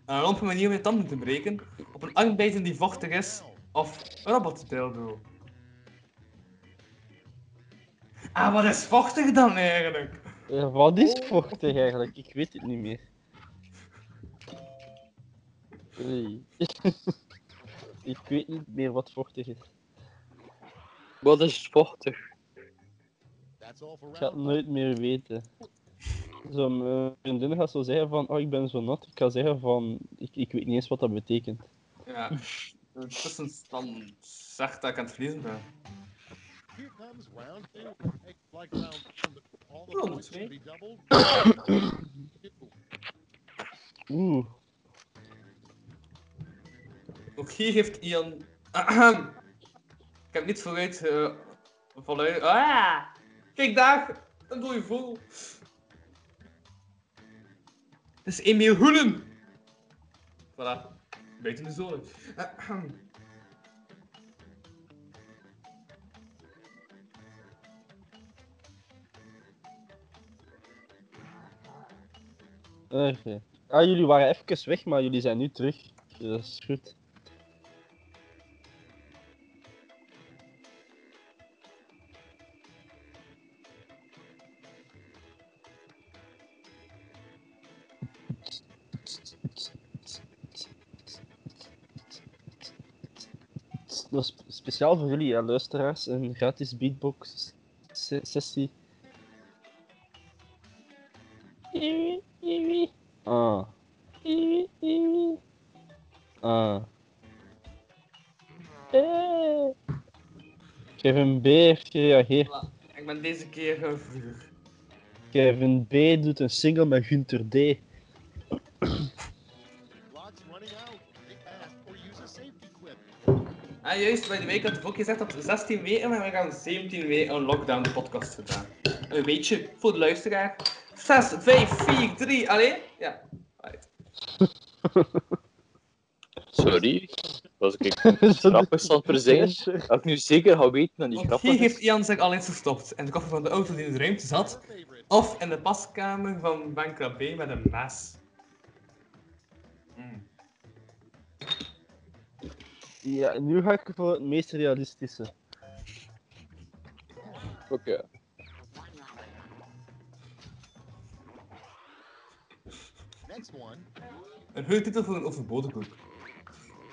Een rampe manier om je tanden te breken op een armbijten die vochtig is of een robotdildo. Ah, wat is vochtig dan eigenlijk? eh, Wat is vochtig eigenlijk? Ik weet het niet meer. Hey. ik weet niet meer wat vochtig is. Wat is vochtig? That's all for Ik ga het round one. nooit meer weten. Zo, mijn vriendin gaat zo zeggen van, oh, ik ben zo nat. Ik ga zeggen van, ik, ik weet niet eens wat dat betekent. Ja, de tussenstand zegt dat ik aan het verliezen ben. Here comes round two. Hey, Like round one, all the Round points twee. should be doubled. Oeh. Ook hier heeft Ian. Ahem. ik heb niet vooruit. eh voluit. Ah! Kijk daar! Een dode vogel. Het is Emiel Hoelen! Voilà. Buiten de zolen. Ahem. Oké. Ah, jullie waren even weg, maar jullie zijn nu terug. Dus Dat is goed. Dat is spe- speciaal voor jullie, hè, luisteraars. Een gratis beatbox se- sessie. Ah. Ah. Eh. Kevin B heeft gereageerd. Ik ben deze keer eh, vroeger. Kevin B doet een single met Gunter D. Clock's running out. They asked or use a safety quip. Ah, juist, bij de week had ik ook gezegd dat 16 weken, maar we gaan 17 weken een lockdown podcast gedaan. Een weetje voor de luisteraar. 6, 5, 4, 3, alleen? Ja. Right. Sorry. Was ik Dat grappig aan het verzinnen? Dat ik nu zeker ga weten dat die Want grappig hier heeft is. Ian zich al eens verstopt. In de koffer van de auto die in de ruimte zat. Favorite. Of in de paskamer van Bankra B met een mes. Mm. Ja, nu ga ik voor het meest realistische. Oké. Next one. Een goede titel voor een overbodig boek.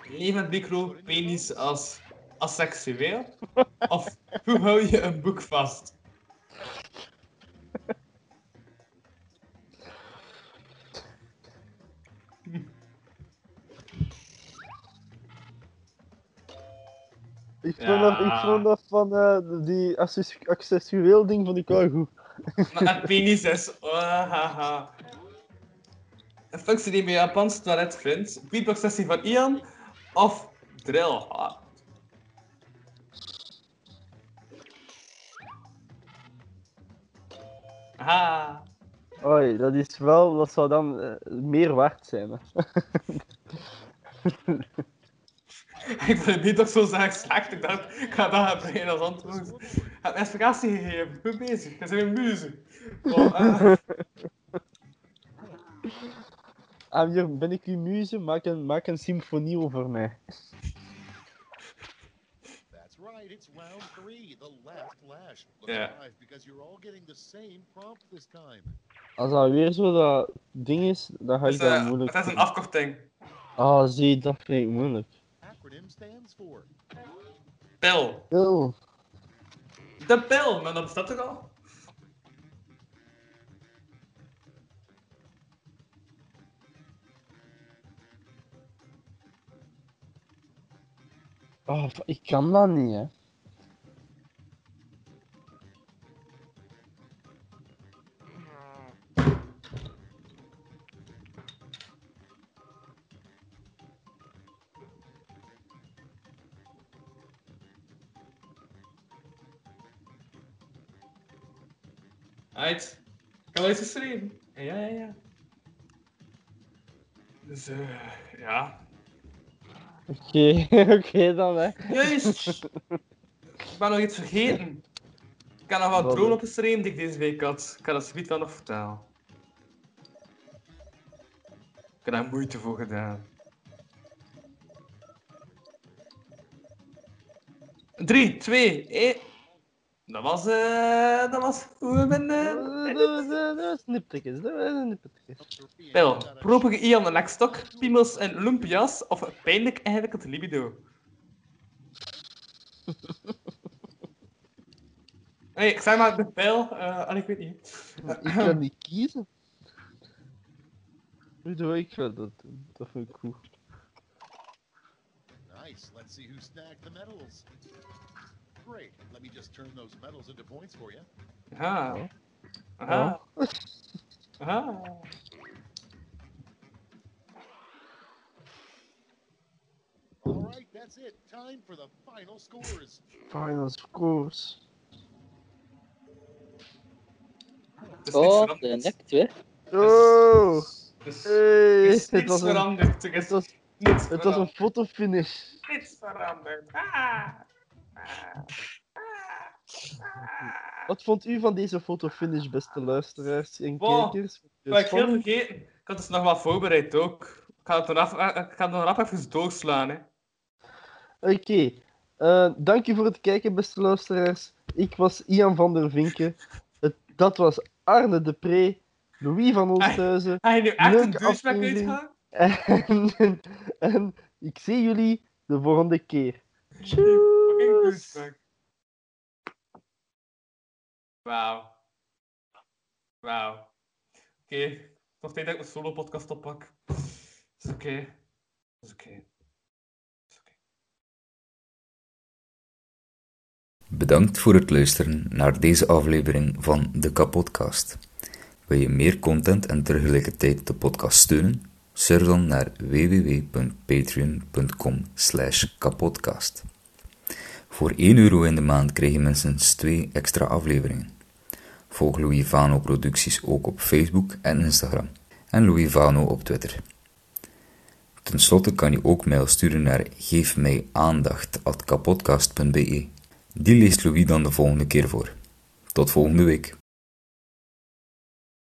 Leef met micro, penis als asexueel? Of hoe hou je een boek vast? Ik vond Ja. dat, ik vond dat van eh, die access- accessueel ding van die kou goed. Maar een penis is. ah, ha, ha. Een functie die je bij een Japans toilet vindt. Beatbox sessie van Ian of drill. Ah. Aha. Oei, dat is wel, dat zou dan eh, meer waard zijn. Hè. Ik vond het niet dat zo zaak slecht. Ik dacht, ik ga dat gaan brengen als antwoord. Heb inspiratie gegeven. Goed bezig. Dat zijn muzen. Oh, eh, Aan Ah, hier ben ik uw muze, maak een, maak een symfonie over mij. That's right, it's round three, the last lash. Look Yeah. alive, because you're all getting the same prompt this time. Als dat weer zo dat ding is, dan ga het is, ik dat eh, moeilijk het is een vinden. afkorting. Ah, zie, dat vind ik moeilijk. Acronym stands for Pil. Pil. De pil. Maar dat bestaat toch al? Ah, f- ik kan dat niet, hè. Uit. Kan wel eens geschreven. Ja, ja, ja. Dus, eh, ja. Oké, oké dan, hè. Juist! ik ben nog iets vergeten. Ik heb nog wat Wat drone dan? opgeschreven die ik deze week had. Ik kan dat zoiets wel nog vertellen. Ik heb daar moeite voor gedaan. Drie, twee, één. Dat was, eh, dat was hoe we Dat binnen. was- dat was niptekens, dat was niptekens. three. Pil, propige I aan de lekstok, piemels en lumpia's of pijnlijk ingewikkeld libido. Nee, ik zeg maar de pijl, eh, en ik weet niet. Ik kan niet kiezen. Hoe doe ik wel dat doen? Dat vind ik goed. Nice. Let's see who snagged the medals. Great. Let me just turn those medals into points for you. Aha. Aha. Aha. All right, that's it. Time for the final scores. Final scores. Het is niks Oh, de veranderd. nekt weer. Oh! Het is- Hey, er is het niks was een, veranderd. Er het is was, niks het was een veranderd. fotofinish. Niks veranderd. Ah. Wat vond u van deze fotofinish, beste luisteraars en Wow, kijkers? Ik heb heel vergeten. Ik had dus nog wat voorbereid ook. Ik ga het nog af- eh, ik ga het nog rap even doorslaan. Hè. Oké, eh, dank u voor het kijken, beste luisteraars. Ik was Ian van der Vinken. Het, dat was Arne de Pre, Louis van Oosthuizen. Ga je nu echt Leuke een douchebag aflevering. uitgaan? En, en ik zie jullie de volgende keer. Fucking Tjus! douchebag. Wauw. Wauw. Oké. Nog tijd dat ik mijn solo-podcast oppak. Is oké. Is oké. Is oké. Bedankt voor het luisteren naar deze aflevering van de Kapodcast. Wil je meer content en tegelijkertijd de podcast steunen? Surf dan naar www.patreon.com kapodcast. Voor 1 euro in de maand krijg je minstens 2 extra afleveringen. Volg Louis Vano producties ook op Facebook en Instagram. En Louis Vano op Twitter. Ten slotte kan je ook mail sturen naar geefmijaandacht.kapodcast.be. Die leest Louis dan de volgende keer voor. Tot volgende week.